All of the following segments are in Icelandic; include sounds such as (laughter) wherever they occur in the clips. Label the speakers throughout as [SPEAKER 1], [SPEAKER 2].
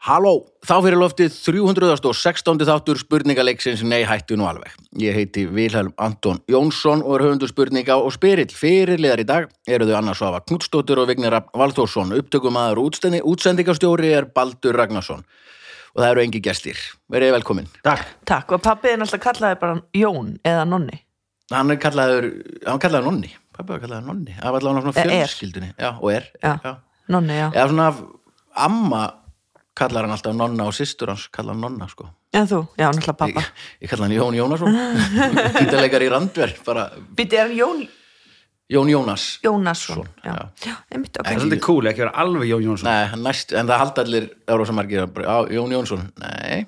[SPEAKER 1] Halló, þá fyrir loftið 316. þáttur spurningaleiksins Nei hættu nú alveg. Ég heiti Vilhelm Anton Jónsson og er höfundur spurninga og spyrill. Fyrirliðar í dag eru þau Anna Svafa Knudstóttir og Vignir Rafn Valþórsson. Upptökumæður útstendi, útsendingastjóri er Baldur Ragnarsson. Og það eru engi gestir. Verið velkomin.
[SPEAKER 2] Takk.
[SPEAKER 3] Takk, og pappiðin alltaf kallaði bara Jón eða Nonni.
[SPEAKER 1] Hann er kallaður, hann kallaður Nonni. Pappi var kallaður Nonni. Það var allavega
[SPEAKER 3] Er.
[SPEAKER 1] svona fjölskyldunni. Já, og er.
[SPEAKER 3] Já. Nonni, já.
[SPEAKER 1] Eða svona af- amma kallar hann alltaf Nonna og systur hans kallar hann Nonna, sko.
[SPEAKER 3] En þú? Já, náttúrulega pappa.
[SPEAKER 1] ég, ég kalla hann Jón Jónasson
[SPEAKER 3] (laughs)
[SPEAKER 1] gítarleikar í Randver bara
[SPEAKER 3] Býtti, er hann Jón
[SPEAKER 1] Jón Jónas
[SPEAKER 3] Jónasson?
[SPEAKER 1] Son,
[SPEAKER 3] Já,
[SPEAKER 1] já.
[SPEAKER 3] já einmitt
[SPEAKER 2] Það er
[SPEAKER 3] okkur.
[SPEAKER 2] svolítið cool ekki vera alveg Jón Jónsson.
[SPEAKER 1] Nei, hann næst, en það halda allir Eurosamarkir Jón Jónsson, nei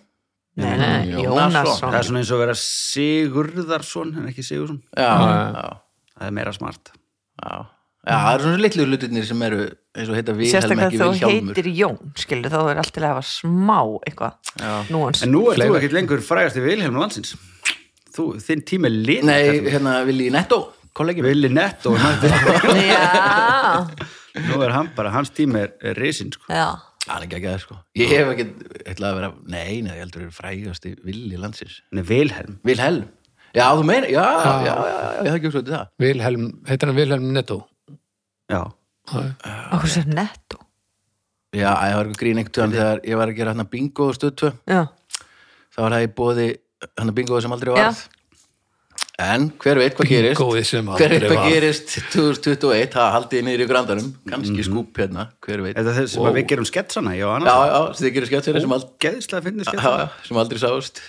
[SPEAKER 3] Nei, nei,
[SPEAKER 1] Jónasson.
[SPEAKER 3] Jónasson.
[SPEAKER 2] Það er svona eins og að vera Sigurðarsson en ekki Sigursson.
[SPEAKER 1] já, já,
[SPEAKER 2] Það er meira smart.
[SPEAKER 1] já, já, það eru svona litlu hlutirnir sem eru eins og heita Vilhelm
[SPEAKER 3] Sérstaklega
[SPEAKER 1] ekki
[SPEAKER 3] þú
[SPEAKER 1] Vilhjálmur
[SPEAKER 3] heitir Jón, skildu, þá er alltaf að hafa smá eitthvað. Nú hans.
[SPEAKER 2] En nú er
[SPEAKER 1] Fleira.
[SPEAKER 2] þú ekkert lengur frægasti Vilhelm landsins. Þú, þinn tími er lit.
[SPEAKER 1] nei, hérna Vili Netto kollegi minn,
[SPEAKER 2] Vili Netto.
[SPEAKER 3] Já,
[SPEAKER 2] nú er hann bara, hans tími er, er risin, sko.
[SPEAKER 3] já.
[SPEAKER 1] hann er ekki að það sko ég hef ekki, ætlaði að vera, nei, nei, ég heldur er frægasti Vili landsins,
[SPEAKER 2] Nei, Vilhelm.
[SPEAKER 1] Vilhelm já, þú meina, já, já, já, já, já, Ah. ég hef ekki hugsa út í það
[SPEAKER 4] Vilhelm, heitir hann Vilhelm Netto
[SPEAKER 2] Já.
[SPEAKER 3] Okkur sér netto.
[SPEAKER 1] já, ég var eitthvað grín einhvern tjóðan þegar ég var að gera hérna bingo og stöð 2
[SPEAKER 3] Já,
[SPEAKER 1] þá var það í bóði hann að bingoði sem aldrei
[SPEAKER 3] Já.
[SPEAKER 1] varð en hver veit hvað gerist
[SPEAKER 4] Góði sem
[SPEAKER 1] hver veit
[SPEAKER 4] aldrei
[SPEAKER 1] hvað
[SPEAKER 4] var.
[SPEAKER 1] gerist 2021 það haldið niður í grandanum kannski skúp hérna, hver veit
[SPEAKER 2] Er það þess að við gerum sketsana? Já,
[SPEAKER 1] já,
[SPEAKER 2] annars.
[SPEAKER 1] já, sem þið gerir skjátsverið sem, ald...
[SPEAKER 2] Geðislega að finna
[SPEAKER 1] já,
[SPEAKER 2] sketsana.
[SPEAKER 1] já, sem aldrei sást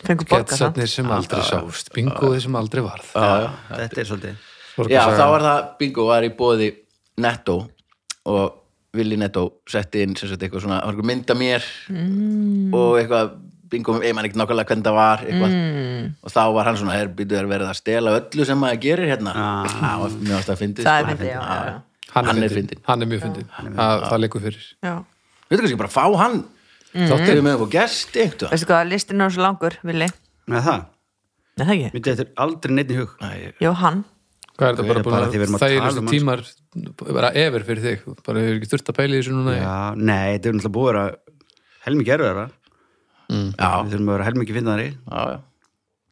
[SPEAKER 3] fengur borga það.
[SPEAKER 4] Getsatnir sem aldrei sást, bingoði sem aldrei varð
[SPEAKER 2] Ah.
[SPEAKER 1] já, já.
[SPEAKER 2] Þetta er svolítið.
[SPEAKER 1] já,
[SPEAKER 4] Sorgarsaga.
[SPEAKER 1] þá var það bingo var í bóði netto og Willi Netto setti inn sem sagt eitthvað svona, það var eitthvað mynda mér
[SPEAKER 3] Mm.
[SPEAKER 1] og eitthvað bingo, ég man ekki nákvæmlega hvernig það var eitthvað,
[SPEAKER 3] Mm.
[SPEAKER 1] og þá var hann svona er býtu er verið að stela öllu sem maður gerir hérna, (laughs) það var mjög ást að fyndið
[SPEAKER 3] Það er
[SPEAKER 1] sko.
[SPEAKER 3] fyndið, já, já, já.
[SPEAKER 1] hann er fyndin
[SPEAKER 4] Hann er mjög fyndin, það það liggur fyrir
[SPEAKER 3] Já.
[SPEAKER 1] við veitum kannski bara fá hann
[SPEAKER 3] Mm.
[SPEAKER 1] þáttir við með eitthvað gesti eitthvað
[SPEAKER 3] Veistu hvað, listin er svo langur, Vili.
[SPEAKER 2] Nei, það.
[SPEAKER 3] Nei, það ekki.
[SPEAKER 2] Myndi þetta er aldrei neitt í hug.
[SPEAKER 1] Æ,
[SPEAKER 3] Jóhann.
[SPEAKER 4] Hvað er þetta
[SPEAKER 2] Við erum
[SPEAKER 4] bara
[SPEAKER 2] bara því við
[SPEAKER 4] búin
[SPEAKER 2] erum
[SPEAKER 4] að
[SPEAKER 2] að tala
[SPEAKER 4] þægilustu
[SPEAKER 2] um hann,
[SPEAKER 4] tímar bara efir fyrir þig, bara hefur ekki þurft að pæla í þessu núna í-
[SPEAKER 2] Já, nei, þetta er náttúrulega búið að vera helmingi erfiðara. Við
[SPEAKER 1] Mm. já,
[SPEAKER 2] þurfum að vera helmingi finnari,
[SPEAKER 1] já, já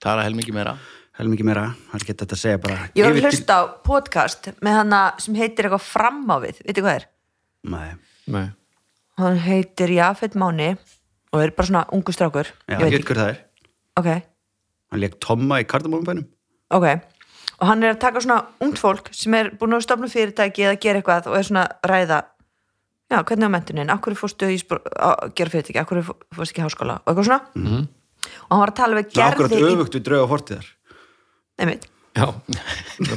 [SPEAKER 1] tala helmingi meira
[SPEAKER 2] helmingi meira. Það er ekki þetta að segja bara.
[SPEAKER 3] Ég var
[SPEAKER 2] yfir
[SPEAKER 3] að
[SPEAKER 2] til-
[SPEAKER 3] hlusta á podcast með hana sem heitir eitthvað fram á við, veitir hvað er?
[SPEAKER 2] Nei,
[SPEAKER 4] Nei.
[SPEAKER 3] Hann heitir Jafet Máni og er bara svona ungu strákur. ég
[SPEAKER 2] já, ég
[SPEAKER 3] veit
[SPEAKER 2] veit hver það er.
[SPEAKER 3] Ok,
[SPEAKER 2] Hann leik Tomma í kardamómabænum.
[SPEAKER 3] ok. Og hann er að taka svona ungt fólk sem er búin að stofna fyrirtæki eða gera eitthvað og er svona að ræða já, hvernig á mentunin, akkur fórstu í spor, að gera fyrirtæki, akkur fórstu ekki í háskóla og eitthvað svona. -hmm.
[SPEAKER 2] Mhm.
[SPEAKER 3] Og hann var að tala við
[SPEAKER 2] Svo akkurat
[SPEAKER 3] gerði
[SPEAKER 2] öfugt við drauga fortíðar.
[SPEAKER 3] Nei, mitt.
[SPEAKER 4] Já,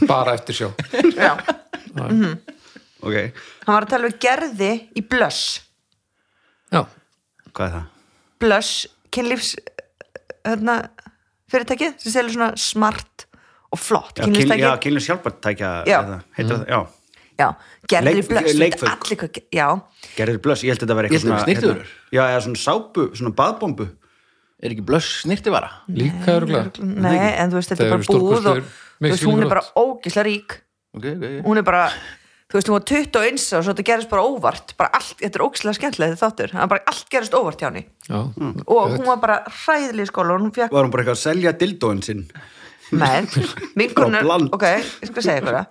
[SPEAKER 4] bara eftir sjá
[SPEAKER 3] Já.
[SPEAKER 2] Ok,
[SPEAKER 3] Hann var að tala við gerði í blöss.
[SPEAKER 4] Já,
[SPEAKER 2] hvað er það?
[SPEAKER 3] Blush kynlífs hérna, fyrirtækið sem selur svona smart og flott
[SPEAKER 2] Já, kyn, já,
[SPEAKER 3] kynlífstæki
[SPEAKER 2] kynlífs hjálpartækja.
[SPEAKER 3] Já.
[SPEAKER 2] eða Heitir það, já.
[SPEAKER 3] já, gerður í
[SPEAKER 2] Leik-
[SPEAKER 3] Blush
[SPEAKER 2] leikföng.
[SPEAKER 3] þetta allir hvað- já,
[SPEAKER 2] Gerður blöss, ég held að þetta var eitthvað
[SPEAKER 1] Ég held að þetta var
[SPEAKER 2] hérna- Já, eða svona sápu, svona baðbombu.
[SPEAKER 1] er ekki blöss snirtivara
[SPEAKER 4] líka örgulega
[SPEAKER 3] nei, en þú veist þetta
[SPEAKER 4] Það
[SPEAKER 3] er bara
[SPEAKER 4] eru
[SPEAKER 3] búð og
[SPEAKER 4] stórkostlegur
[SPEAKER 3] þú veist, hún er bara
[SPEAKER 4] mixed
[SPEAKER 3] ógislega rík
[SPEAKER 1] okay, okay, okay.
[SPEAKER 3] hún er bara, þú veist, hún var 21 og svo þetta gerist bara óvart, bara allt þetta er ógislega skemmtilega þetta þáttur, hann bara allt gerist óvart hjá henni
[SPEAKER 4] Já,
[SPEAKER 3] og hún var bara hræðileg í skóla og hún fekk
[SPEAKER 2] Var hún bara eitthvað að selja dildóin sinn.
[SPEAKER 3] með vinkunar,
[SPEAKER 2] Frá bland.
[SPEAKER 3] ok, ég skal segja ykkur það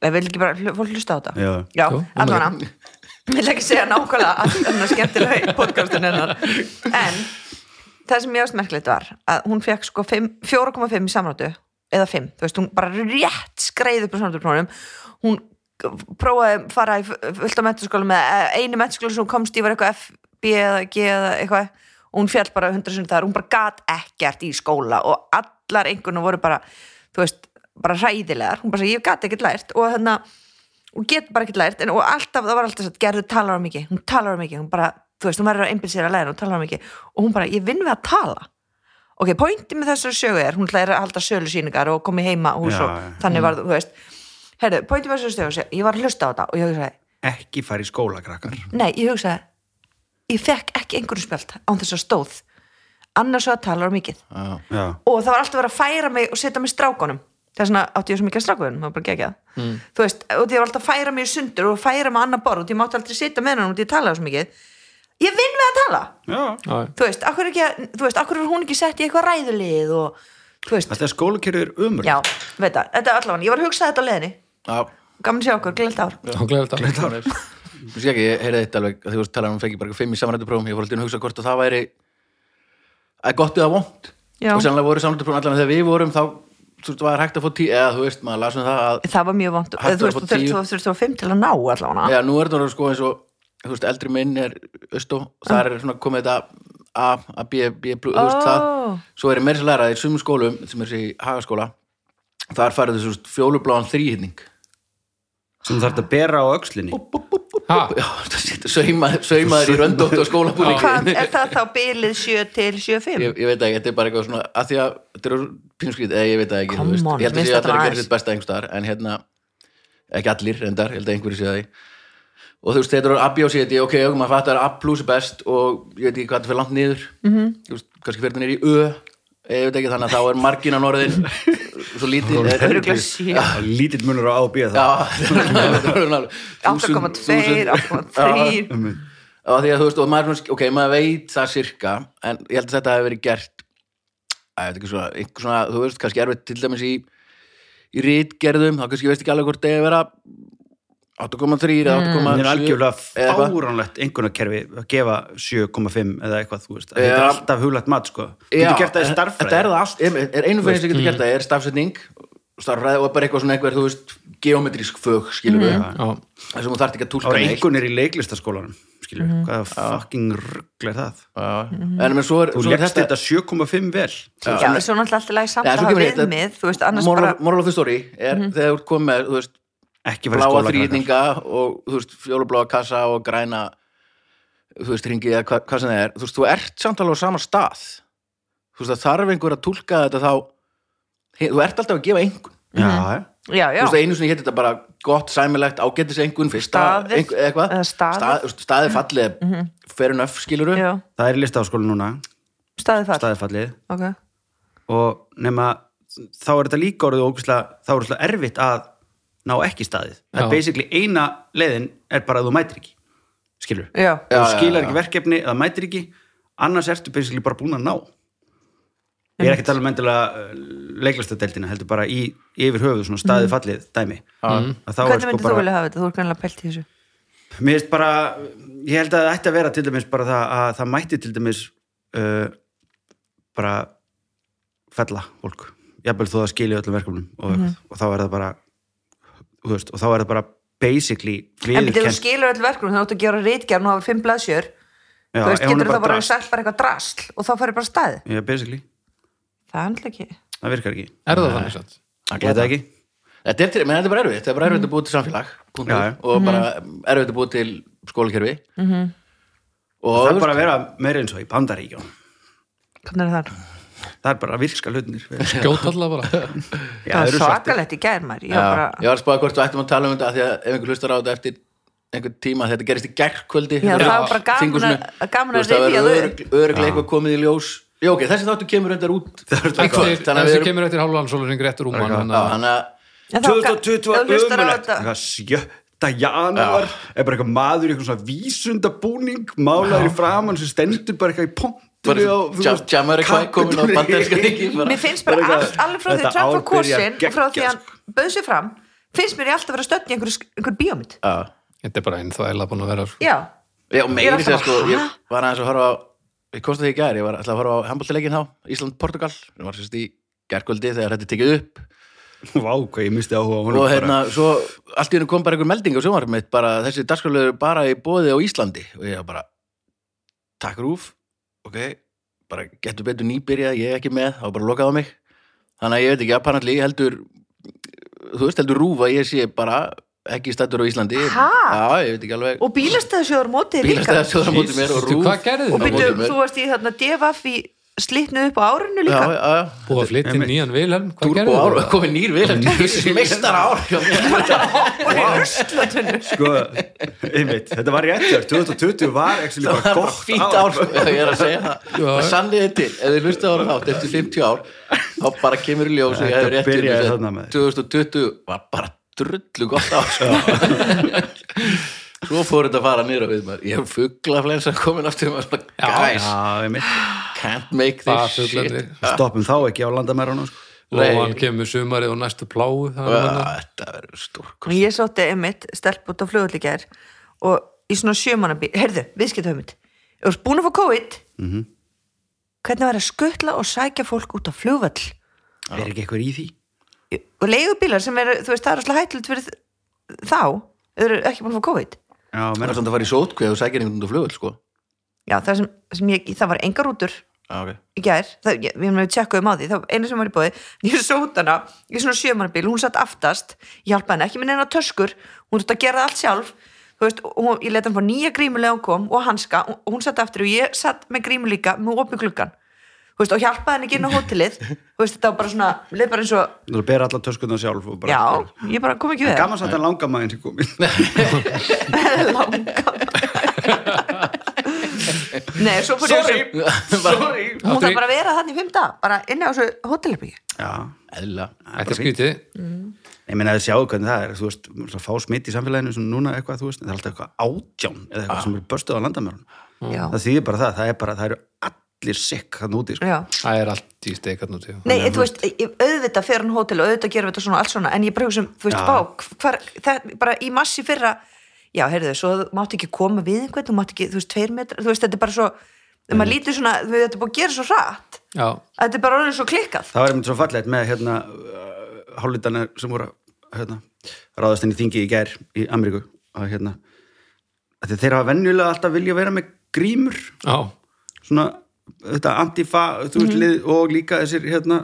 [SPEAKER 3] ég vil ekki bara, hl- fólk hlusta á þetta
[SPEAKER 2] Já.
[SPEAKER 3] já
[SPEAKER 4] Jú,
[SPEAKER 3] allan að ég vil ekki segja nákvæmlega um að þetta er skemmtilega í podcastinu hennar en það sem ég ást merkilegt var að hún fekk sko fimm- 4,5 í samráttu eða 5, þú veist, hún bara rétt skreið upp á samráttuprónum hún prófaði að fara í fullt á metaskóla með einu metaskóla sem hún komst í var eitthvað F, B eða G eða eitthvað og hún fjall bara 100 sinni þar, hún bara gat ekkert í skóla og allar einhvern voru bara, þú veist, bara hræðilegar hún bara sagði, ég gat ekkert lært og hérna, þannig hún getur bara ekkert lært en, og alltaf, það var alltaf satt, gerðu talar um mikið hún talar um mikið, hún bara, þú veist, hún verður að einbyrð sér að læra, hún talar um mikið og hún bara, ég vinn við að tala ok, pointi með þessari sögu er, hún læra að halda sölu síningar og komi heima hús
[SPEAKER 2] Já,
[SPEAKER 3] og
[SPEAKER 2] já. Mm.
[SPEAKER 3] þannig var, þú veist herru, pointi með þessari sögu, ég var að hlusta á þetta og ég hugsaði,
[SPEAKER 2] Ekki fara í skóla, krakkar.
[SPEAKER 3] nei, ég hugsaði ég fekk ekki einhverjum spjöld án þess að stóð annars var að tala um mikið
[SPEAKER 1] Já.
[SPEAKER 2] Já.
[SPEAKER 3] og það var alltaf verið að færa mig og setja mig strákonum þess vegna átti ég svo mikið að strákonum maður bara gegja það
[SPEAKER 1] Mm.
[SPEAKER 3] þú veist, og því ég var alltaf að færa mig í sundur og færa mig á annar borð og því ég mátti aldrei setja með hann og því ég talaði svo mikið ég vinn við að tala
[SPEAKER 2] Já.
[SPEAKER 4] Já,
[SPEAKER 3] þú veist, akkur, ekki, að- þú veist, akkur er hún ekki sett í eitthvað ræðulið og, þú veist,
[SPEAKER 2] Þetta skólakerfið er umur
[SPEAKER 3] já, veit það þetta er allavega, ég var að hugsa þetta á leðinni
[SPEAKER 1] Já,
[SPEAKER 3] gaman að sjá okkur, glöld ár
[SPEAKER 4] já, gleðilegt ár.
[SPEAKER 1] þú sé ekki, ég heyrði þetta alveg þegar þú varst að tala um fengi bara fimm í samrættuprófum ég fór alltaf að hugsa hvort að það væri að gott eða vond
[SPEAKER 3] Já.
[SPEAKER 1] og sannlega voru samrættuprófum allan að þegar við vorum þá þú veist, var hægt að fá tíu eða þú veist, maður lasum það að
[SPEAKER 3] það var mjög vond,
[SPEAKER 1] Hægt var upp
[SPEAKER 3] þú veist,
[SPEAKER 1] á
[SPEAKER 3] þú þurft-
[SPEAKER 1] tíu.
[SPEAKER 3] þú þurft þú fimm til að ná allavega
[SPEAKER 1] Já, nú er þetta orðið sko eins og þú veist, eldri minn er austó þar er svona komið þetta A, A, B, B, blu, þú veist
[SPEAKER 3] Ó.
[SPEAKER 1] það svo er meira sem læra að í sumum skólum sem er þessi hagaskóla þar farið þessu þú veist, fjólubláan þrýhinning
[SPEAKER 2] sem þarf að bera á öxlinni
[SPEAKER 4] Ha,
[SPEAKER 1] Já, (laughs) það sýttu saumaður, saumaður í röndótt og
[SPEAKER 3] hvað
[SPEAKER 1] skólabúningi
[SPEAKER 3] er það þá bilið 7 til 7-5
[SPEAKER 1] ég, ég veit ekki, þetta er bara eitthvað svona að því að þetta er pinskrið, eða ég veit það ekki þú
[SPEAKER 3] Come
[SPEAKER 1] veist.
[SPEAKER 3] on,
[SPEAKER 1] ég held að
[SPEAKER 3] minnst
[SPEAKER 1] sé að það er að
[SPEAKER 3] þetta
[SPEAKER 1] gera
[SPEAKER 3] aðeins.
[SPEAKER 1] sitt besta einhverstaðar en hérna, ekki allir reyndar, ég held að einhverju sé það í og þú veist, þetta er abbi á sér ok, ok, maður fattar að A plus er best og ég veit ekki hvað það fyrir langt niður
[SPEAKER 3] Mhm.
[SPEAKER 1] -hmm. veist, kannski fyrir það niður í Ö eh, ég veit ekki, þannig að þá er marginan orðin svo lítið er- er-
[SPEAKER 3] Örugglega (laughs) sjö.
[SPEAKER 1] Já,
[SPEAKER 2] lítill munur á A og B
[SPEAKER 1] (laughs)
[SPEAKER 2] þá
[SPEAKER 1] þetta er alveg-
[SPEAKER 3] 8,2, 8,3
[SPEAKER 1] Já, og því að þú veist, og maður, er svona, ok, maður veit það sirka, en ég held að þetta hefur verið gert að þetta ekki svona, einhver svona þú veist, kannski erfitt til dæmis í í rítgerðum, þá kannski veist ekki alveg hvort það er að vera 8,3 eða 8,7
[SPEAKER 2] Það er
[SPEAKER 1] eða
[SPEAKER 2] algjörlega
[SPEAKER 1] eitthvað.
[SPEAKER 2] fáránlegt einhvernarkerfi að gefa 7,5 eða eitthvað, þú veist. Þetta er
[SPEAKER 1] Já.
[SPEAKER 2] alltaf huglægt mat, sko. Þú
[SPEAKER 1] Já,
[SPEAKER 2] getur gert það í starffræði.
[SPEAKER 1] þetta er það allt, einmitt, er einu fyrir sem getur gert það er stafsetning, starfræði og bara eitthvað svona eitthvað, þú veist, geometrísk fög skilur við,
[SPEAKER 4] já,
[SPEAKER 1] þessum þú þarft ekki að
[SPEAKER 2] Það
[SPEAKER 1] túlka
[SPEAKER 2] voru
[SPEAKER 1] neitt
[SPEAKER 2] einhvernir í leiklistaskólanum, skilju.
[SPEAKER 1] Mhm.
[SPEAKER 2] Mm. Hvaða fucking ruggl er það?
[SPEAKER 1] Já. en menn svo er
[SPEAKER 2] Þú
[SPEAKER 1] svo er
[SPEAKER 2] leggst þetta 7,5 vel.
[SPEAKER 3] já,
[SPEAKER 1] Já.
[SPEAKER 3] svo náttúrulega alltaf læg samt
[SPEAKER 1] Já,
[SPEAKER 3] að
[SPEAKER 1] svo
[SPEAKER 3] hafa
[SPEAKER 1] kemur þetta-
[SPEAKER 3] viðmið þú veist, annars
[SPEAKER 1] moral,
[SPEAKER 3] bara
[SPEAKER 1] moral of the story er þegar þú ert komið með, þú veist,
[SPEAKER 2] Ekki verið
[SPEAKER 1] bláa
[SPEAKER 2] skóla. krakkar.
[SPEAKER 1] þrýninga og þú veist, fjólubláa kassa og græna þú veist, ringi eða hva, hvað sem það er þú veist, þú ert samt alveg á sama stað þú veist, það þarf einhver að túlka þetta þá he, þú ert alltaf að gefa einhvern
[SPEAKER 2] Já,
[SPEAKER 3] já, já,
[SPEAKER 1] þú veist, einu sinni hétt þetta bara gott, sæmilegt, ágetis einhvern fyrsta,
[SPEAKER 3] Staðið,
[SPEAKER 1] einhver, eða eitthvað
[SPEAKER 3] eða staðið.
[SPEAKER 1] Stað- þú veist, staðið fallið, mm -hmm. fair enough, skilur
[SPEAKER 3] já,
[SPEAKER 2] það er listaháskóla núna,
[SPEAKER 3] staðið þar
[SPEAKER 2] staðifallið.
[SPEAKER 3] ok,
[SPEAKER 2] og nema þá er þetta líka orðið ógustlega þá er þetta erfitt að ná ekki staðið það er
[SPEAKER 4] Já.
[SPEAKER 2] basically eina leiðin er bara að þú mætir ekki skilur,
[SPEAKER 3] já,
[SPEAKER 2] þú
[SPEAKER 1] Já, já,
[SPEAKER 2] skilar
[SPEAKER 1] já.
[SPEAKER 2] ekki verkefni eða mætir ekki, annars ertu basically bara búin að ná ég er ekki að tala um endilega leiklastadeldina heldur bara í yfir höfuð svona staðið fallið dæmi mm.
[SPEAKER 3] Mhm. hvernig myndir þú vilja hafa þetta, þú er kannlega pælt í þessu
[SPEAKER 2] Mér finnst bara, ég held að það ætti að vera til dæmis bara það að það mætti til dæmis uh, bara fella fólk jafnvel þó það skilja öllum verkefnum og,
[SPEAKER 3] Mhm.
[SPEAKER 2] og þá er það bara þú veist, og þá er það bara basically
[SPEAKER 3] en byrjuðu þú
[SPEAKER 2] viðurkennt-
[SPEAKER 3] skilur öll verkrum, þú áttu að gera rítgerð og hafa fimm blaðsjör,
[SPEAKER 2] Já,
[SPEAKER 3] þú veist,
[SPEAKER 2] ef hún er
[SPEAKER 3] getur það bara
[SPEAKER 2] drasl.
[SPEAKER 3] sagt bara eitthvað drasl og þá færi bara staðið
[SPEAKER 2] Já, basically,
[SPEAKER 3] það er alltaf ekki,
[SPEAKER 2] það virkar ekki
[SPEAKER 4] er það þannig satt?
[SPEAKER 1] við
[SPEAKER 2] Ég veit það ekki
[SPEAKER 1] þetta er, til- menn, þetta er bara erfitt, þetta er bara erfitt að búa til samfélag punktur.
[SPEAKER 2] Já, já.
[SPEAKER 1] og bara
[SPEAKER 3] Mhm.
[SPEAKER 1] erfitt að búa til skólakerfi -hmm. og
[SPEAKER 2] Það er bara að vera meira eins og í bandaríkjón
[SPEAKER 3] hvernig er það
[SPEAKER 2] Það er bara að virka hlutinir Já,
[SPEAKER 4] Skjóta alltaf bara
[SPEAKER 3] það
[SPEAKER 2] eru
[SPEAKER 3] er
[SPEAKER 2] svartir.
[SPEAKER 3] svakalegt í gær maður, ég
[SPEAKER 1] Já,
[SPEAKER 3] var bara
[SPEAKER 1] ég var að spáða hvort við ættum að tala um þetta af því að ef einhver hlustar á þetta eftir einhvern tíma þetta gerist í gerkvöldi
[SPEAKER 3] Já, það var bara gaman að- gaman að rifja það upp.
[SPEAKER 1] öruglega eitthvað komið í ljós já ok, þessi þáttu kemur reyndar út í kvöld,
[SPEAKER 4] Eftir,
[SPEAKER 1] þannig að við
[SPEAKER 4] þessi
[SPEAKER 1] erum
[SPEAKER 4] kemur eftir hálf alveg sem réttur
[SPEAKER 1] Já,
[SPEAKER 4] rúman
[SPEAKER 1] þannig að
[SPEAKER 3] En það var ga-
[SPEAKER 2] 2022
[SPEAKER 3] ef þú hlustar á
[SPEAKER 2] ömulegt
[SPEAKER 3] þetta-
[SPEAKER 2] Eitthvað 7. janúar er bara eitthvað maður í eitthvað svona vísundabúning málaður í framann sem stendur bara eitthvað í pontunni
[SPEAKER 1] Bara
[SPEAKER 2] og þú
[SPEAKER 1] jam-
[SPEAKER 2] veist,
[SPEAKER 1] jammar eitthvað
[SPEAKER 2] kakódúr-
[SPEAKER 1] komin á bandaríska þingið bara.
[SPEAKER 3] Mér finnst bara
[SPEAKER 2] Bara
[SPEAKER 3] allt,
[SPEAKER 2] eitthvað-
[SPEAKER 3] alveg frá því
[SPEAKER 2] þetta
[SPEAKER 3] að Trump var
[SPEAKER 2] ár byrjar
[SPEAKER 3] kosin og frá því
[SPEAKER 2] geggjað,
[SPEAKER 3] að hann bauð sér fram finnst mér ég alltaf vera stödd í einhver, einhver bíómynd
[SPEAKER 1] já.
[SPEAKER 4] Þetta er bara einn þvæla búin að vera sko.
[SPEAKER 3] Já,
[SPEAKER 1] já, og
[SPEAKER 3] Ég
[SPEAKER 1] meiri
[SPEAKER 3] er
[SPEAKER 1] sér
[SPEAKER 3] alltaf
[SPEAKER 1] sko
[SPEAKER 3] bara,
[SPEAKER 1] ég var aðeins að horfa á ég komst að því í gær, ég var alltaf að horfa á handbóltileikin þá Ísland-Portugal, sem var sérst í gerkvöldi þegar þetta er tekið upp
[SPEAKER 2] (laughs) Vá, hvað ég misti áhuga á
[SPEAKER 1] og
[SPEAKER 2] honum bara.
[SPEAKER 1] hérna, svo allt í hennu kom bara einhver melding á sjónvarpið mitt, bara þessi dagskrálegu bara í bóði á Íslandi og ég var bara, takk rúf ok, bara getur betur nýbyrjað ég er ekki með, þá bara lokað á mig þannig að ég veit ekki, apparently heldur þú veist, heldur rúf að ég sé bara ekki stættur á Íslandi
[SPEAKER 3] Ha?
[SPEAKER 1] já, ég veit ekki alveg
[SPEAKER 3] og bílastæðasjóður mótið líka
[SPEAKER 1] bílastæða sjóðar móti mér og
[SPEAKER 4] Veistu,
[SPEAKER 1] rúf
[SPEAKER 4] Hvað
[SPEAKER 1] á
[SPEAKER 3] og
[SPEAKER 4] gerði þetta?
[SPEAKER 1] móti
[SPEAKER 3] byrju,
[SPEAKER 1] mér.
[SPEAKER 3] þú varst í þarna devaf í slitnu upp á árinu
[SPEAKER 1] já,
[SPEAKER 3] líka
[SPEAKER 1] já, já,
[SPEAKER 4] Búið að flytja inn
[SPEAKER 2] Einmitt.
[SPEAKER 4] nýjan Vilhelm Hvað
[SPEAKER 1] Turbo
[SPEAKER 4] gerði
[SPEAKER 1] ár,
[SPEAKER 4] þetta?
[SPEAKER 1] komið nýr vil meistar ár hjá mér.
[SPEAKER 3] og í ruslatunnu
[SPEAKER 2] sko, einmitt, þetta var rétt hjá 2020 var actually
[SPEAKER 1] það
[SPEAKER 2] bara
[SPEAKER 1] var bara
[SPEAKER 2] gott
[SPEAKER 1] fínt ár sko. ég er að segja það,
[SPEAKER 4] Já.
[SPEAKER 1] það sannið er til ef þið hlustu ára þátt eftir 50 ár þá bara kemur í ljós og ég
[SPEAKER 2] Þetta
[SPEAKER 1] hefði rétt fyrir
[SPEAKER 2] byrjaði
[SPEAKER 1] þessu.
[SPEAKER 2] þarna með.
[SPEAKER 1] 2020 var bara drullu gott ár sko. svo fór þetta að fara nýra við maður ég hef fuglaflensa komin aftur maður svona, guys,
[SPEAKER 2] Já, ég mitt.
[SPEAKER 1] can't make
[SPEAKER 4] Það
[SPEAKER 1] this
[SPEAKER 4] fuglarnir.
[SPEAKER 1] shit
[SPEAKER 2] Stoppum þá ekki á landamærunum, sko.
[SPEAKER 4] Lóan kemur sumarið og næstu pláu það er annað.
[SPEAKER 1] Ah, þetta verður stórkost
[SPEAKER 3] ég sótti einmitt stelp út á flugulíkjær og í svona sjömanabíl heyrðu, viðskiptahöfmynd ég var búin að fá COVID
[SPEAKER 1] Mhm.
[SPEAKER 3] hvernig var að skuttla og sækja fólk út á flugvall
[SPEAKER 2] Er ekki eitthvað í því?
[SPEAKER 3] og leigubílar sem eru, þú veist, það er alltaf hættulegt fyrir þ- þá, þau eru ekki búin að fá COVID
[SPEAKER 2] Já,
[SPEAKER 1] það
[SPEAKER 2] menn,
[SPEAKER 1] er samt að fara í sótkvið og sækja einhvern veginn flugul sko.
[SPEAKER 3] já, það sem, sem ég, það var engar útur
[SPEAKER 1] ah, okay.
[SPEAKER 3] í gær, það, ég, við hefum tjekkað um á því þá einu sem var í bóði, (laughs) ég sót hana í svona sjömanabíl, hún satt aftast ég hjálpa henni ekki með neina töskur hún þurfti að gera það allt sjálf þú veist, og hún, ég leta hann fá nýja grímulega hún kom og hanska og og hún satt aftur og ég satt með grímu líka með opið gluggan þú veist, og hjálpaði henni ekki inn á hótelið þú veist, þetta var bara svona, leið bara eins og
[SPEAKER 2] þú ber alla töskunna sjálf og bara...
[SPEAKER 3] já, ég bara kom ekki við
[SPEAKER 2] Gaman satt að langamæðin sem komið.
[SPEAKER 3] (laughs) langa Nei, svo fór ég þessu
[SPEAKER 1] sorry
[SPEAKER 3] Hún
[SPEAKER 4] Aftur
[SPEAKER 3] þarf
[SPEAKER 4] í-
[SPEAKER 3] bara að vera þannig í fimm dag bara inni á þessu hótelherbyggi
[SPEAKER 2] Já.
[SPEAKER 1] eðla
[SPEAKER 4] Þetta er skrítið
[SPEAKER 2] Ég meina að sjáu hvernig það er, þú veist, að fá smitt í samfélaginu sem núna eitthvað, þú veist, það er alltaf eitthvað átján eða
[SPEAKER 3] Ah.
[SPEAKER 2] eitthvað sem er börstuð á landamörunum.
[SPEAKER 3] Já,
[SPEAKER 2] Það þýðir bara það, það er bara, það eru allir sikk hann úti, sko.
[SPEAKER 3] já
[SPEAKER 4] Það er allt í steikarn út í
[SPEAKER 3] Nei, þú veist, ég- auðvitað fer hann hótel og auðvitað gerum við þetta svona allt svona, en ég bara hugsa um, þú veist,
[SPEAKER 2] Já.
[SPEAKER 3] bá, hvar, það, bara í massi fyrra, já, heyrðu, svo þú mátt ekki koma við einhvern, þú mátt ekki, þú veist, tveir metrar, þú veist, þetta er bara svo, þegar maður lítið svona, þú veist, þetta er búið að gera svo hratt,
[SPEAKER 4] Já,
[SPEAKER 3] að þetta er bara orðin svo klikkað.
[SPEAKER 2] Það var einmitt svo fallegt með hérna uh, hálflitana sem voru að, hérna, ráðast inn í þingi í gær í Ameríku að hérna að þeir hafa venjulega alltaf vilja vera með grímur
[SPEAKER 4] já,
[SPEAKER 2] svona þetta antifa þú
[SPEAKER 3] Mhm.
[SPEAKER 2] veist lið og líka þessir hérna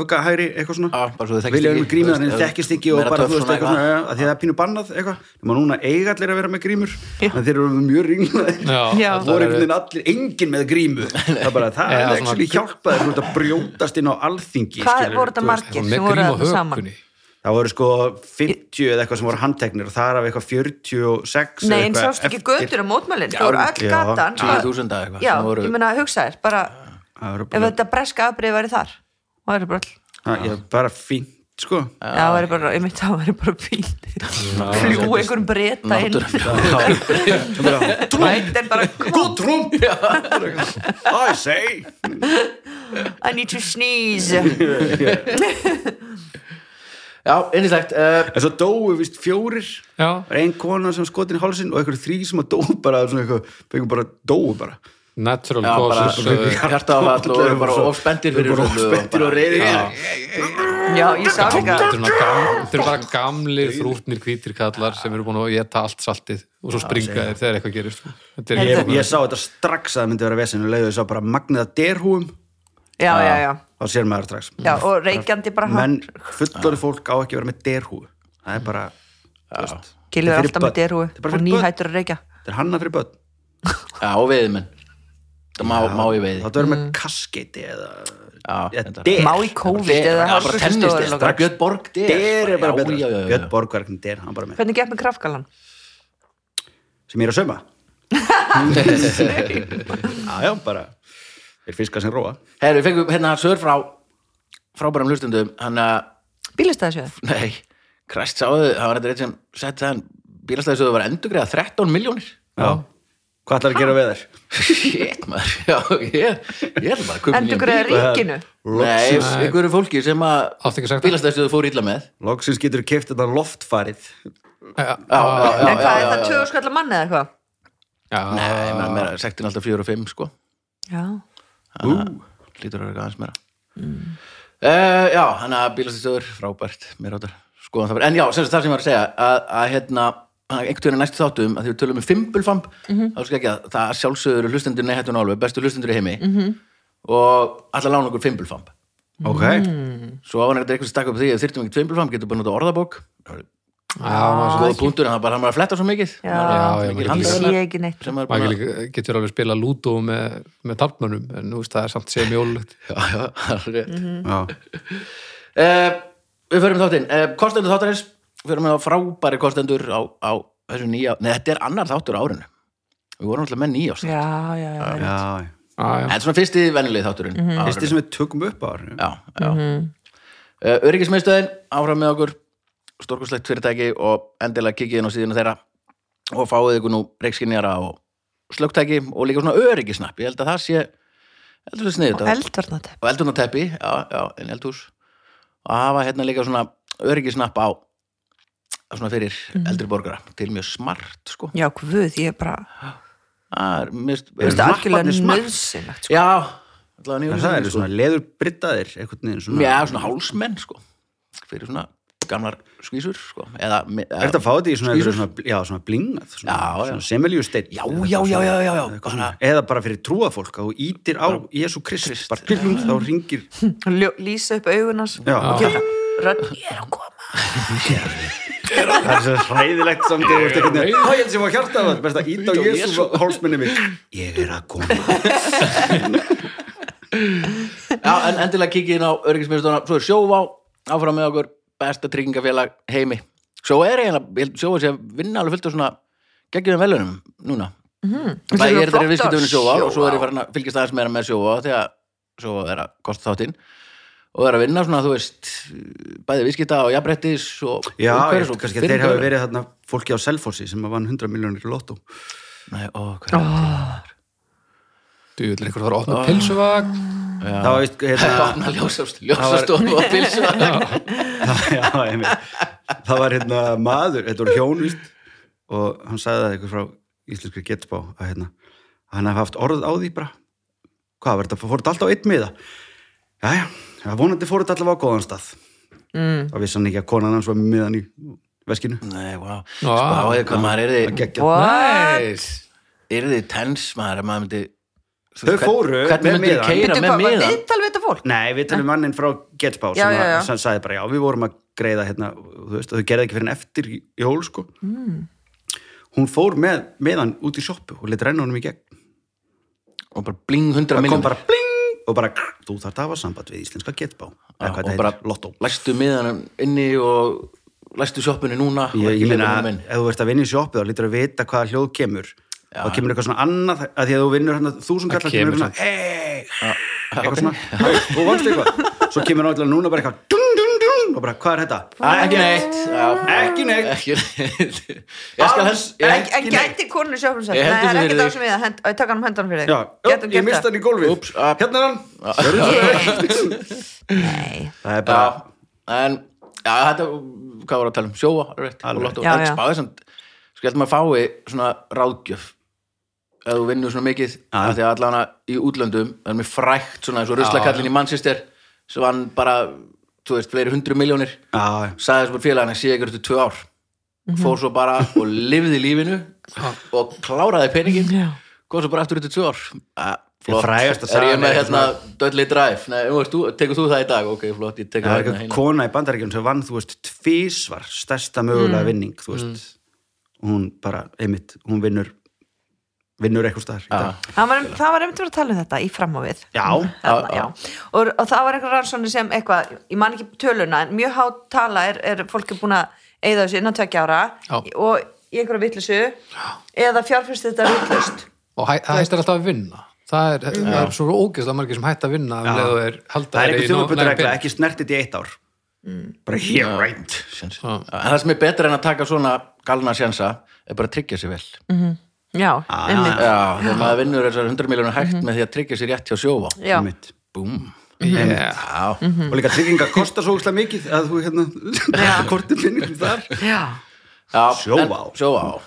[SPEAKER 2] öfga hæri eitthvað svona
[SPEAKER 1] Já, bara svo þau þekkist
[SPEAKER 2] vilja vera
[SPEAKER 1] ekki,
[SPEAKER 2] með grímur
[SPEAKER 1] þú veist,
[SPEAKER 2] þannig
[SPEAKER 1] ef-
[SPEAKER 2] þekkist ekki og
[SPEAKER 1] meira
[SPEAKER 2] bara
[SPEAKER 1] töff
[SPEAKER 2] þú veist
[SPEAKER 1] svona
[SPEAKER 2] eitthvað svona að því það er pínu bannað eitthvað nema núna eiga allir að vera með grímur en þeir eru mjög ringlaðir
[SPEAKER 4] já,
[SPEAKER 3] Já.
[SPEAKER 4] þetta
[SPEAKER 2] Það voru
[SPEAKER 4] er-
[SPEAKER 2] einhvern veginn allir, enginn með grímu það er bara, það
[SPEAKER 4] Eða
[SPEAKER 2] er
[SPEAKER 4] svona-
[SPEAKER 2] ekki hjálpaði þú ert að brjótast inn á alþingi
[SPEAKER 3] Hvað
[SPEAKER 2] skilurðu,
[SPEAKER 3] voru þetta
[SPEAKER 2] þú veist.
[SPEAKER 3] margir sem
[SPEAKER 4] með
[SPEAKER 3] voru
[SPEAKER 4] grím og
[SPEAKER 3] þarna saman?
[SPEAKER 4] hökunni
[SPEAKER 2] það voru sko 50 eða eitthvað sem voða handteknir og það er af eitthvað 46 eða
[SPEAKER 3] Nei, en
[SPEAKER 2] eitthvað
[SPEAKER 3] sást ekki
[SPEAKER 2] eftir.
[SPEAKER 3] götur á mótmælinn,
[SPEAKER 1] Já,
[SPEAKER 3] það voru
[SPEAKER 2] já,
[SPEAKER 3] öll gatan.
[SPEAKER 1] 10.000 eða eitthvað
[SPEAKER 3] Já,
[SPEAKER 1] sem voru-
[SPEAKER 3] ég meina, hugsa þér, bara,
[SPEAKER 2] Það voru
[SPEAKER 3] ef
[SPEAKER 2] bara,
[SPEAKER 3] þetta breska afbrið væri þar, það væri bara, all-
[SPEAKER 2] það, ég, bara fínt sko
[SPEAKER 3] já, það væri bara, ég myndi, það væri bara fín. Fljú einhverjum breyta inn. Biden bara, "Come on,
[SPEAKER 2] Trump I say
[SPEAKER 3] I need to sneeze.
[SPEAKER 1] já, einnislegt uh,
[SPEAKER 2] en svo dóu vist fjórir
[SPEAKER 4] Já,
[SPEAKER 2] Það er ein kona sem skotin í hálsinn og eitthvað þrý sem að dóu bara, svona eitthvað, eitthvað bara dóu bara
[SPEAKER 4] natural
[SPEAKER 1] já, bara
[SPEAKER 4] causes
[SPEAKER 2] eh,
[SPEAKER 1] (laughs)
[SPEAKER 4] uh,
[SPEAKER 1] hjartaðafall
[SPEAKER 2] (laughs)
[SPEAKER 1] og eru bara ofspendir fyrir
[SPEAKER 2] Bara
[SPEAKER 1] þessu
[SPEAKER 2] ofspendir og reyðir
[SPEAKER 3] Já, ég sá líka,
[SPEAKER 4] Þetta eru svona gam- þetta eru bara gamlir þrútnir hvítir kallar sem eru búin að geta allt saltið og svo springa þeir þegar eitthvað gerist sko. Þetta er
[SPEAKER 2] ég,
[SPEAKER 4] ekki
[SPEAKER 2] ég sá þetta strax að það myndi vera vesinn og leiðu ég sá bara magniða derhúum
[SPEAKER 3] já, já,
[SPEAKER 1] Ah.
[SPEAKER 3] já,
[SPEAKER 2] þá sér maður strax
[SPEAKER 3] já, og reykjandi bara hann,
[SPEAKER 2] menn fullorði fólk á ekki að vera með derhúu það er bara þú veist,
[SPEAKER 3] gilur
[SPEAKER 2] þetta er fyrir
[SPEAKER 3] alltaf með
[SPEAKER 2] börn.
[SPEAKER 3] derhúi
[SPEAKER 2] Þetta er bara
[SPEAKER 3] og
[SPEAKER 2] fyrir
[SPEAKER 3] nýhættur að reykja.
[SPEAKER 2] börn. þetta er hanna fyrir börn
[SPEAKER 1] já, og veiðmenn það má, má ég
[SPEAKER 2] þá
[SPEAKER 1] veiði
[SPEAKER 2] þetta verður með kaskeiti eða
[SPEAKER 1] já,
[SPEAKER 2] eða
[SPEAKER 1] þetta-
[SPEAKER 2] der
[SPEAKER 3] Mm. Má í COVID
[SPEAKER 1] Der,
[SPEAKER 3] eða
[SPEAKER 1] já, bara tennist,
[SPEAKER 3] hálfurkastofur.
[SPEAKER 1] bara Björn Borg der.
[SPEAKER 2] der er bara
[SPEAKER 1] Já,
[SPEAKER 2] betra
[SPEAKER 1] já, já, já.
[SPEAKER 2] Björn Borg var ekki der, hann bara með
[SPEAKER 3] Hvernig gekk með krafgalan?
[SPEAKER 2] sem ég er
[SPEAKER 1] (laughs)
[SPEAKER 2] að söma já, já, bara er fiska sem róa
[SPEAKER 1] Herru, við fengum hérna sör frá frábærum hlustundum, hann að
[SPEAKER 3] Bílastæðisjöð?
[SPEAKER 1] nei, kræst sáðu, það var þetta eitt sem sett það en bílastæðisöðu var endugriða 13 miljónir
[SPEAKER 2] já. hvað ætlar að gera við þér?
[SPEAKER 1] (laughs) shit maður, já, ég ég ætla bara að köpa
[SPEAKER 3] Endur greið ríkinu?
[SPEAKER 1] nei, einhverju fólki sem
[SPEAKER 4] Átti
[SPEAKER 1] að
[SPEAKER 4] ekki að sagt það?
[SPEAKER 1] bílastæðisöðu fór illa með
[SPEAKER 2] loksins getur keft þetta loftfarið
[SPEAKER 4] Já,
[SPEAKER 1] já,
[SPEAKER 4] já,
[SPEAKER 1] já,
[SPEAKER 3] En
[SPEAKER 1] já,
[SPEAKER 3] hvað, er
[SPEAKER 1] já,
[SPEAKER 3] það
[SPEAKER 1] já.
[SPEAKER 3] 20 skallar manni eða eitthvað?
[SPEAKER 4] já,
[SPEAKER 1] Nei, maður meira, sektin alltaf 4 og 5 sko
[SPEAKER 3] Já,
[SPEAKER 2] Ú.
[SPEAKER 1] lítur að vera aðeins meira uh, já, hann að bílastisöður frábært, mér áttar skoðan það bara en já, sem sagt, það sem ég var að segja að, að hérna, hann einhvern veginn í næstu þáttum að því við tölum um fimbulfamb þá skal ekki að það sjálfsögur hlustendur neihettu nálveg bestu hlustendur í heimi -hmm. og allar lána okkur fimbulfamb
[SPEAKER 2] ok,
[SPEAKER 1] svo var þetta eitthvað sem stakk upp því að þyrtum ekki fimbulfamb getur bara notað orðabók
[SPEAKER 4] já,
[SPEAKER 1] góð punktur en það bara hann var að fletta svo mikið
[SPEAKER 3] Já.
[SPEAKER 1] Maður er
[SPEAKER 4] Já, já,
[SPEAKER 1] mikil
[SPEAKER 3] ég
[SPEAKER 4] maður getur
[SPEAKER 1] handavélar
[SPEAKER 3] sé ekki neitt.
[SPEAKER 1] sem maður er búin
[SPEAKER 4] Maður
[SPEAKER 1] að-
[SPEAKER 4] líka- getur alveg spila lúdó með, með talpmönnum en nú veist það er samt sem
[SPEAKER 2] (laughs)
[SPEAKER 4] jólulegt
[SPEAKER 1] Já, já, það er rétt
[SPEAKER 2] já
[SPEAKER 1] uh, Við förum í þáttinn uh, Kostendur þáttarins, við förum með frábæri kostendur á, á þessu nýja Nei, þetta er annar þáttur á árinu Við vorum alltaf með nýja
[SPEAKER 3] Já, já, já. já.
[SPEAKER 2] Já, Ah, já.
[SPEAKER 4] Já, já.
[SPEAKER 1] Þetta er svona fyrsti venjulegi þátturinn mm -hmm.
[SPEAKER 2] Mhm. fyrsti sem Mhm. við tökum upp á árinu
[SPEAKER 1] Já, já mm -hmm. Öryggismiðstöðin, áfram með okkur Stórkurslegt fyrirtæki og endilega kikið inn á síðuna þeirra og fáið ykkur nú reikskinjara og slögtæki og líka svona öryggisnapp ég held að það sé heldur þetta sniðið
[SPEAKER 3] eldvarnatep
[SPEAKER 1] og eldunateppi, já, já, en eldhús og hafa hérna líka svona öryggisnapp á svona fyrir eldri borgara til mjög smart, sko
[SPEAKER 3] já guð, ég er bara
[SPEAKER 1] það er mist,
[SPEAKER 3] þú veist,
[SPEAKER 2] Napparnir
[SPEAKER 3] algjörlega
[SPEAKER 2] smart.
[SPEAKER 3] nöðsynlegt sko.
[SPEAKER 1] já, allavega nýjum
[SPEAKER 2] það eru svona leður brittaðir einhvern veginn svona
[SPEAKER 1] já, svona hálsmenn, sko fyrir svona gamlar skvísur, sko eða, me-
[SPEAKER 2] Er
[SPEAKER 1] eða
[SPEAKER 2] þetta að fá þetta í svona,
[SPEAKER 1] Skýrur?
[SPEAKER 2] einhverju svona, já, svona blingað, svona,
[SPEAKER 1] Já, já.
[SPEAKER 2] svona semeljusteinn
[SPEAKER 1] Já, já,
[SPEAKER 2] eða eitthvað
[SPEAKER 1] já,
[SPEAKER 2] svona-
[SPEAKER 1] já, já, já,
[SPEAKER 2] eitthvað svona. Eða bara fyrir trúafólk að þú ítir á Jésu Krist, bara pillum þá ringir
[SPEAKER 3] Ljó, lýsa upp augunars
[SPEAKER 2] Já.
[SPEAKER 3] og gera rödd, ég er að koma
[SPEAKER 2] Það er svo hræðilegt samt þegar þú ert einhvern veginn Það er sem var hjarta það, best að íta á Jésu hálsminni mig Ég er að koma
[SPEAKER 1] já, en endilega kikið inn á öryggismistuna svo er sjóvá, áfram með okkur besta tryggingafélag heimi svo er eiginlega, sjóvá sé að vinna alveg fullt af svona geggjum velunum núna
[SPEAKER 3] Þetta
[SPEAKER 1] Bæði ég er
[SPEAKER 3] eru
[SPEAKER 1] þeirri
[SPEAKER 3] flottar
[SPEAKER 1] viðskiptöfunni sjóvá og svo er ég
[SPEAKER 3] Sjóvá.
[SPEAKER 1] farin að fylgjast aðeins meira með sjóvá þegar sjóvá er að kosta þáttinn og er að vinna svona, þú veist bæði viðskipta og jafnbrettis og og
[SPEAKER 2] Já, ég
[SPEAKER 1] umhverfis
[SPEAKER 2] held
[SPEAKER 1] og
[SPEAKER 2] kannski að þeir hafi verið þarna fólki á Selfossi sem að vann 100 miljónir í lottó
[SPEAKER 1] Nei, ó, hvað
[SPEAKER 4] Djúvill, einhver var að opna pilsuvagn
[SPEAKER 2] Það var veist,
[SPEAKER 1] Það
[SPEAKER 2] hérna
[SPEAKER 1] opna ljósast, ljósast og pilsa
[SPEAKER 2] (laughs) já, einmitt. það var hérna maður, þetta var hjón víst, og hann sagði það eitthvað frá íslenskri getbá að hérna, hann hafði haft orð á því bara hvað var þetta, fór þetta alltaf á einn miða jæja, já, vonandi fór þetta allavega á góðan stað mm. þá vissi hann ekki að konan hans var með miðan í veskinu
[SPEAKER 1] Nei, vá,
[SPEAKER 4] Vá.
[SPEAKER 1] spáði hvað maður yrði
[SPEAKER 2] Geggjað.
[SPEAKER 3] What?
[SPEAKER 1] yrði tens maður að maður myndi þú
[SPEAKER 2] Þau
[SPEAKER 1] veist, hvern-
[SPEAKER 2] fóru
[SPEAKER 1] Hvern
[SPEAKER 2] með
[SPEAKER 1] myndir
[SPEAKER 2] miðann.
[SPEAKER 1] keira með
[SPEAKER 3] Bíddu, hvað, var
[SPEAKER 1] miðan
[SPEAKER 3] viðtal við þetta fólk?
[SPEAKER 2] nei, við talum mannin frá
[SPEAKER 3] Já,
[SPEAKER 2] getbá sem,
[SPEAKER 3] já,
[SPEAKER 2] að-
[SPEAKER 3] já.
[SPEAKER 2] sem sagði bara, já, við vorum að greiða hérna, þú veist, og þau gerði ekki fyrir en eftir jól, sko mm.
[SPEAKER 3] Hmm.
[SPEAKER 2] hún fór með miðan út í sjoppu og leitt renna honum í gegn
[SPEAKER 1] og bara bling 100
[SPEAKER 2] það kom
[SPEAKER 1] miljón
[SPEAKER 2] bara bling og bara krr, þú þarf að hafa samband við íslenska getbá eða hvað
[SPEAKER 1] og
[SPEAKER 2] þetta
[SPEAKER 1] bara
[SPEAKER 2] heitir, lottó
[SPEAKER 1] læstu miðanum inni og læstu sjoppunni núna og
[SPEAKER 2] ég,
[SPEAKER 1] ekki
[SPEAKER 2] ég meina,
[SPEAKER 1] leiðanum inn.
[SPEAKER 2] ef þú ert að vinna í sjoppu þá lítur að vita hvaða hljóð kemur þá kemur eitthvað svona annað að því að þú vinnur hérna þúsund kallar
[SPEAKER 4] kemur
[SPEAKER 2] kemur svona hey, eitthvað svona og vannst eitthvað svo kemur náttúrulega núna bara eitthvað dun, dun, dun, og bara hvað er þetta
[SPEAKER 1] Ah, ekki neitt já.
[SPEAKER 2] ekki neitt
[SPEAKER 1] ekki neitt ég skal
[SPEAKER 2] Alls
[SPEAKER 1] hans ég,
[SPEAKER 3] En, en
[SPEAKER 2] Ekki neitt.
[SPEAKER 3] gæti konur sjófnum sér
[SPEAKER 1] Ég
[SPEAKER 3] Nei,
[SPEAKER 1] hendi
[SPEAKER 3] það er
[SPEAKER 1] þessu fyrir
[SPEAKER 3] ekki það
[SPEAKER 1] þig.
[SPEAKER 3] sem við að hend- Ég taka hann um hendan fyrir
[SPEAKER 2] já,
[SPEAKER 3] þig Getum
[SPEAKER 2] upp, ég
[SPEAKER 3] gert
[SPEAKER 2] mista
[SPEAKER 3] það?
[SPEAKER 2] hann í gólfið
[SPEAKER 1] Úps, ah.
[SPEAKER 2] hérna er hann Sérðu
[SPEAKER 1] (laughs)
[SPEAKER 2] það?
[SPEAKER 3] Nei
[SPEAKER 2] það er
[SPEAKER 1] já,
[SPEAKER 2] bara
[SPEAKER 1] en já, þetta hvað voru að tala um sjóa rétt,
[SPEAKER 2] Alveg.
[SPEAKER 1] og lottó
[SPEAKER 3] Já,
[SPEAKER 1] en
[SPEAKER 3] já.
[SPEAKER 1] spáði samt sko, skelt maður fái svona ráðgjöf ef þú vinnur svona mikið
[SPEAKER 2] Já.
[SPEAKER 1] af því að allan í útlöndum það er mér frækt svona eins og ruslakallin í Manchester sem hann bara þú veist fleiri hundru miljónir
[SPEAKER 2] Já,
[SPEAKER 1] sagði þessum félagin að sé ekki eftir tvö ár
[SPEAKER 3] Mhm.
[SPEAKER 1] fór svo bara og lifði lífinu og kláraði peningin
[SPEAKER 3] Já.
[SPEAKER 1] kom svo bara eftir eftir tvö ár að, flott,
[SPEAKER 2] frægasta
[SPEAKER 1] er ég
[SPEAKER 2] sagan
[SPEAKER 1] með
[SPEAKER 2] er
[SPEAKER 1] hérna Dudley Drive, Nei, um, veist, þú, tekur þú það í dag ok, flott, ég tekur
[SPEAKER 2] það
[SPEAKER 1] það
[SPEAKER 2] er
[SPEAKER 1] hérna
[SPEAKER 2] eitthvað
[SPEAKER 1] heim
[SPEAKER 2] kona í bandaríkjum sem vann, þú veist, tvísvar stærsta
[SPEAKER 3] Mm.
[SPEAKER 2] mögulega vinning, þú veist hún bara, einmitt, hún vinnur vinnur eitthvað staðar í dag.
[SPEAKER 3] Það var, það var einmitt verið að tala um þetta í fram og við
[SPEAKER 2] Já,
[SPEAKER 3] Þarna, já. Og, og það var einhver rannsóni sem eitthvað, ég man ekki töluna en mjög hátt tala er, er fólk er búin að eigða þessu innan tvekja ára
[SPEAKER 4] Já.
[SPEAKER 3] og í einhverju vittlisu eða fjárfyrst þetta vittlust
[SPEAKER 4] og hæ, það hættir alltaf að vinna það er, það er svo ógeðslega margir sem hætt að vinna um leið og er halda
[SPEAKER 2] það er
[SPEAKER 4] þeir
[SPEAKER 2] einhver
[SPEAKER 4] í nóg-
[SPEAKER 2] þjóðaböndur regla,
[SPEAKER 4] nægan
[SPEAKER 2] ekki snertið í eitt ár
[SPEAKER 3] Mm.
[SPEAKER 2] bara here, right
[SPEAKER 1] Sjens. en það sem er betra en að taka svona galna sjansa er bara að tryggja sér vel
[SPEAKER 3] Já,
[SPEAKER 2] Ah,
[SPEAKER 3] einmitt
[SPEAKER 1] já, þegar maður vinnur þessar 100 miljónir hægt með því að tryggja sér rétt hjá sjófa
[SPEAKER 3] Já, Mhm.
[SPEAKER 2] Einmitt.
[SPEAKER 1] búm,
[SPEAKER 4] pening. Yeah.
[SPEAKER 1] já,
[SPEAKER 2] og líka trygginga kostar svo ógæslega mikið að þú hérna, (laughs) kortið finnir þar
[SPEAKER 3] já,
[SPEAKER 1] já
[SPEAKER 2] Sjóvá.
[SPEAKER 1] en- sjóvá,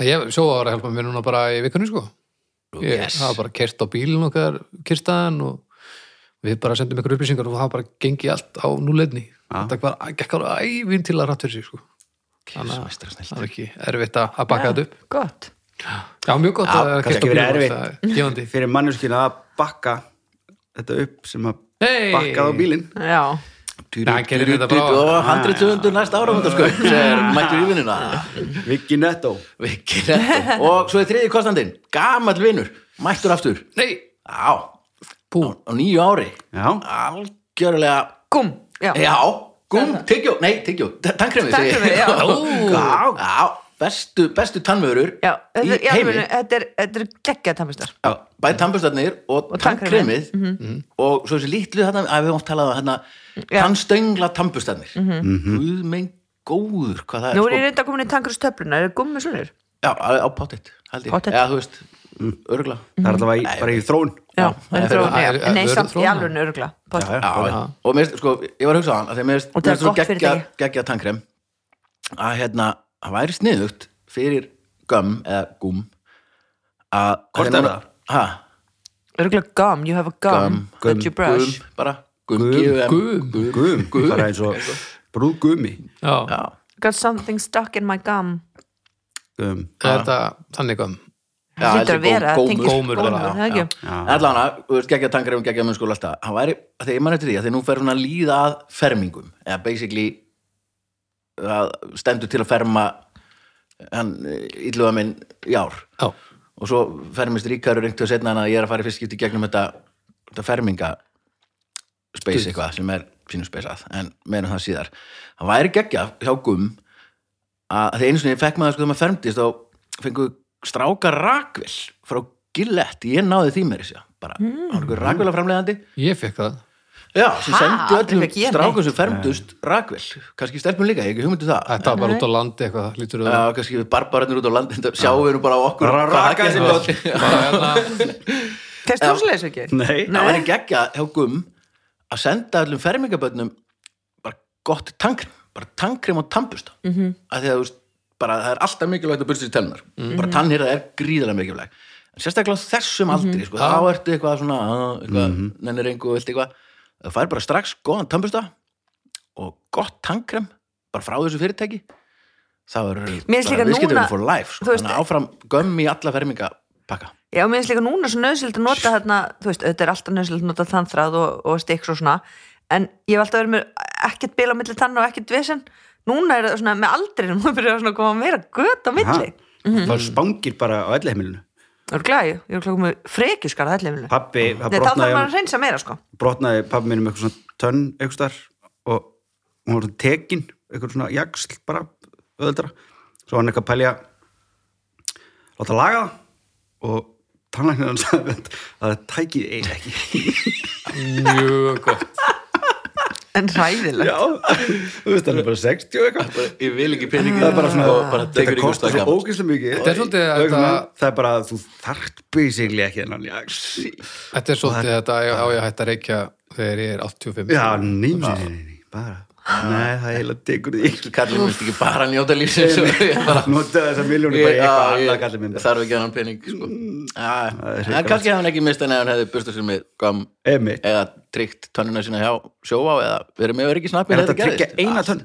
[SPEAKER 4] Ég, svo var að hjálpa mér núna bara í vikunni sko ég
[SPEAKER 1] yes.
[SPEAKER 4] það var bara kert á bílinn okkar kirstaðan og við bara sendum ykkur upplýsingar og það bara gengi allt á núleidni þetta bara gekk alveg ævinn til að rætt fyrir sig sko
[SPEAKER 1] Kirsumeistarasnilld.
[SPEAKER 4] það er ekki erfitt að að bakka þetta upp
[SPEAKER 3] gott
[SPEAKER 4] já, mjög gott að
[SPEAKER 2] kannski
[SPEAKER 4] keyrt á
[SPEAKER 2] verið
[SPEAKER 4] bílnum,
[SPEAKER 2] erfitt.
[SPEAKER 4] það er gefandi
[SPEAKER 2] fyrir mannurskina að bakka þetta upp sem að
[SPEAKER 4] Hey!
[SPEAKER 2] bakkaði á bílinn
[SPEAKER 3] Já,
[SPEAKER 1] Týru,
[SPEAKER 4] Nei, hann gerir
[SPEAKER 1] týru,
[SPEAKER 4] þetta
[SPEAKER 1] týru,
[SPEAKER 4] bara á-
[SPEAKER 1] og 100 næsta áramöndarskaup sem mættur í vinnuna
[SPEAKER 2] Viki Netto
[SPEAKER 1] Viki Netto. og svo er þriði kostandinn gamall vinnur, mættur aftur
[SPEAKER 4] nei,
[SPEAKER 1] á,
[SPEAKER 4] bú,
[SPEAKER 1] á nýju ári
[SPEAKER 2] Já.
[SPEAKER 1] algjörlega
[SPEAKER 3] gúm Já,
[SPEAKER 1] já, gum, tyggjó, nei, tyggjó tannkremi,
[SPEAKER 3] Tannkremið, já.
[SPEAKER 1] (laughs) já, já, bestu, bestu tannvörur
[SPEAKER 3] já
[SPEAKER 1] í
[SPEAKER 3] þetta, já
[SPEAKER 1] heimi
[SPEAKER 3] þetta er, þetta er geggjað tannfyrstar
[SPEAKER 1] bæði tannbustarnir og,
[SPEAKER 3] Og
[SPEAKER 1] tannkremið Mhm.
[SPEAKER 3] tannkremið. Mhm.
[SPEAKER 1] og svo þessi litlu þarna að við erum oft talað um hérna
[SPEAKER 3] Já. Mhm.
[SPEAKER 1] tannstöngla tannbustarnir mm -hmm. guð minn góður hvað það er
[SPEAKER 3] Nú
[SPEAKER 1] sko.
[SPEAKER 3] er ég reynda að koma inn í tangurustöfluna, er það gummi svolur?
[SPEAKER 1] Já, Já, á, á pottet, held ég.
[SPEAKER 3] Pottet.
[SPEAKER 1] Eða, þú veist, örgla.
[SPEAKER 2] það er allavega í, bara í þróun
[SPEAKER 3] Já,
[SPEAKER 1] það er
[SPEAKER 3] það
[SPEAKER 4] fyrir-
[SPEAKER 3] er
[SPEAKER 4] það er-
[SPEAKER 3] Nei,
[SPEAKER 4] það er
[SPEAKER 3] samt í
[SPEAKER 4] þróun.
[SPEAKER 3] alveg örgla
[SPEAKER 2] Já, já.
[SPEAKER 1] Já, og mér, finnst, sko, ég var að hugsa á hann að því að mér
[SPEAKER 3] Og
[SPEAKER 1] finnst mér
[SPEAKER 3] það er
[SPEAKER 1] finnst svo
[SPEAKER 3] gott fyrir
[SPEAKER 1] geggja,
[SPEAKER 3] þig.
[SPEAKER 1] geggja tankrem að hérna, það væri sniðugt fyrir göm eða gúm að að
[SPEAKER 2] Hvort er
[SPEAKER 1] núna-
[SPEAKER 2] það?
[SPEAKER 1] Ha,
[SPEAKER 3] Örgla gum, you have a gum
[SPEAKER 1] gum,
[SPEAKER 3] that you brush
[SPEAKER 1] gum, bara gum, gum,
[SPEAKER 4] Guðum.
[SPEAKER 2] gum, bara eins og brúðgumi
[SPEAKER 4] Já,
[SPEAKER 1] Já,
[SPEAKER 3] Got something stuck in my gum
[SPEAKER 2] um,
[SPEAKER 4] er þetta þannig um
[SPEAKER 1] Já,
[SPEAKER 3] Það lítur að
[SPEAKER 1] þessi góm-
[SPEAKER 3] vera
[SPEAKER 1] gómur.
[SPEAKER 4] Gómur bara,
[SPEAKER 3] það er ekki
[SPEAKER 1] allan að, þú veist, geggja tankrem, geggja munnskóla alltaf, hann væri, að því ég mann eftir því að því nú fer hún að líða að fermingum eða basically að stendur til að ferma hann, ílluða minn í ár
[SPEAKER 4] Já,
[SPEAKER 1] og svo fermist ríkarur einhvern setna hann að ég er að fara í fyrst skipti í gegnum þetta, þetta ferminga space eitthvað sem er pínu speysað en meðan það síðar það væri geggja hjá gum að því einu sinni fekk maður sko þegar maður fermdist þá fengu strákar rakvill frá Gillette, ég náði því mér þessi bara, mm. hann er rakvill að framleiðandi
[SPEAKER 4] ég fekk það
[SPEAKER 1] já, sem
[SPEAKER 3] Ha,
[SPEAKER 1] sendi
[SPEAKER 3] aldrei
[SPEAKER 1] öllum
[SPEAKER 3] fekk ég neitt.
[SPEAKER 1] strákum sem fermdust rakvill, kannski stelpum líka, ég hef ekki hugmyndu það
[SPEAKER 4] Þetta var bara út á landi eitthvað lítur öðru
[SPEAKER 1] Já, kannski við barbararnir út á landin þá sjáum við nú bara á okkur
[SPEAKER 2] Bara
[SPEAKER 1] hvað
[SPEAKER 2] raka
[SPEAKER 1] það
[SPEAKER 2] þessi
[SPEAKER 1] gerist.
[SPEAKER 2] blóð.
[SPEAKER 4] Bara hérna,
[SPEAKER 3] Fyrst þú svo leys ekki?
[SPEAKER 2] Nei.
[SPEAKER 1] Það
[SPEAKER 3] eh?
[SPEAKER 1] væri geggja hjá Gum að senda öllum fermingabönnum bara gott tankrem bara tankrem og tannbusta mm -hmm.
[SPEAKER 3] Mhm.
[SPEAKER 1] að því að þú veist, bara það er alltaf mikilvægt að bursta sér tennar, bara tannhýrða er gríðarlega mikilvæg, en sérstaklega á þessum
[SPEAKER 3] Mhm.
[SPEAKER 1] aldri, sko, þá ertu eitthvað svona "Ah, eitthvað, nennir engu og vilt eitthvað það fær bara strax góðan tannbusta og gott tankrem bara frá þessu fyrirtæki þá er
[SPEAKER 3] Mér finnst
[SPEAKER 1] bara
[SPEAKER 3] líka
[SPEAKER 1] viðskiptum
[SPEAKER 3] núna-
[SPEAKER 1] for life, sko,
[SPEAKER 3] þú veist-
[SPEAKER 1] þannig að áfram gömmi í alla fermingapakka
[SPEAKER 3] Já, mér finnst líka núna svo nöðsild að nota þarna, þú veist, auðvitað er alltaf nöðsild að nota þannþráð og, og stiks og svona en ég hef alltaf verið með ekkert bil á milli tann og ekkert vesen núna er það svona með aldrinum, (laughs) þú byrjar svona að koma meira gött á milli Mhm.
[SPEAKER 2] það er spangir bara á ellihemilinu
[SPEAKER 3] Það eru glæði, ég er klokkum með frekjuskar að allir milli Nei,
[SPEAKER 2] pappi, það
[SPEAKER 3] þá þarf maður
[SPEAKER 2] brotnaði, um-
[SPEAKER 3] að reynsa meira, sko
[SPEAKER 2] brotnaði pappi minn um eitthvað svona tönn eitthvað star og hún var svona tekin eitthvað svona jaksl bara öðuldra svo var hann eitthvað að pælja láta laga það og tannlæknir hann sagði að það tækið eiginlega ekki
[SPEAKER 4] Mjög gott
[SPEAKER 3] En ræðilega
[SPEAKER 2] Já, þú veist, hann er bara 60 og eitthvað
[SPEAKER 1] ég vil ekki peningi
[SPEAKER 2] Það er bara svona,
[SPEAKER 1] og bara tekur
[SPEAKER 2] þetta
[SPEAKER 1] ykkur
[SPEAKER 2] kostar svo ógeðslega mikið
[SPEAKER 4] Þetta er svolítið
[SPEAKER 2] Og eitthvað
[SPEAKER 4] þetta-
[SPEAKER 2] svona, Það er bara að þú þarft basically ekki þennan Já, sí.
[SPEAKER 4] Þetta er svolítið þetta á á ég að hætta að reykja þegar ég er 85
[SPEAKER 2] já nei, nei, nei, nei, nei, bara Nei, það er heila tekur því ekki
[SPEAKER 1] kallið minnst ekki bara njóta lífsins (laughs) Ég bara-
[SPEAKER 2] Nota þessa miljónu bara í eitthvað annað kallið minn Mm.
[SPEAKER 1] ég þarf ekki hann pening sko. Æ,
[SPEAKER 2] það er
[SPEAKER 1] en
[SPEAKER 2] hrikalegt.
[SPEAKER 1] kannski hefði hann ekki mist en ef hann hefði burstað sér með gam
[SPEAKER 2] Emi,
[SPEAKER 1] eða tryggt tönnina sína hjá sjóvá eða verið með öryggi snappi
[SPEAKER 2] er þetta að tryggja eina tönn?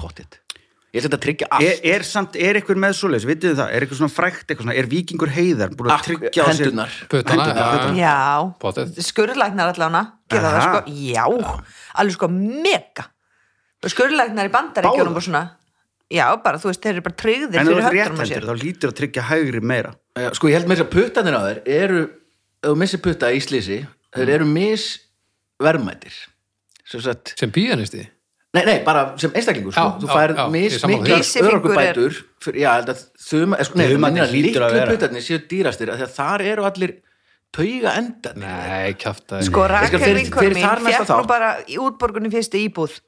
[SPEAKER 1] pottit Ah, ég set að tryggja allt
[SPEAKER 2] Er, er samt, er eitthvað með svoleiðis, vitið þið það, er eitthvað svona frækt eitthvað svona, er vikingur heiðar búin að
[SPEAKER 1] Akk-
[SPEAKER 2] tryggja á sér
[SPEAKER 1] hendurnar
[SPEAKER 4] Putana,
[SPEAKER 2] Hendurnar,
[SPEAKER 4] já, já.
[SPEAKER 3] Já,
[SPEAKER 4] Pottet.
[SPEAKER 3] skurðlæknar allána gera það,
[SPEAKER 2] Aha.
[SPEAKER 3] sko, já alveg sko mega skurðlæknar í bandaríkjörnum
[SPEAKER 2] Báðar?
[SPEAKER 3] og svona Já, bara, þú veist, þeir eru bara tryggðir
[SPEAKER 2] En ef þú
[SPEAKER 3] fyrir
[SPEAKER 2] ert
[SPEAKER 3] höndunum á sér
[SPEAKER 2] rétthendur, þá lítur að tryggja hægri meira
[SPEAKER 1] Já, sko ég held með þess að puttanir á þér eru, ef þú missir putta í slísi
[SPEAKER 2] Mm.
[SPEAKER 1] þeir eru misverðmætir sem sagt
[SPEAKER 4] sem píanisti
[SPEAKER 1] Nei, nei, bara sem einstaklingur sko.
[SPEAKER 4] Já,
[SPEAKER 1] þú
[SPEAKER 4] já,
[SPEAKER 1] færð
[SPEAKER 4] já, ég er
[SPEAKER 1] mis
[SPEAKER 4] sammála
[SPEAKER 1] miklar
[SPEAKER 3] því. Vísifingur er-
[SPEAKER 1] örorkubætur fyrir, já, held að þum, sko, nei,
[SPEAKER 2] Þumarnir
[SPEAKER 1] minna,
[SPEAKER 2] hlýtur
[SPEAKER 1] litlu
[SPEAKER 2] að vera.
[SPEAKER 1] putarnir séu dýrastir af því að þar eru allir tauga endarnir
[SPEAKER 4] Nei, kjafta
[SPEAKER 3] Sko
[SPEAKER 1] skal
[SPEAKER 3] Rakel
[SPEAKER 1] fyrir-
[SPEAKER 3] vinkonum
[SPEAKER 1] fyrir
[SPEAKER 3] mín
[SPEAKER 1] þar næsta
[SPEAKER 3] fekk nú
[SPEAKER 1] þátt.
[SPEAKER 3] bara í útborgunni fyrstu íbúð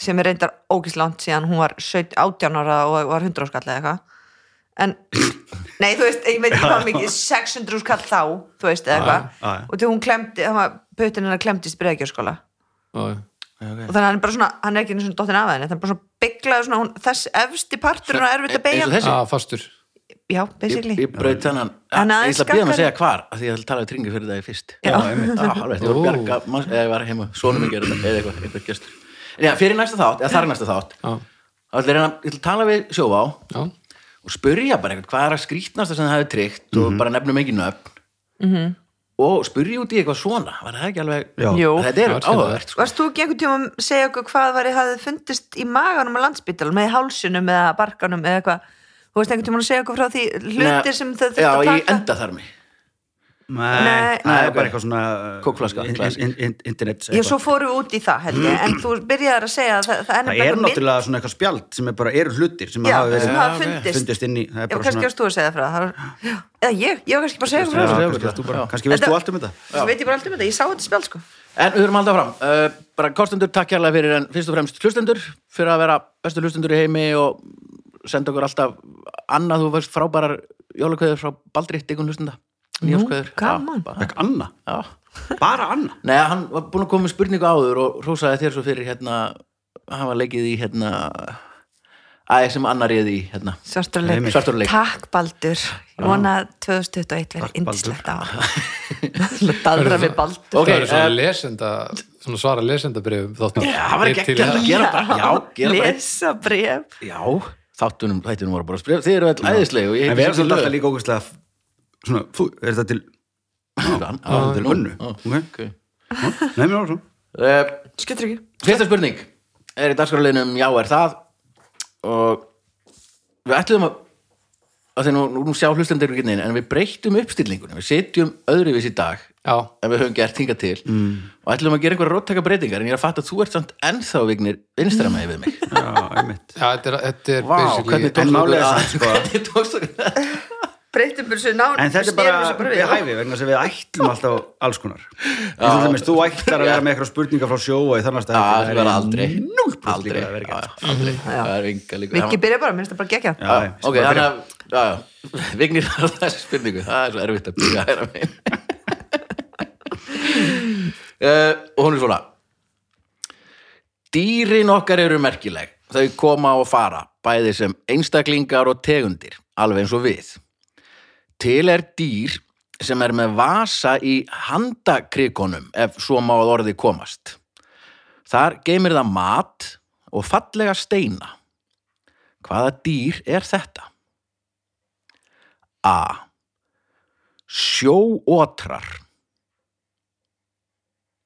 [SPEAKER 3] sem er reyndar ógislant síðan hún var 17, 18 ára og var 100 skall eða eitthvað
[SPEAKER 1] (laughs)
[SPEAKER 3] en nei þú veist, ég veit ekki hvað mikið 600 skall þá, þú veist eða
[SPEAKER 2] já,
[SPEAKER 3] eitthvað
[SPEAKER 2] já.
[SPEAKER 3] og þegar hún klemdi, það var pötin hennar klemdist í bregjörskóla og
[SPEAKER 1] okay.
[SPEAKER 3] þannig að hann er bara svona, hann er ekki eins og dottin af henni, þannig er bara svona bygglaði svona hún, þess efsti partur hún er erfitt að
[SPEAKER 1] E-
[SPEAKER 3] beigja
[SPEAKER 1] eins og þessi,
[SPEAKER 4] Já, Ah, fastur
[SPEAKER 3] já,
[SPEAKER 1] ég,
[SPEAKER 3] basically
[SPEAKER 1] ég braut þennan
[SPEAKER 3] En
[SPEAKER 1] ja, ég ætla
[SPEAKER 3] aðeins
[SPEAKER 1] að býða maður að
[SPEAKER 3] skakkari.
[SPEAKER 1] segja hvar af því að ég ætla að tala við tringi fyrir það í fyrst
[SPEAKER 3] Já. Já, einmitt.
[SPEAKER 1] alveg, ég voru
[SPEAKER 4] Ó.
[SPEAKER 1] bjarga manns- eða ég var heima, sonum ekki eða eitthvað, eitthvað gestur en já, fyrir næsta þátt, eða þar er næsta þátt
[SPEAKER 4] Já,
[SPEAKER 1] þá ætla ég að reyna- ég ætla að tala við sjóvá
[SPEAKER 4] já,
[SPEAKER 1] og spurja bara eitthvað hvað er að skrýtnasta sem það hefur tryggt og bara nefnum ekki nöfn og spurja út í eitthvað svona var það ekki alveg
[SPEAKER 2] Já.
[SPEAKER 3] Mhm. Jú.
[SPEAKER 1] þetta er
[SPEAKER 4] Já, skilja
[SPEAKER 1] áhugavert sko.
[SPEAKER 3] Varst þú ekki einhvern tíma að segja okkur hvað var ég hafði fundist í maganum á landspítalum eða í hálsunum eða barkanum eða eitthvað Þú veist einhvern tíma að segja okkur frá því hlutir sem þau þurft
[SPEAKER 1] já,
[SPEAKER 3] að
[SPEAKER 1] ég
[SPEAKER 3] taka
[SPEAKER 1] enda þar mig
[SPEAKER 2] Nei,
[SPEAKER 3] Nei.
[SPEAKER 2] það
[SPEAKER 1] Nei,
[SPEAKER 2] er bara
[SPEAKER 1] ok.
[SPEAKER 2] eitthvað svona
[SPEAKER 1] Kókflaska,
[SPEAKER 2] in-
[SPEAKER 1] klassik.
[SPEAKER 2] in- in- Internet
[SPEAKER 3] Já, svo fórum við út í það held ég en þú byrjaðar að segja að það, það er
[SPEAKER 2] Það
[SPEAKER 3] nefnilega
[SPEAKER 2] er
[SPEAKER 3] eitthvað
[SPEAKER 2] náttúrulega svona eitthvað spjald sem er bara eru hlutir sem
[SPEAKER 3] Já,
[SPEAKER 2] hafa verið
[SPEAKER 3] sem hafa
[SPEAKER 1] Já, ok.
[SPEAKER 3] fundist.
[SPEAKER 2] fundist inn í það er
[SPEAKER 3] mynd- Já,
[SPEAKER 2] bara
[SPEAKER 3] kannski
[SPEAKER 2] svona-
[SPEAKER 3] varst þú að segja frá það það var- Já, Eða ég, ég var kannski bara að segja okkur frá
[SPEAKER 2] Já,
[SPEAKER 1] Já,
[SPEAKER 3] það
[SPEAKER 2] kannski
[SPEAKER 1] já,
[SPEAKER 2] veist þú bara-
[SPEAKER 1] já.
[SPEAKER 2] Kannski veist þú
[SPEAKER 3] Þetta-
[SPEAKER 2] allt um þetta
[SPEAKER 3] Svo veit ég bara alltaf um þetta, ég sá þetta spjál sko
[SPEAKER 1] en við höfum að halda fram uh, bara kostendur takk hérlega fyrir en fyrst og fremst hlustendur fyrir að vera bestu hlustendur í heimi og senda okkur alltaf annað þú veist frábærar jólakveður frá Baldritt einhvern hlustunda nýjáskveður
[SPEAKER 3] gaman.
[SPEAKER 2] Fekk Anna,
[SPEAKER 1] já.
[SPEAKER 2] bara Anna
[SPEAKER 1] Nei, hann var búin að koma með spurningu áður og hrósaði þér svo fyrir hérna hann var leikið í hérna aðeins sem annar reyði í hérna
[SPEAKER 3] Svarturleik.
[SPEAKER 2] Heimir.
[SPEAKER 1] svarturleik
[SPEAKER 3] Takk Baldur, ég vona að 2021 verið indislegt
[SPEAKER 2] (laughs)
[SPEAKER 3] á Baldra við Baldur
[SPEAKER 1] Ok,
[SPEAKER 4] það eru svona
[SPEAKER 1] eh,
[SPEAKER 4] lesenda svona svara lesendabrifum þáttum
[SPEAKER 1] Já, það væri
[SPEAKER 4] Einn til hérna.
[SPEAKER 1] geggjað.
[SPEAKER 4] í-
[SPEAKER 1] gera bara- já, gera bara-
[SPEAKER 3] Lesa bref
[SPEAKER 1] Já, þáttunum, þættunum voru bara að spref þið eru öll æðisleg og ég
[SPEAKER 2] En við
[SPEAKER 1] sem
[SPEAKER 2] erum svolítið alltaf
[SPEAKER 1] lög.
[SPEAKER 2] líka ógustlega svona, þú, er þetta til
[SPEAKER 1] Hann-
[SPEAKER 2] á,
[SPEAKER 1] hann-
[SPEAKER 2] til önnu?
[SPEAKER 1] Já,
[SPEAKER 2] Ok,
[SPEAKER 1] ok.
[SPEAKER 2] nei, mér ára
[SPEAKER 1] Eh,
[SPEAKER 3] Skiltur ekki
[SPEAKER 1] Fyrsta spurning er í dagskrálinum Já er það og við ætlum að að því nú, nú- nú sjá hlustendur ekki neina en við breyttum uppstillingunum, við setjum öðruvís í dag
[SPEAKER 4] Já,
[SPEAKER 1] en við höfum gert hinga til
[SPEAKER 2] Mm.
[SPEAKER 1] og ætlum að gera einhverja róttaka breytingar en ég er að fatta að þú ert samt ennþá vignir vinstramæði við mig
[SPEAKER 2] Já, einmitt
[SPEAKER 4] já, þetta er, þetta er
[SPEAKER 1] Vá, hvernig
[SPEAKER 2] En
[SPEAKER 1] tókst
[SPEAKER 2] málið
[SPEAKER 1] okkur
[SPEAKER 2] er
[SPEAKER 1] að-
[SPEAKER 2] samt,
[SPEAKER 1] (laughs)
[SPEAKER 2] sko.
[SPEAKER 1] hvernig tókst okkur að-
[SPEAKER 3] Breytum bursu nán
[SPEAKER 2] En þetta er bara, við hæfi, vegna þess að við ætlum alltaf alls konar. Þess að þú ætlar að vera með eitthvað spurningar frá sjó og í þannig að
[SPEAKER 1] Já, það verður aldrei
[SPEAKER 2] aldrei.
[SPEAKER 1] aldrei,
[SPEAKER 2] líkur að vera
[SPEAKER 1] Já,
[SPEAKER 2] gert.
[SPEAKER 1] já, aldrei, það er enga líka
[SPEAKER 3] Mikki byrja bara, minnst það bara gegja
[SPEAKER 2] Já, já,
[SPEAKER 1] ok,
[SPEAKER 2] sem að
[SPEAKER 1] þannig
[SPEAKER 2] byrja.
[SPEAKER 1] að já, já, (laughs) vignir á þessu spurningu það er svo erfitt að byrja að hæra mig (laughs) uh, og hún er svona dýrin okkar eru merkileg þau koma og fara bæði sem einstaklingar og tegundir alveg eins og við til er dýr sem er með vasa í handakrikonum ef svo má að orði komast þar geymir það mat og fallega steina Hvaða dýr er þetta? A. Sjóotrar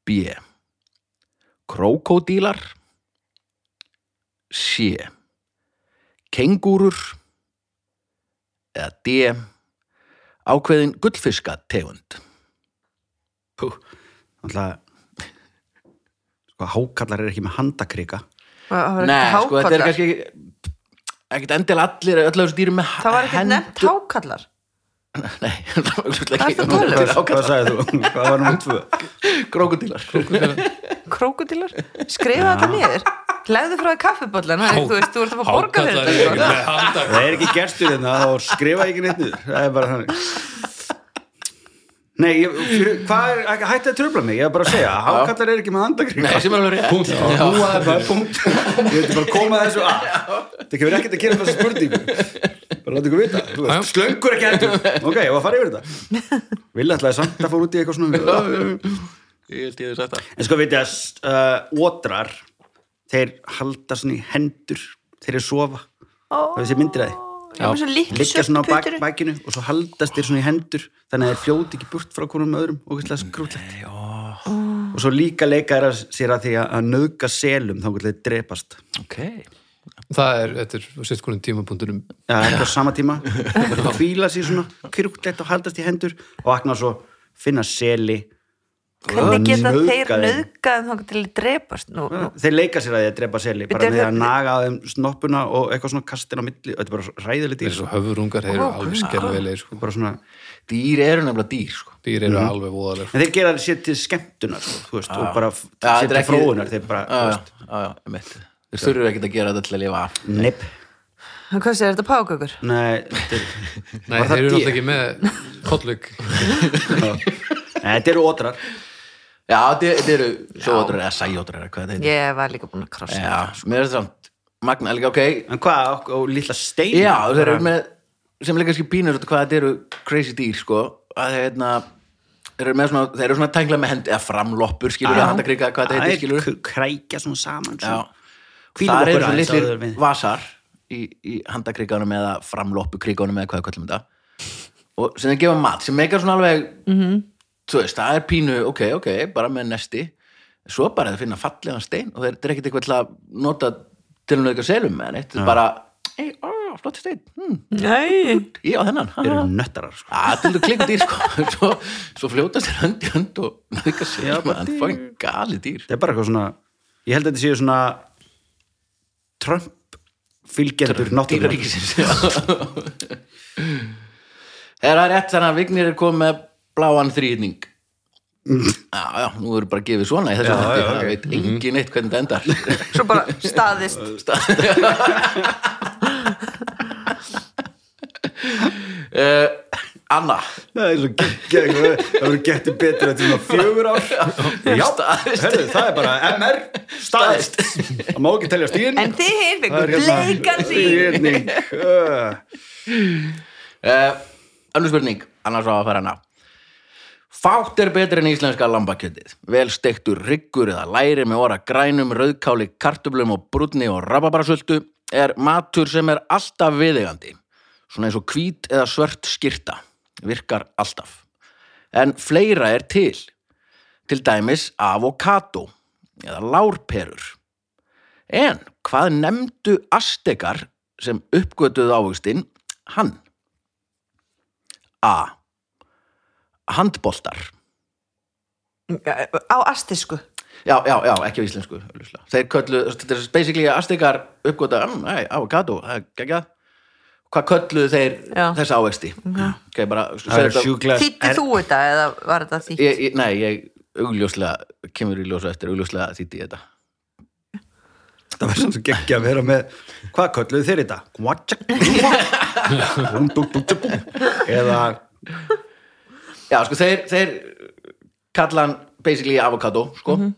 [SPEAKER 1] B. Krókódílar C. Kengúrur eða D. Ákveðin gullfiska tegund
[SPEAKER 2] Alltaf, sko, hákallar er ekki með handakrika.
[SPEAKER 1] Nei, sko, þetta er kannski ekki ekkert endil allir, öll af þessu dýrum með
[SPEAKER 3] Það var ekkert nefnt hákallar
[SPEAKER 1] (laughs) Nei, (laughs) það var augljóslega
[SPEAKER 3] Hvað
[SPEAKER 1] ekki
[SPEAKER 3] ertu að tala um?
[SPEAKER 1] Þetta er
[SPEAKER 2] Hvað sagði þú? Hvað var númer tvö?
[SPEAKER 1] ákveðin Krókódílar
[SPEAKER 3] Krókudílar, skrifa þetta niður Legðu frá því kaffibollan Þú veist, þú ert að fá borga fyrir þetta sko.
[SPEAKER 4] þetta
[SPEAKER 2] Það er ekki gerstur þetta, þá skrifa ég ekki neitt niður. Það er bara þannig. Nei, ég, fyrir, hvað er, hætti að tröfla mig, ég er bara að segja, hákallar er ekki með handakrika.
[SPEAKER 1] Nei, sem er alveg rétt
[SPEAKER 4] Punkt.
[SPEAKER 1] Já.
[SPEAKER 2] Nú að það er punkt Ég veit bara að koma þessu að Það kemur ekkert að gera með þessu spurningu Bara láta ykkur vita þú veist.
[SPEAKER 4] Já.
[SPEAKER 2] Slöngur ekki heldur Ok, ég var að fara yfir þetta Vilja ætlaði samt að fór út í eitthvað svona
[SPEAKER 1] Ég held ég hef sagt það
[SPEAKER 2] En sko veit ég að uh, Ótrar Þeir halda svona í hendur Þeir er sofa Það við sér myndir að því
[SPEAKER 3] Ég er með svona litlu
[SPEAKER 2] Liggja svona á bak,
[SPEAKER 3] surtputturu.
[SPEAKER 2] bakinu og svo haldast þeir svona í hendur Þannig að þeir fljóti ekki burt frá konum öðrum Og eitthvað skrúllegt Og svo líka leika er að sér að því að- að nöðga selum þá hvernig þeir drepast
[SPEAKER 1] Ok
[SPEAKER 4] Það er, þetta er sitt konum tímapunktunum
[SPEAKER 2] Já, ekki á sama tíma Hvíla sér svona krúklegt og haldast í hendur og vakna svo, finna seli
[SPEAKER 3] Hvernig geta
[SPEAKER 2] Nauðga
[SPEAKER 3] þeir
[SPEAKER 2] þeim.
[SPEAKER 3] nöðgað þá til að drepast nú, nú.
[SPEAKER 2] Þeir leika sér að því að drepa seli bara
[SPEAKER 3] Bíddu,
[SPEAKER 2] með
[SPEAKER 3] er
[SPEAKER 2] að
[SPEAKER 3] það-
[SPEAKER 2] naga að þeim snoppuna og eitthvað svona kastin á milli þetta er bara ræðileg
[SPEAKER 4] Þeir eru
[SPEAKER 2] dýr
[SPEAKER 4] svo höfurungar, þeir eru alveg skerfilegir sko.
[SPEAKER 2] bara svona,
[SPEAKER 1] Dýr eru nefnilega dýr, sko
[SPEAKER 4] Dýr
[SPEAKER 2] Mhm.
[SPEAKER 4] eru alveg voðalegir
[SPEAKER 2] en þeir gera sér til skemmtunar sko, þú veist, og bara f-
[SPEAKER 1] Já, þetta
[SPEAKER 2] sér
[SPEAKER 1] er
[SPEAKER 2] til
[SPEAKER 1] ekki-
[SPEAKER 2] fróðunar þeir bara, þú
[SPEAKER 1] Já,
[SPEAKER 2] veist,
[SPEAKER 1] já, já, ég mitt Þeir þurfur ekkert að gera þetta til að lifa af
[SPEAKER 2] nepp
[SPEAKER 3] Hvað segir þetta pákökur?
[SPEAKER 2] Nei, þetta er-
[SPEAKER 4] Nei,
[SPEAKER 2] Var það
[SPEAKER 4] þeir eru
[SPEAKER 2] dýr?
[SPEAKER 4] náttúrulega ekki með kollug
[SPEAKER 2] Nei, þetta eru ótrar
[SPEAKER 1] Já, þetta þetta eru sjóotrar eða sæjotrar eða hvað þetta heitir
[SPEAKER 3] Ég var líka búin að krossa
[SPEAKER 1] Já, mér er þetta samt Magna, líka, ok
[SPEAKER 2] en hvað, og, og litla stein
[SPEAKER 1] Já, þeir eru með sem líka kannski pínur út hvað þetta eru crazy dýr, sko að þeir, hérna, þeir eru með svona þeir eru svona tengla með hendi eða framloppur, skilur við handakrika, hvað þetta heitir, skilur
[SPEAKER 2] krækja svona saman sko. svona.
[SPEAKER 1] Já,
[SPEAKER 2] Hvílum
[SPEAKER 1] þar
[SPEAKER 2] okkur
[SPEAKER 1] eru svona
[SPEAKER 2] aðeins áður
[SPEAKER 1] litlir
[SPEAKER 2] við-
[SPEAKER 1] vasar í, í handakrikanum eða framloppukrikanum eða hvað við kallum þetta og sem þeir gefa mat sem meikar svona alveg
[SPEAKER 2] Mhm.
[SPEAKER 1] þú veist, það er pínu, ok, ok bara með nesti, svo bara þeir finna fallegan stein og þeir þetta er ekkert eitthvað til að nota til að nöðka selum eða neitt, þetta er bara, ei, ó, flott stein hm,
[SPEAKER 3] Nei
[SPEAKER 1] ég á þennan ha, ha,
[SPEAKER 2] þeir eru
[SPEAKER 1] (laughs) ha."
[SPEAKER 2] nöttarar sko.
[SPEAKER 1] Já, þetta er klikku dýr sko (laughs) svo, svo fljótast þér hönd í hönd og nöðka
[SPEAKER 2] Já,
[SPEAKER 1] selum,
[SPEAKER 2] bara
[SPEAKER 1] það
[SPEAKER 2] dýr.
[SPEAKER 1] er fóin gali dýr
[SPEAKER 2] þetta er bara eitthvað svona ég held að þetta séu svona Trump fylgjendur náttúrulega
[SPEAKER 1] dýraríkisins er það rétt þannig að Vignir er komið með bláan þrýhitning já, já, nú eru bara að gefa svona í þessu
[SPEAKER 2] Mm. Já,
[SPEAKER 1] hætti,
[SPEAKER 2] já,
[SPEAKER 1] það
[SPEAKER 2] ok. Mhm.
[SPEAKER 1] veit engin eitt hvernig þetta endar (laughs)
[SPEAKER 3] Svo bara staðist
[SPEAKER 1] uh, Anna
[SPEAKER 2] Það er svo geggjað, það verður getið betur eftir svona fjögur ár Já,
[SPEAKER 1] Staðist.
[SPEAKER 2] herðu, það er bara MR staðist, það má ekki telja stíðin
[SPEAKER 3] En þið hinn fengur
[SPEAKER 2] hérna
[SPEAKER 3] bleikan sín
[SPEAKER 2] Stíðning
[SPEAKER 1] uh, Önnu spurning, annars á að fara hana Fátt er betur en íslenska lambakjötið Vel steiktur ryggur eða læri með orra grænum, rauðkáli, kartublum og brúnni og rababarasöldu er matur sem er alltaf viðegandi svona eins og hvít eða svört skyrta virkar alltaf en fleira er til til dæmis avokado eða lárperur en hvað nefndu astekar sem uppgötuðu ávöxtinn hann A. Handboltar
[SPEAKER 3] Á astisku
[SPEAKER 1] Já, já, já, ekki á íslensku augljóslega. Þeir köllu, þetta er basically að astikar uppgóta, mm, nei, avocado, það er geggjað Hvað kölluðu þeir
[SPEAKER 3] Já. Mhm.
[SPEAKER 1] þessa ávexti? Ok, bara, sko,
[SPEAKER 2] Það er
[SPEAKER 1] segðu
[SPEAKER 2] sjúklega
[SPEAKER 3] Þýtti þú þetta eða var þetta þýtt?
[SPEAKER 1] ég, ég, Nei, ég augljóslega kemur í ljósa eftir, augljóslega þýtti ég þetta
[SPEAKER 2] Það verður svo geggjað að vera með Hvað kölluðu þeir þetta? Guatjak, guatjak. Búm, búm, búm, búm, búm. Eða
[SPEAKER 1] Já, sko, þeir, þeir kalla hann basically avocado, sko
[SPEAKER 3] Mhm.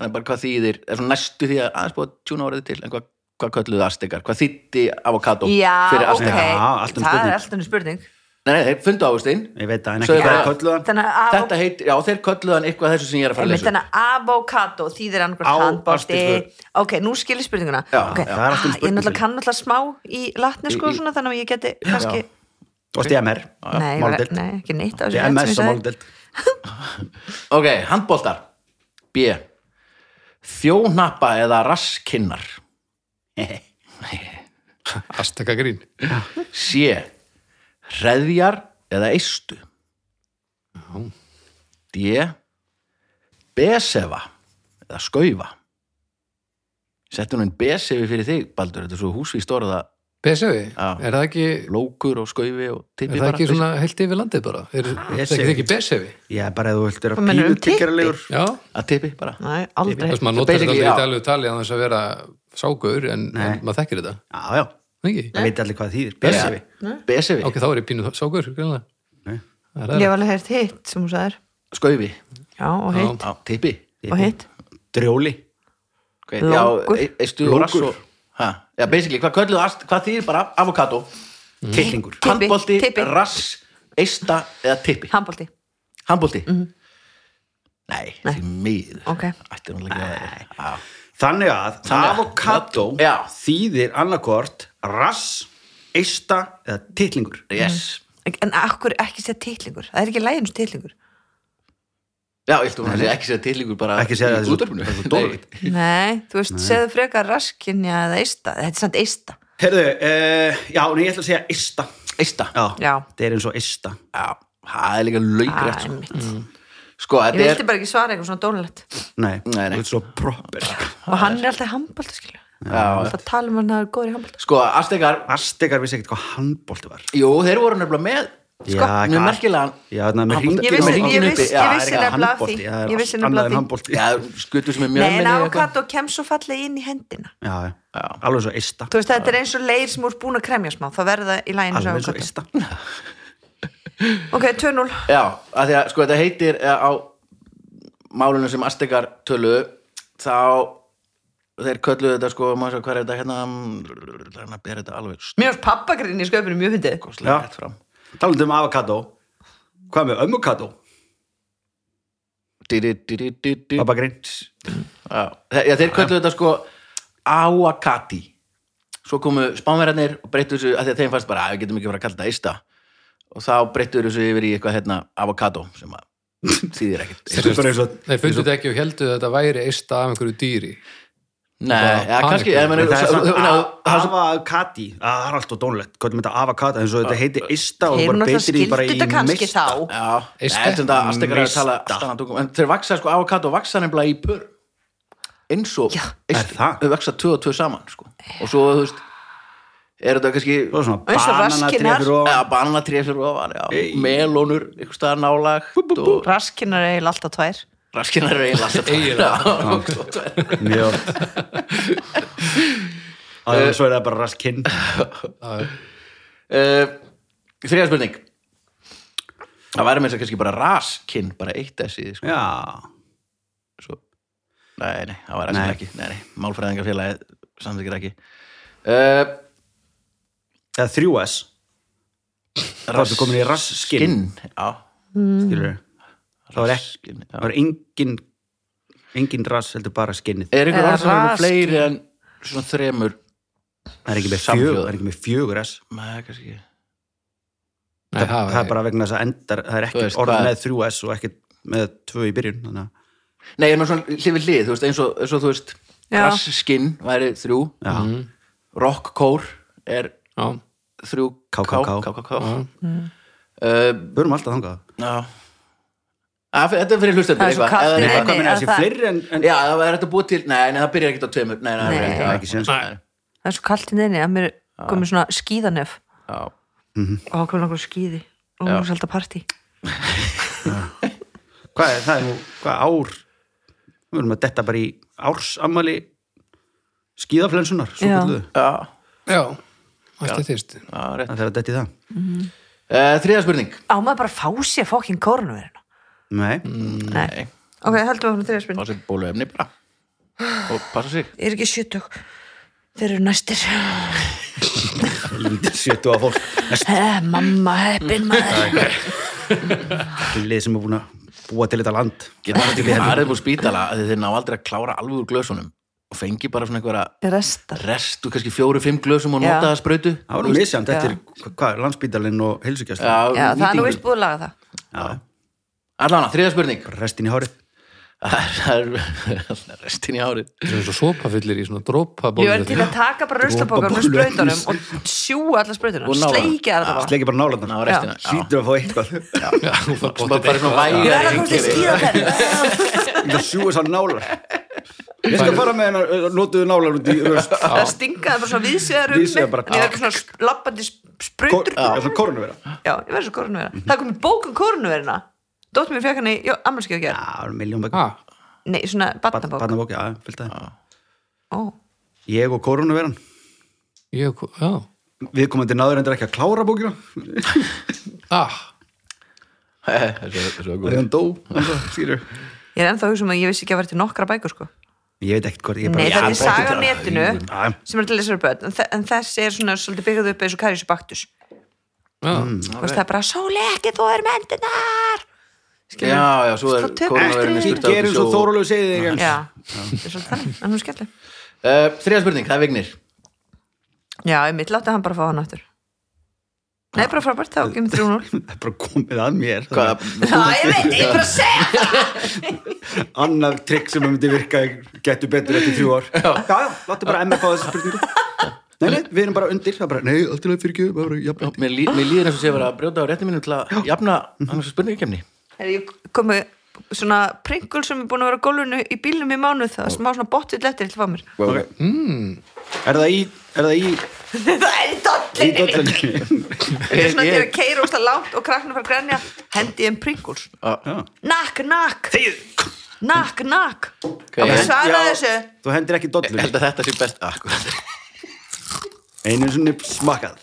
[SPEAKER 1] en bara hvað þýðir, er svona næstu því að aðeins búið að tjúna orðið til, en hvað, hvað kölluðu astikar, hvað þýtti avocado
[SPEAKER 3] Já,
[SPEAKER 1] fyrir
[SPEAKER 3] ok,
[SPEAKER 1] astikar?
[SPEAKER 2] Já, allt önnur
[SPEAKER 3] það
[SPEAKER 2] spurning.
[SPEAKER 3] er allt önnur spurning
[SPEAKER 1] Nei, nei, þeir fundu ávöxtinn
[SPEAKER 2] Ég veit það, en
[SPEAKER 1] Svo
[SPEAKER 2] ekki
[SPEAKER 1] er
[SPEAKER 2] hvað
[SPEAKER 1] bara-
[SPEAKER 2] kölluðan
[SPEAKER 3] Þannig að avo-
[SPEAKER 1] Þetta heit, já, þeir kölluðu hann eitthvað þessu sem ég er að fara að
[SPEAKER 3] Einmitt,
[SPEAKER 1] lesa
[SPEAKER 3] þannig að avokado þýðir
[SPEAKER 2] Á,
[SPEAKER 3] annarkvæmt handbótti
[SPEAKER 2] astisku.
[SPEAKER 3] ok, nú skilir spurninguna
[SPEAKER 1] Já,
[SPEAKER 3] Ok.
[SPEAKER 1] já,
[SPEAKER 2] það er
[SPEAKER 3] Ah, ég
[SPEAKER 2] allt um
[SPEAKER 3] náttúrulega
[SPEAKER 2] spurningu.
[SPEAKER 3] kann náttúrulega smá í latni sko,
[SPEAKER 1] Í- í-
[SPEAKER 3] svona, þannig að ég geti kannski,
[SPEAKER 2] Og stíðamer,
[SPEAKER 3] nei,
[SPEAKER 2] máldelt
[SPEAKER 3] nei, ekki neitt af þessu
[SPEAKER 2] Þetta er
[SPEAKER 3] sem
[SPEAKER 2] MS
[SPEAKER 3] ég
[SPEAKER 2] og
[SPEAKER 3] sagði.
[SPEAKER 2] máldelt
[SPEAKER 1] Ok, handbóltar B Þjónappa eða raskinnar
[SPEAKER 4] Azteka grín
[SPEAKER 1] C Hreðjar eða eistu D Besefa eða skaufa Settu hún einn besefi fyrir þig, Baldur Þetta er svo húsvíst orða
[SPEAKER 4] Besefi,
[SPEAKER 1] Já.
[SPEAKER 4] er það ekki
[SPEAKER 1] lókur og skaufi og
[SPEAKER 4] er
[SPEAKER 1] tippi
[SPEAKER 4] það ekki
[SPEAKER 1] bara
[SPEAKER 4] svona heilt yfir landið bara er það
[SPEAKER 2] Besefi.
[SPEAKER 4] ekki, ekki Besefi
[SPEAKER 2] Já, bara ef þú vilt vera
[SPEAKER 3] Hvað meinarðu um
[SPEAKER 2] pínu tiggjaralegur
[SPEAKER 4] já,
[SPEAKER 1] að tippi bara
[SPEAKER 3] nei, aldrei
[SPEAKER 4] þess
[SPEAKER 1] Þetta
[SPEAKER 4] maður notar þetta
[SPEAKER 1] basically,
[SPEAKER 4] aldrei í
[SPEAKER 1] já.
[SPEAKER 4] daglegu tali að þess að vera ságur en,
[SPEAKER 2] Nei.
[SPEAKER 4] en maður þekkir þetta
[SPEAKER 2] Já, já,
[SPEAKER 4] ekki?
[SPEAKER 2] það veit allir hvað þýðir Besefi
[SPEAKER 1] Besefi,
[SPEAKER 4] ok, þá er ég pínu ságur greinlega.
[SPEAKER 2] Nei.
[SPEAKER 4] Það
[SPEAKER 3] ég
[SPEAKER 4] er
[SPEAKER 3] hef alveg heyrt hitt sem hún sagðir
[SPEAKER 1] skaufi
[SPEAKER 3] já, og hitt,
[SPEAKER 1] á tippi
[SPEAKER 3] og hitt
[SPEAKER 2] Drjóli
[SPEAKER 1] okay,
[SPEAKER 3] Lókur.
[SPEAKER 1] já, e- eistu og rass
[SPEAKER 2] Lókur.
[SPEAKER 1] og ha, já, basically, hvað kölluðu ast, hvað þýðir bara avokado,
[SPEAKER 2] Tittlingur
[SPEAKER 3] Tippi,
[SPEAKER 1] handbólti,
[SPEAKER 3] tippi.
[SPEAKER 1] rass eista eða tippi,
[SPEAKER 3] handbólti,
[SPEAKER 1] handbólti nei, því miður
[SPEAKER 3] Mhm. Ok.
[SPEAKER 1] ætti hún ekki að Já.
[SPEAKER 2] Þannig að
[SPEAKER 1] að-
[SPEAKER 2] avokado
[SPEAKER 1] Já.
[SPEAKER 2] þýðir annarkort rass, eista eða tittlingur
[SPEAKER 1] yes,
[SPEAKER 3] en akkur ekki sér titlingur það er ekki lægins titlingur
[SPEAKER 1] já, ég ætti hún að segja ekki segja tilíkur bara
[SPEAKER 2] Ekki segja
[SPEAKER 1] í
[SPEAKER 2] þessu-
[SPEAKER 1] útvarpinu.
[SPEAKER 2] þessu
[SPEAKER 1] Nei.
[SPEAKER 2] dólfitt.
[SPEAKER 3] nei, þú veist, segðu frekar raskinja eða eista, þetta er samt eista
[SPEAKER 2] Herðu, uh, já, nei, ég ætla að segja eista
[SPEAKER 1] eista,
[SPEAKER 2] Já,
[SPEAKER 3] Já.
[SPEAKER 2] það er eins og eista
[SPEAKER 1] já, það er líka laukrætt
[SPEAKER 3] Æ,
[SPEAKER 1] sko.
[SPEAKER 3] mitt.
[SPEAKER 1] sko,
[SPEAKER 3] ég
[SPEAKER 1] þetta
[SPEAKER 3] vildi
[SPEAKER 1] er
[SPEAKER 3] bara ekki svara eitthvað svona dónlegt
[SPEAKER 2] Nei,
[SPEAKER 1] Nei, nei.
[SPEAKER 2] þú ert svo proper
[SPEAKER 3] og hann er alltaf handbólti, skilju
[SPEAKER 1] já,
[SPEAKER 3] alltaf tala um hann að það er góður í handbólti
[SPEAKER 1] sko, astekar,
[SPEAKER 2] Astegar vissi ekkert hvað handbólti var
[SPEAKER 1] jú, þeir voru nefnilega með
[SPEAKER 2] Já, hvað-
[SPEAKER 1] mjög merkilegan
[SPEAKER 2] Já, þannig að með
[SPEAKER 1] Handbolti.
[SPEAKER 3] Sko, Ég
[SPEAKER 2] hringin
[SPEAKER 1] með
[SPEAKER 3] vissi, ég
[SPEAKER 1] hringinn uppi.
[SPEAKER 3] vissi,
[SPEAKER 1] Já,
[SPEAKER 3] ég
[SPEAKER 1] það er
[SPEAKER 3] vissi
[SPEAKER 1] ekki
[SPEAKER 3] nefnilega af því
[SPEAKER 2] handbólti, það er
[SPEAKER 3] Ég vissi
[SPEAKER 2] allt
[SPEAKER 3] nefnilega
[SPEAKER 2] annað
[SPEAKER 3] af
[SPEAKER 2] en
[SPEAKER 3] því
[SPEAKER 2] handbólti Já,
[SPEAKER 1] já, skutu sem er mjög
[SPEAKER 3] Nei, en avokado kem svo fallið inn í hendina
[SPEAKER 2] já,
[SPEAKER 1] Já.
[SPEAKER 2] alveg eins og eista
[SPEAKER 3] Þú veist, þetta er eins og leir sem úr búin að kremja smá Það verður það í læginu
[SPEAKER 2] Alveg eins og eista
[SPEAKER 3] Ok, 2-0
[SPEAKER 1] Já, að því að sko þetta heitir eh, á málunum sem Aztekar töluðu þá þeir kölluðu þetta sko maður svo hvað er þetta hérna mm, reyna að bera þetta alveg
[SPEAKER 3] Mér finnst pappagrinn í sköpunum mjög fyndið
[SPEAKER 1] stokkslega
[SPEAKER 2] Já.
[SPEAKER 1] rétt fram
[SPEAKER 2] Talandi um avokado Hvað með ömmukado?
[SPEAKER 1] Dí, dí, dí, dí, dí, dí.
[SPEAKER 2] Pappa grinn
[SPEAKER 1] Já, þe- já, þeir kölluðu þetta sko Awakati svo komu spánverðarnir og breyttu þessu að því að þeim fannst bara að við getum ekki bara að kalla þetta eista og þá breyttu þeir þessu yfir í eitthvað hérna avocado sem að (laughs) þýðir ekkert
[SPEAKER 2] Þetta er bara eins og
[SPEAKER 4] Þeir fundu þetta ekki og heldu að þetta væri eista af einhverju dýri
[SPEAKER 1] Nei, ja,
[SPEAKER 4] panikk.
[SPEAKER 1] kannski eða menn-
[SPEAKER 2] En það er
[SPEAKER 1] (laughs) svo-
[SPEAKER 2] svona
[SPEAKER 1] ná- það er svo-
[SPEAKER 2] avokati það er alltaf dónlegt, hvað er þetta avokati eins og þetta heiti ista og
[SPEAKER 3] Þeir eru
[SPEAKER 2] bara
[SPEAKER 3] náttúrulega
[SPEAKER 2] beitir í bara
[SPEAKER 3] skildu
[SPEAKER 2] í
[SPEAKER 3] þetta kannski
[SPEAKER 2] mista.
[SPEAKER 3] þá
[SPEAKER 1] Já,
[SPEAKER 4] Eista.
[SPEAKER 1] nei, sem það aðstekar að
[SPEAKER 2] Mista.
[SPEAKER 1] tala allt annað tungum, en þeir vaksa sko avokado vaksa nefnilega í pör eins og
[SPEAKER 3] Já.
[SPEAKER 1] eistu,
[SPEAKER 2] Er það?
[SPEAKER 1] þau vaksa tvö og tvö saman sko. og svo þú veist er þetta kannski
[SPEAKER 2] Svo svona
[SPEAKER 3] Eins og raskinar.
[SPEAKER 2] bananatrefur og
[SPEAKER 1] ja, bananatré fyrir ofan, já,
[SPEAKER 2] Ey.
[SPEAKER 1] melónur einhvers staðar nálagt og
[SPEAKER 3] Raskinnar er eiginlega alltaf tvær
[SPEAKER 1] raskinar eru eiginlega alltaf tvær. Já, og tvær.
[SPEAKER 3] (laughs)
[SPEAKER 2] mjög oft. Eh. Það er- svo er það bara raskinn
[SPEAKER 1] (laughs) Eh, Þriða spurning Það væri með þess að kannski bara raskinn bara eitt þessi sko.
[SPEAKER 2] Já,
[SPEAKER 1] Svo... Nei, nei, það væri
[SPEAKER 2] Nei.
[SPEAKER 1] ekki ekki Nei, nei, málfræðingafélagið samþykir ekki uh,
[SPEAKER 2] eða 3S Þá ertu komin í rasskinn
[SPEAKER 1] Já,
[SPEAKER 2] Skilur Það var ekki-
[SPEAKER 1] raskinn
[SPEAKER 2] Það
[SPEAKER 1] já.
[SPEAKER 2] var engin engin rass, heldur bara skinnið
[SPEAKER 1] Er einhver
[SPEAKER 3] Eða
[SPEAKER 1] orð sem eru
[SPEAKER 3] raskinn.
[SPEAKER 1] fleiri en svona þremur
[SPEAKER 2] Það er ekki með
[SPEAKER 1] Samhljóða.
[SPEAKER 2] fjögur, það er ekki með fjögur rass
[SPEAKER 1] Nei, kannski ekki
[SPEAKER 4] Nei,
[SPEAKER 2] það, það er bara vegna þess að endar það er
[SPEAKER 1] Þú
[SPEAKER 2] ekkert
[SPEAKER 1] veist,
[SPEAKER 2] orð
[SPEAKER 1] hvað-
[SPEAKER 2] með 3S og ekkert með 2 í byrjun þannig að
[SPEAKER 1] Nei, er maður svona hlið við hlið, þú veist, eins og, eins og þú veist
[SPEAKER 3] Já.
[SPEAKER 1] Raskinn væri þrjú
[SPEAKER 2] Já.
[SPEAKER 1] Rockkór er
[SPEAKER 4] Mm. Já,
[SPEAKER 1] þrjú
[SPEAKER 2] KKK.
[SPEAKER 1] KKK
[SPEAKER 4] já.
[SPEAKER 1] Uh,
[SPEAKER 2] börum alltaf þangað
[SPEAKER 1] Já Að, Þetta Ah, er fyrir hlustendur
[SPEAKER 3] Það er svo
[SPEAKER 1] eitthvað
[SPEAKER 3] kalt
[SPEAKER 1] eða
[SPEAKER 3] í
[SPEAKER 1] eitthvað.
[SPEAKER 3] Nei,
[SPEAKER 2] Hvað meina
[SPEAKER 3] er
[SPEAKER 2] þessi
[SPEAKER 3] það-
[SPEAKER 2] fleiri en, en
[SPEAKER 1] Já, það er þetta búið til Nei, nei, það byrjar ekkert á tveimur Nei, nei, það
[SPEAKER 3] Nei,
[SPEAKER 1] byrjar
[SPEAKER 2] það
[SPEAKER 1] ekkert
[SPEAKER 2] er ekki séns
[SPEAKER 4] Nei.
[SPEAKER 3] það er svo kalt inn inni að mér komið svona skíðanef
[SPEAKER 1] Já,
[SPEAKER 3] og það komið langar skíði og hún er svolítið partí
[SPEAKER 2] Hvað er það er nú, hvað ár við erum að detta bara í ársamali skíðaflensunar svo
[SPEAKER 3] Já.
[SPEAKER 2] kalluðu.
[SPEAKER 1] já,
[SPEAKER 4] já. Ætti þýrst
[SPEAKER 1] já, rétt
[SPEAKER 2] það er að detti það
[SPEAKER 1] uh, Þriða spurning
[SPEAKER 3] á maður bara að fá sér fókin kórnverðina
[SPEAKER 2] Nei, (laughs)
[SPEAKER 3] nei, ok, heldur við að hún þriða spurning
[SPEAKER 1] Passa bóluefni bara Og passa sig
[SPEAKER 3] ég er ekki sjötug, þeir eru næstir
[SPEAKER 2] lítið sjötu að fólk
[SPEAKER 3] Eh, mamma heppin maður
[SPEAKER 2] Þetta er lið sem er búin að búa til þetta land
[SPEAKER 1] Getur
[SPEAKER 2] Það
[SPEAKER 1] þetta
[SPEAKER 2] er til í
[SPEAKER 1] ekki
[SPEAKER 2] helvítið.
[SPEAKER 1] farið búið spítala af því Þeir ná aldrei að klára alveg úr glösunum Og fengi bara svona einhverja
[SPEAKER 3] restar
[SPEAKER 1] rest og kannski fjóru-fimm glösum og
[SPEAKER 3] Já.
[SPEAKER 1] nota það sprautu
[SPEAKER 2] Það var misjand, þetta
[SPEAKER 3] Já.
[SPEAKER 2] er hva- hvað, er, landsbítalinn og heilsugjast
[SPEAKER 1] Já,
[SPEAKER 3] já, það er nú
[SPEAKER 1] nýtingu.
[SPEAKER 3] vist búið að laga það
[SPEAKER 1] Allána, þriða spurning (laughs)
[SPEAKER 2] restin í hárið
[SPEAKER 1] Það er restin í árið
[SPEAKER 4] Það er svo sopafyllir í svona dropa
[SPEAKER 3] ég verði til að taka bara ruslapokar með
[SPEAKER 2] Dropa bóluefni.
[SPEAKER 3] sprautunum og sjúa alla sprautunum
[SPEAKER 1] Og nála.
[SPEAKER 3] sleikja það bara
[SPEAKER 2] sleiki bara
[SPEAKER 1] Ná,
[SPEAKER 2] nálarnar
[SPEAKER 1] restina Já.
[SPEAKER 2] hlýtur að fá eitthvað
[SPEAKER 4] Já, þú
[SPEAKER 1] Svo
[SPEAKER 4] fær
[SPEAKER 1] bara
[SPEAKER 4] bóttið
[SPEAKER 1] bara svona
[SPEAKER 3] ég verði
[SPEAKER 1] vægari
[SPEAKER 3] að komast í
[SPEAKER 1] hringi við.
[SPEAKER 3] skíðaferð
[SPEAKER 2] það sjúa sá nálar ég skal fara með hennar notuðu nálar út í röst
[SPEAKER 3] það stingaði bara svona viðsvegar um mig
[SPEAKER 2] Víðsvegar bara-
[SPEAKER 3] en ég verði svona lappandi
[SPEAKER 2] Kor-
[SPEAKER 3] sprautur
[SPEAKER 2] það er svona korunvera
[SPEAKER 3] Já, ég verði svo korunverða. Það kom í bókun korunverðina. um Dóttir mér fekk hann í ammarskjöf gerð.
[SPEAKER 2] það er miljón
[SPEAKER 4] Ha,
[SPEAKER 3] Nei, svona batnabók.
[SPEAKER 2] Ah. barnabók, já, fylgta það
[SPEAKER 3] Ó,
[SPEAKER 2] ég og korunveran,
[SPEAKER 4] ég, já
[SPEAKER 2] við komandi náður endur ekki að klára bókina
[SPEAKER 4] Ah,
[SPEAKER 1] Þessi- þessi var góð.
[SPEAKER 2] þegar hann dó hann dó, skilur.
[SPEAKER 3] ég er ennþá að hugsa um að ég vissi ekki að vera til nokkra bækur, sko.
[SPEAKER 2] ég veit ekkert hvort ég
[SPEAKER 3] Nei, þetta
[SPEAKER 2] Já,
[SPEAKER 3] er saga á
[SPEAKER 2] bara-
[SPEAKER 3] netinu
[SPEAKER 2] Já,
[SPEAKER 3] sem er til þessari börn. En, þe en þessi er svona svolítið byggðuð upp eins og Karius Baktus.
[SPEAKER 4] já
[SPEAKER 2] Mm.
[SPEAKER 3] Þú veist, það er bara, sóli ekki, þú er mendinar!
[SPEAKER 1] Já, já, svo er
[SPEAKER 3] Svo tökum
[SPEAKER 1] koronaveirinu
[SPEAKER 3] við
[SPEAKER 2] Ég
[SPEAKER 1] styrtað út í
[SPEAKER 2] gerum svo
[SPEAKER 1] sjó.
[SPEAKER 2] Þórólegu segið þig en-
[SPEAKER 3] Já, það er svolítið þannig. En hún skellir.
[SPEAKER 1] Eh, Þriðja spurning, það er vignir
[SPEAKER 3] Já, ég mitt látti hann bara fá hann aftur. Nei, bara frábært, þá kemur 3-0.
[SPEAKER 2] það er bara komið að mér
[SPEAKER 1] Hvað,
[SPEAKER 3] (laughs) Já, ég veit, ég er bara að segja það.
[SPEAKER 2] annað trikk sem myndi virka getur betur eftir þrjú ár já, já, láttu bara MF á þessu spurningu nei, nei, við erum bara undir það er bara, nei, allt í lagi fyrir ekki bara, jafn,
[SPEAKER 1] mér, lí, mér líður eins og sé að vera að brjóta á rétti mínum til að jafna annars spurningakemni
[SPEAKER 3] Herri, ég kom með svona pringul sem er búin að vera á gólfinu í bílnum í mánuð það er smá svona bottill eftir til að fá mér
[SPEAKER 2] okay. mm. er það í er það í,
[SPEAKER 3] það er í
[SPEAKER 2] í
[SPEAKER 3] dollinni mín.
[SPEAKER 2] dollinni (laughs)
[SPEAKER 3] Þetta er svona
[SPEAKER 1] Ég-
[SPEAKER 3] þegar ég keir ósla langt og krakkna fara að grenja hendi ég um pringuls
[SPEAKER 2] Já.
[SPEAKER 3] nakk, nakk nakk, nakk
[SPEAKER 1] ég-
[SPEAKER 3] okay. svara
[SPEAKER 2] Já,
[SPEAKER 3] þessu
[SPEAKER 2] þú hendir ekki
[SPEAKER 1] Ég
[SPEAKER 2] dollur
[SPEAKER 1] held að þetta sé best Ah, akkurat.
[SPEAKER 2] einu sinni smakað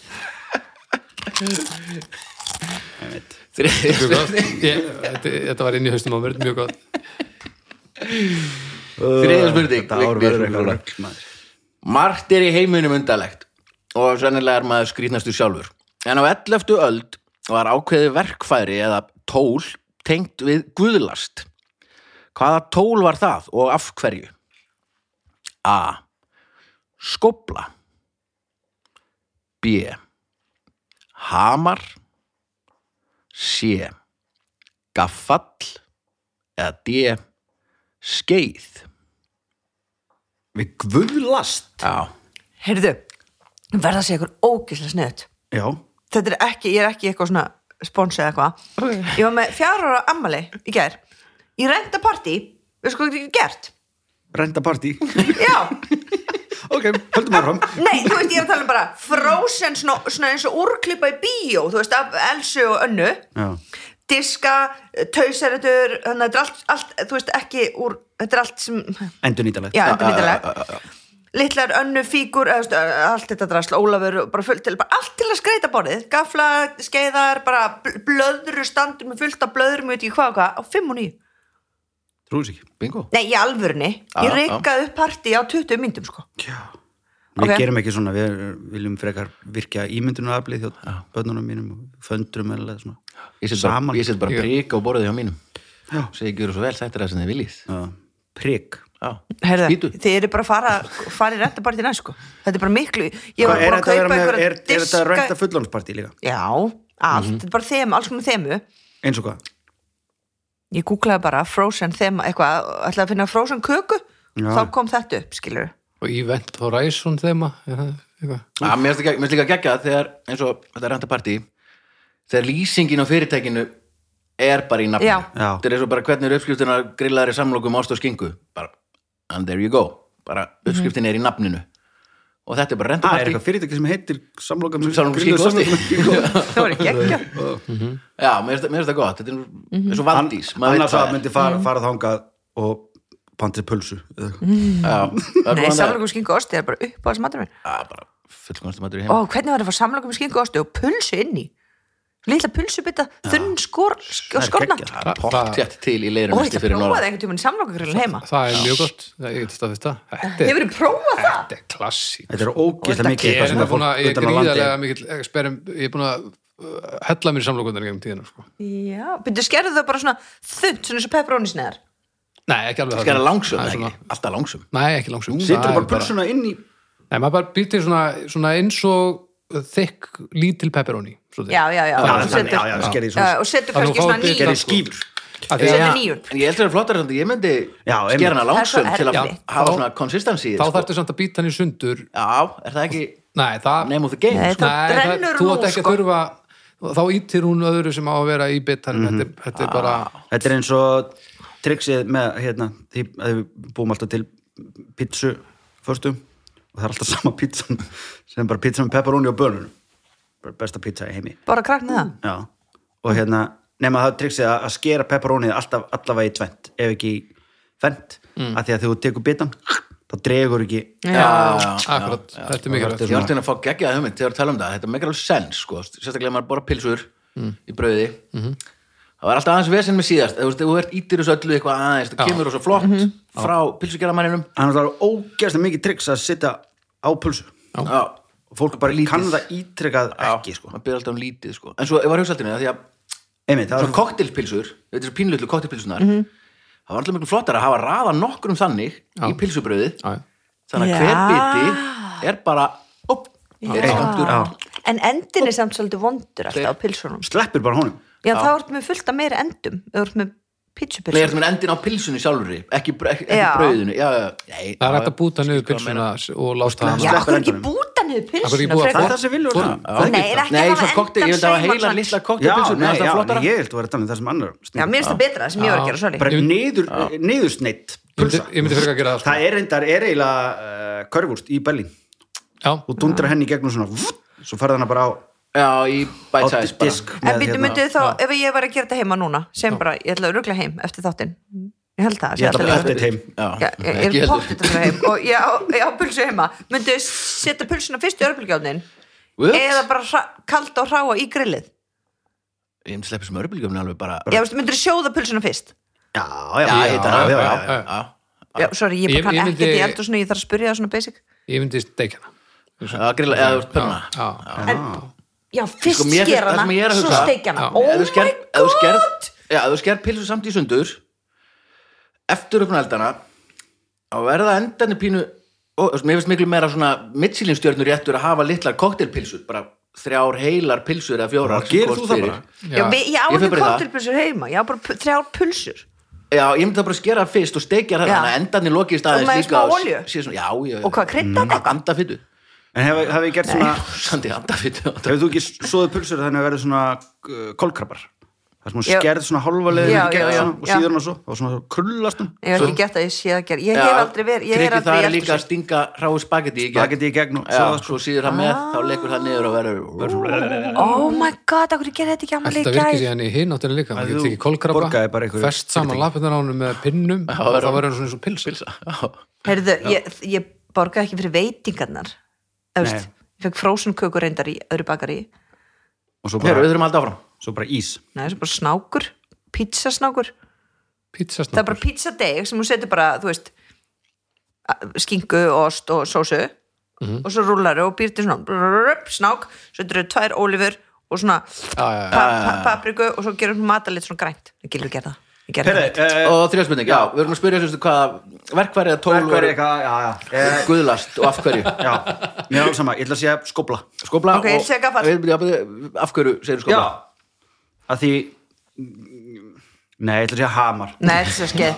[SPEAKER 1] Þriðja
[SPEAKER 4] Mjög
[SPEAKER 1] spurning-
[SPEAKER 4] gott. Ég- Þetta þetta var inn í haustum á mér, mjög gott
[SPEAKER 1] Þriðja spurning,
[SPEAKER 2] Uh, þetta ár
[SPEAKER 1] Vigdís
[SPEAKER 2] verður eitthvað
[SPEAKER 1] Rúnar.
[SPEAKER 2] rögl, maður.
[SPEAKER 1] Margt er í heiminum undalegt og sennilega er maður skrýtnastu sjálfur en á 11. öld var ákveðið verkfæri eða tól tengt við guðlast Hvaða tól var það og af hverju? A. Skopla B. Hamar C. Gaffall eða D. Skeið
[SPEAKER 2] við guðlast
[SPEAKER 1] Já,
[SPEAKER 3] heyrðu, verða að segja ykkur ógislega sniðut
[SPEAKER 2] já,
[SPEAKER 3] þetta er ekki, ég er ekki eitthvað svona spons eða eitthvað ég var með fjara ára ammali í gær ég renta partí, veistu hvað ég hef gert
[SPEAKER 2] renda partí
[SPEAKER 3] já,
[SPEAKER 2] (laughs) ok, höldum áfram
[SPEAKER 3] Nei, þú veist, ég er að tala um bara Frozen, svona, svona eins og úrklippa í bíó Þú veist, af Elsu og Önnu
[SPEAKER 2] já,
[SPEAKER 3] Diska, tauseretur Þannig að þetta er allt, allt Þú veist, ekki úr Þetta er allt sem,
[SPEAKER 2] endur nýtalegt ah.
[SPEAKER 3] já, endur myndilega litlar önnu fígur eða, þú veist, eh, allt þetta drasl, Ólafur og bara fullt til, bara allt til að skreita borðið gafla, skeiðar, bara bl- blöðru standur með fullt af blöðrum, ég veit ekki hvað og hvað á 5 og 9,
[SPEAKER 2] trúiðs ekki
[SPEAKER 1] bingo
[SPEAKER 3] nei í alvörni
[SPEAKER 2] Ah,
[SPEAKER 1] Já,
[SPEAKER 3] ég reykaði upp partí á 20 myndum sko
[SPEAKER 2] Já. Við
[SPEAKER 3] Ok.
[SPEAKER 2] gerum ekki svona, við viljum frekar virkja ímyndunaraflið hjá bönnunum mínum og föndrum eða svona.
[SPEAKER 1] Ég set bara,
[SPEAKER 2] Saman.
[SPEAKER 1] ég set bara
[SPEAKER 4] Já.
[SPEAKER 1] prik á borðið hjá mínum
[SPEAKER 2] Já.
[SPEAKER 1] segi ekki verið svo vel, þetta er það sem þið viljið
[SPEAKER 2] Já. Prik.
[SPEAKER 1] Já,
[SPEAKER 3] Herða,
[SPEAKER 1] Skítu.
[SPEAKER 3] þið eru bara að fara farið renta bara til næst sko þetta er bara miklu, ég var
[SPEAKER 2] Hvað, er
[SPEAKER 3] búin að
[SPEAKER 2] þetta að
[SPEAKER 3] kaupa
[SPEAKER 2] vera með,
[SPEAKER 3] einhverja
[SPEAKER 2] er, er þetta Mhm.
[SPEAKER 3] diska-
[SPEAKER 2] rönda fullónsparti líka?
[SPEAKER 3] já, allt, þetta er bara þemu, alls konar þemu
[SPEAKER 2] Eins og hvað?
[SPEAKER 3] ég googlaði bara Frozen þema eitthvað, ætlaði að finna Frozen köku
[SPEAKER 2] Já.
[SPEAKER 3] þá kom þetta upp, skilur
[SPEAKER 4] og Event Horizon þema er það eitthvað?
[SPEAKER 1] Já, mér finnst líka- mér finnst líka geggjað þegar eins og þetta er renta partí þegar lýsingin á fyrirtækinu er bara í nafninu
[SPEAKER 3] Já.
[SPEAKER 2] Já.
[SPEAKER 1] þetta er eins og bara hvernig eru uppskriftina grillaðri samlokum ást og skingu bara, and there you go bara
[SPEAKER 3] Mhm.
[SPEAKER 1] uppskriftin er í nafninu og þetta er bara renta
[SPEAKER 2] Það Ah,
[SPEAKER 1] partí
[SPEAKER 2] er eitthvað fyrirtæki sem heitir samloka með
[SPEAKER 1] Samlokum
[SPEAKER 2] grilluðu
[SPEAKER 1] skinku osti.
[SPEAKER 2] samlokum með skinku osti.
[SPEAKER 3] það var ekki
[SPEAKER 2] (laughs)
[SPEAKER 3] ekki
[SPEAKER 1] Já, mér finnst mér finnst það gott þetta er
[SPEAKER 3] Mhm.
[SPEAKER 1] mm eins og
[SPEAKER 2] An-
[SPEAKER 1] valdís maður veit
[SPEAKER 2] Annars
[SPEAKER 1] hvað
[SPEAKER 2] að
[SPEAKER 1] er.
[SPEAKER 2] myndi fara, fara þangað og pantið pulsu. eða eitthvað.
[SPEAKER 1] Já, það er
[SPEAKER 3] nei,
[SPEAKER 1] góðan dag.
[SPEAKER 3] samlokum skingu og osti er bara upp á þessu matur minn
[SPEAKER 1] Já, bara fullkomstu matur í heim
[SPEAKER 2] Ah.
[SPEAKER 3] og hvernig var það að fá samlokum skingu og osti og pulsu inn í litla pulsu bytta, þunn skor, sk-
[SPEAKER 2] Ah. er
[SPEAKER 3] skorna
[SPEAKER 2] geggjað.
[SPEAKER 1] Það er pottjætt til í leirum
[SPEAKER 3] og þetta prófaði einhvern tímann samlokagrillin heima
[SPEAKER 4] það er mjög gott, Það- ég get þetta að þetta þetta er,
[SPEAKER 3] hefur þið prófað það?
[SPEAKER 4] þetta er klassík
[SPEAKER 2] Þetta er ógeðslega
[SPEAKER 3] þetta
[SPEAKER 2] mikið
[SPEAKER 4] ég
[SPEAKER 2] eitthvað
[SPEAKER 4] er
[SPEAKER 2] sem það
[SPEAKER 4] búin
[SPEAKER 2] fólk
[SPEAKER 4] að, ég er
[SPEAKER 2] utan á landi.
[SPEAKER 4] gríðarlega mikill eksperim, ég er búin að uh, hella mér í samlokunar gegn tíðina sko.
[SPEAKER 3] Já, byrju, skerðu það bara svona þunnt, svona eins og pepperoni sneiðar.
[SPEAKER 4] nei, ekki alveg það.
[SPEAKER 1] skæra langsum,
[SPEAKER 4] Það er
[SPEAKER 1] það
[SPEAKER 4] svona-
[SPEAKER 1] ekki alltaf langsum
[SPEAKER 4] nei, ekki langsum
[SPEAKER 2] Setur
[SPEAKER 4] Það er
[SPEAKER 2] bara pulsuna inn í
[SPEAKER 4] nei, maður bara býtir svona, svona eins og þykk lítil pepperoni svolítið.
[SPEAKER 3] Já, já, já.
[SPEAKER 4] Það er
[SPEAKER 3] Og
[SPEAKER 2] þannig,
[SPEAKER 3] setur-
[SPEAKER 2] já, já, skerðu í svona.
[SPEAKER 3] Já, Og setur
[SPEAKER 4] Það er nú
[SPEAKER 3] kannski svona
[SPEAKER 4] fáið
[SPEAKER 3] nýjun.
[SPEAKER 4] bitar,
[SPEAKER 2] Gerið
[SPEAKER 4] sko.
[SPEAKER 2] skýfur.
[SPEAKER 4] Af því að-
[SPEAKER 3] Setur
[SPEAKER 1] Já,
[SPEAKER 3] nýjun.
[SPEAKER 1] En ég held að það er flottar samt að ég myndi
[SPEAKER 2] Já, einmitt.
[SPEAKER 1] skera hana
[SPEAKER 3] er svo
[SPEAKER 1] langsum til að
[SPEAKER 3] erfitt.
[SPEAKER 1] hafa
[SPEAKER 4] Þá-
[SPEAKER 1] svona konsistansi
[SPEAKER 3] sko.
[SPEAKER 4] þá þarftu samt að býta hann í sundur
[SPEAKER 1] Já, er það ekki
[SPEAKER 4] nei, það
[SPEAKER 1] name of the game?
[SPEAKER 3] Nei,
[SPEAKER 1] sko?
[SPEAKER 3] það rennur
[SPEAKER 4] þú
[SPEAKER 3] nú,
[SPEAKER 4] átt ekki
[SPEAKER 3] sko.
[SPEAKER 4] að þurfa þá ítir hún öðru sem á að vera í bitar þetta, er- þetta er bara
[SPEAKER 3] Mhm.
[SPEAKER 2] Þetta er eins og triksið með hérna, því að við búum alltaf til pítsu förstum og það er alltaf (laughs) sama pítsan sem bara pítsa með pepperoni og bönunum bara besta pítsa í heimi
[SPEAKER 3] Bara krakna það.
[SPEAKER 2] Já. og hérna, nema það er triksið að, að skera pepperonið alltaf allavega í tvent ef ekki í fent mm. af því að þegar þú tekur bitan þá dregur ekki
[SPEAKER 1] Já,
[SPEAKER 4] Ah, akkurat, þetta er
[SPEAKER 1] Ég
[SPEAKER 4] mikilvægt
[SPEAKER 1] var til að fá geggjað hugmynd þegar við tala um það Þetta er megar alveg sens, sko Sérstaklega ef maður bara pilsur í brauði Það var alltaf aðeins vesen með síðast Þú veist, ef þú ert ítir þessu öllu eitthvað aðeins Það kemur þessu flott
[SPEAKER 3] Mhm.
[SPEAKER 1] frá pilsugerðamanninum
[SPEAKER 2] þannig að það er ógeðslega mikið triks að sitta á pulsu
[SPEAKER 1] Já,
[SPEAKER 2] og fólk bara kann það ítrekað ekki sko.
[SPEAKER 1] maður byrði alltaf um lítið, sko En svo, ég var hugsaltinu, því að
[SPEAKER 2] Einmitt, það
[SPEAKER 1] svona
[SPEAKER 2] er
[SPEAKER 1] koktelpilsur, þetta er svo pínlutlu koktelpilsunar það var alltaf miklu flottar að hafa raða nokkrum þannig í pilsubröði
[SPEAKER 4] Já, já.
[SPEAKER 1] þannig að
[SPEAKER 3] Já.
[SPEAKER 1] hver biti er bara upp, er skamtur
[SPEAKER 2] Já.
[SPEAKER 3] En endin er samt svolítið vondur alltaf á pilsunum.
[SPEAKER 2] sleppir bara honum
[SPEAKER 3] Já, þá ertu með fullt af meira endum. Þú ertu með
[SPEAKER 1] Nei, þetta
[SPEAKER 3] pítsupilsum.
[SPEAKER 1] er endin á pilsunni sjálfri ekki, br- ekki, ekki
[SPEAKER 3] Já.
[SPEAKER 1] brauðinu já, já, nei,
[SPEAKER 4] það er
[SPEAKER 1] já,
[SPEAKER 4] hægt að búta niður
[SPEAKER 1] skil hvað
[SPEAKER 4] pilsuna og láta
[SPEAKER 3] Já,
[SPEAKER 4] hana
[SPEAKER 2] sleppir
[SPEAKER 3] okkur ekki
[SPEAKER 2] endunum.
[SPEAKER 3] búta niður
[SPEAKER 4] Akkur ekki
[SPEAKER 3] pilsuna.
[SPEAKER 4] búa
[SPEAKER 2] það er
[SPEAKER 3] frekar.
[SPEAKER 2] það sem viljum um.
[SPEAKER 4] Form.
[SPEAKER 2] það er
[SPEAKER 3] Nei,
[SPEAKER 2] ekki-
[SPEAKER 3] er ekki
[SPEAKER 1] nei,
[SPEAKER 3] að
[SPEAKER 1] svona
[SPEAKER 3] hafa
[SPEAKER 1] koktel, ég held að
[SPEAKER 3] endan
[SPEAKER 1] hafa
[SPEAKER 3] seiman
[SPEAKER 1] heila
[SPEAKER 3] samt.
[SPEAKER 1] litla
[SPEAKER 2] Já,
[SPEAKER 1] koktelpilsu
[SPEAKER 2] nei, já,
[SPEAKER 1] flottara
[SPEAKER 2] nei, ég held að vera að tala um það sem annar
[SPEAKER 3] Já,
[SPEAKER 2] sniður.
[SPEAKER 3] mér finnst það betra sem ég var að gera, sorry.
[SPEAKER 2] bara niður, niður sneitt
[SPEAKER 4] Ég myndi- ég myndi fyrir að gera það, sko.
[SPEAKER 2] það er reyndar, er eiginlega uh, körfúrst í Berlín
[SPEAKER 4] já,
[SPEAKER 2] og dundra henni í gegnum svona vutt, svo farði hana bara á,
[SPEAKER 1] já, í
[SPEAKER 2] á
[SPEAKER 1] bætsæðis
[SPEAKER 2] disk
[SPEAKER 3] En
[SPEAKER 2] hérna-
[SPEAKER 1] hérna-
[SPEAKER 3] býttu myndið þá,
[SPEAKER 4] já.
[SPEAKER 3] ef ég var að gera þetta heima núna, sem bara, ég ætla að rugla heim eftir þáttinn. Ég held það.
[SPEAKER 2] ég ætla bara
[SPEAKER 3] líka.
[SPEAKER 2] að þetta heim
[SPEAKER 1] já,
[SPEAKER 3] Já, ég
[SPEAKER 1] ekki
[SPEAKER 3] er
[SPEAKER 1] heldur.
[SPEAKER 3] pottit að það heim og ég á, ég á pulsu heima myndu setja pulsuna fyrst í örbulgjónin
[SPEAKER 1] Ups,
[SPEAKER 3] eða bara hra, kald og hráa í grillið
[SPEAKER 1] ég myndi sleppi sem örbylgjöfni alveg bara
[SPEAKER 3] ég veist, myndu sjóða pulsuna fyrst
[SPEAKER 2] já, já,
[SPEAKER 1] já, ég- já, já,
[SPEAKER 2] já, já.
[SPEAKER 1] já, já.
[SPEAKER 3] já, sorry, ég
[SPEAKER 4] Ég-
[SPEAKER 3] bara kann
[SPEAKER 4] ég myndi-
[SPEAKER 3] ekkert í eldhúsinu ég þarf að spyrja það svona basic
[SPEAKER 4] ég myndi steikja hana
[SPEAKER 1] Já, grilla, eða þú veist, pönna
[SPEAKER 4] já,
[SPEAKER 3] en, já, fyrst
[SPEAKER 1] Sko,
[SPEAKER 3] sko,
[SPEAKER 1] mér finnst-
[SPEAKER 3] skera
[SPEAKER 1] það sem ég er
[SPEAKER 3] hana
[SPEAKER 1] að
[SPEAKER 3] svo
[SPEAKER 1] hugsa-
[SPEAKER 3] steikja hana
[SPEAKER 4] Já.
[SPEAKER 3] oh
[SPEAKER 1] Ef þú sker-
[SPEAKER 3] my
[SPEAKER 1] ef þú sker-
[SPEAKER 3] god
[SPEAKER 1] Já, ef þú sker pilsu samt í sundur eftir uppnum eldana á verða endarnir pínu og þú veist, mér finnst miklu meira svona mittsillinstjörnur réttur að hafa litlar koktelpilsur bara þrjár heilar pilsur eða fjórar
[SPEAKER 2] Já,
[SPEAKER 1] sem
[SPEAKER 2] gerir
[SPEAKER 1] komst
[SPEAKER 2] þú það
[SPEAKER 1] fyrir.
[SPEAKER 2] bara?
[SPEAKER 3] já, já, ég á
[SPEAKER 1] Ég fer
[SPEAKER 3] ekki
[SPEAKER 1] bara í það.
[SPEAKER 3] koktelpulsur heima ég á bara pu- þrjár pulsur
[SPEAKER 1] Já, ég myndi það bara að skera fyrst og steikja það
[SPEAKER 3] Já.
[SPEAKER 1] þannig að endarnir lokist
[SPEAKER 3] Og
[SPEAKER 1] aðeins
[SPEAKER 3] með
[SPEAKER 1] líka
[SPEAKER 3] smá
[SPEAKER 1] og
[SPEAKER 3] olíu?
[SPEAKER 1] sé svona, já, já, já.
[SPEAKER 3] Og hvað, krydda
[SPEAKER 1] Mm. Andafytu,
[SPEAKER 2] en hefur hef ég gert svona
[SPEAKER 1] sandi andafytu
[SPEAKER 2] hefur þú ekki svoðið pulsur þannig að verða svona uh, kólkrabbar það er
[SPEAKER 3] Já.
[SPEAKER 2] svona skerð svona hálfa leiðin
[SPEAKER 3] Já,
[SPEAKER 2] í gegn
[SPEAKER 3] já, já.
[SPEAKER 2] svona, og
[SPEAKER 3] Já.
[SPEAKER 2] síðan og svo, og svona krullast um hún
[SPEAKER 3] ég hef ekki gett að ég sé það gera ég hef aldrei verið, ég er
[SPEAKER 1] Það
[SPEAKER 3] aldrei
[SPEAKER 1] er líka að
[SPEAKER 3] í eldhúsinu
[SPEAKER 1] stinga hráu spagetti í gegn
[SPEAKER 2] Spagetti í gegn og
[SPEAKER 1] Já,
[SPEAKER 2] svo-
[SPEAKER 1] svo síður það með, þá lekur það niður og verður
[SPEAKER 3] oh my god, akkur ég gerði þetta ekki
[SPEAKER 4] Ætli
[SPEAKER 3] ammali
[SPEAKER 4] Þetta virkir síðan í hinn áttina líka
[SPEAKER 2] Að
[SPEAKER 4] maður getur
[SPEAKER 2] þú
[SPEAKER 4] ekki kolkrabba,
[SPEAKER 2] borgaði bara einhverju
[SPEAKER 4] fest saman lappinnar á honum með pinnum og það
[SPEAKER 1] verður-
[SPEAKER 3] Ah.
[SPEAKER 4] verður svona eins og pils
[SPEAKER 1] Pilsa, já
[SPEAKER 3] Heyrðu, ég, ég borgaði ekki fyrir veitingarnar eða veist, ég fekk frozen kökur reyndar í öðru bakari
[SPEAKER 2] og svo
[SPEAKER 1] Heru,
[SPEAKER 2] bara,
[SPEAKER 1] við þurfum alltaf áfram
[SPEAKER 2] svo bara ís
[SPEAKER 3] Nei, þessu bara snákur, pizzasnákur það er
[SPEAKER 4] Pizzasnakkur
[SPEAKER 3] bara pizzadeg sem hún setur bara, þú veist a- skingu, ost og sósu og svo rúlar og býr til svona brrrr, snák, svo þetta eru tvær ólifur og svona
[SPEAKER 4] Já, já, já.
[SPEAKER 3] pa pa papriku og svo gerum hún matalit svona grænt ég gilur gera það, ég gera það
[SPEAKER 2] Herri, eh,
[SPEAKER 1] Og þrjá spurning, já, við erum að spyrja sérstu hvað verkværi eða tól
[SPEAKER 2] verkværi eitthvað, já, já eh,
[SPEAKER 1] guðlast og af
[SPEAKER 2] (laughs)
[SPEAKER 1] hverju
[SPEAKER 2] Já, mér er alveg sama, ég ætla að segja skobla
[SPEAKER 1] Skopla
[SPEAKER 3] Ok,
[SPEAKER 1] og
[SPEAKER 3] segja gaffall.
[SPEAKER 1] Við- já, við- Af hverju segir skopla?
[SPEAKER 2] Að því Nei, ég ætla að segja hamar Ég
[SPEAKER 3] Nei, þetta er skeið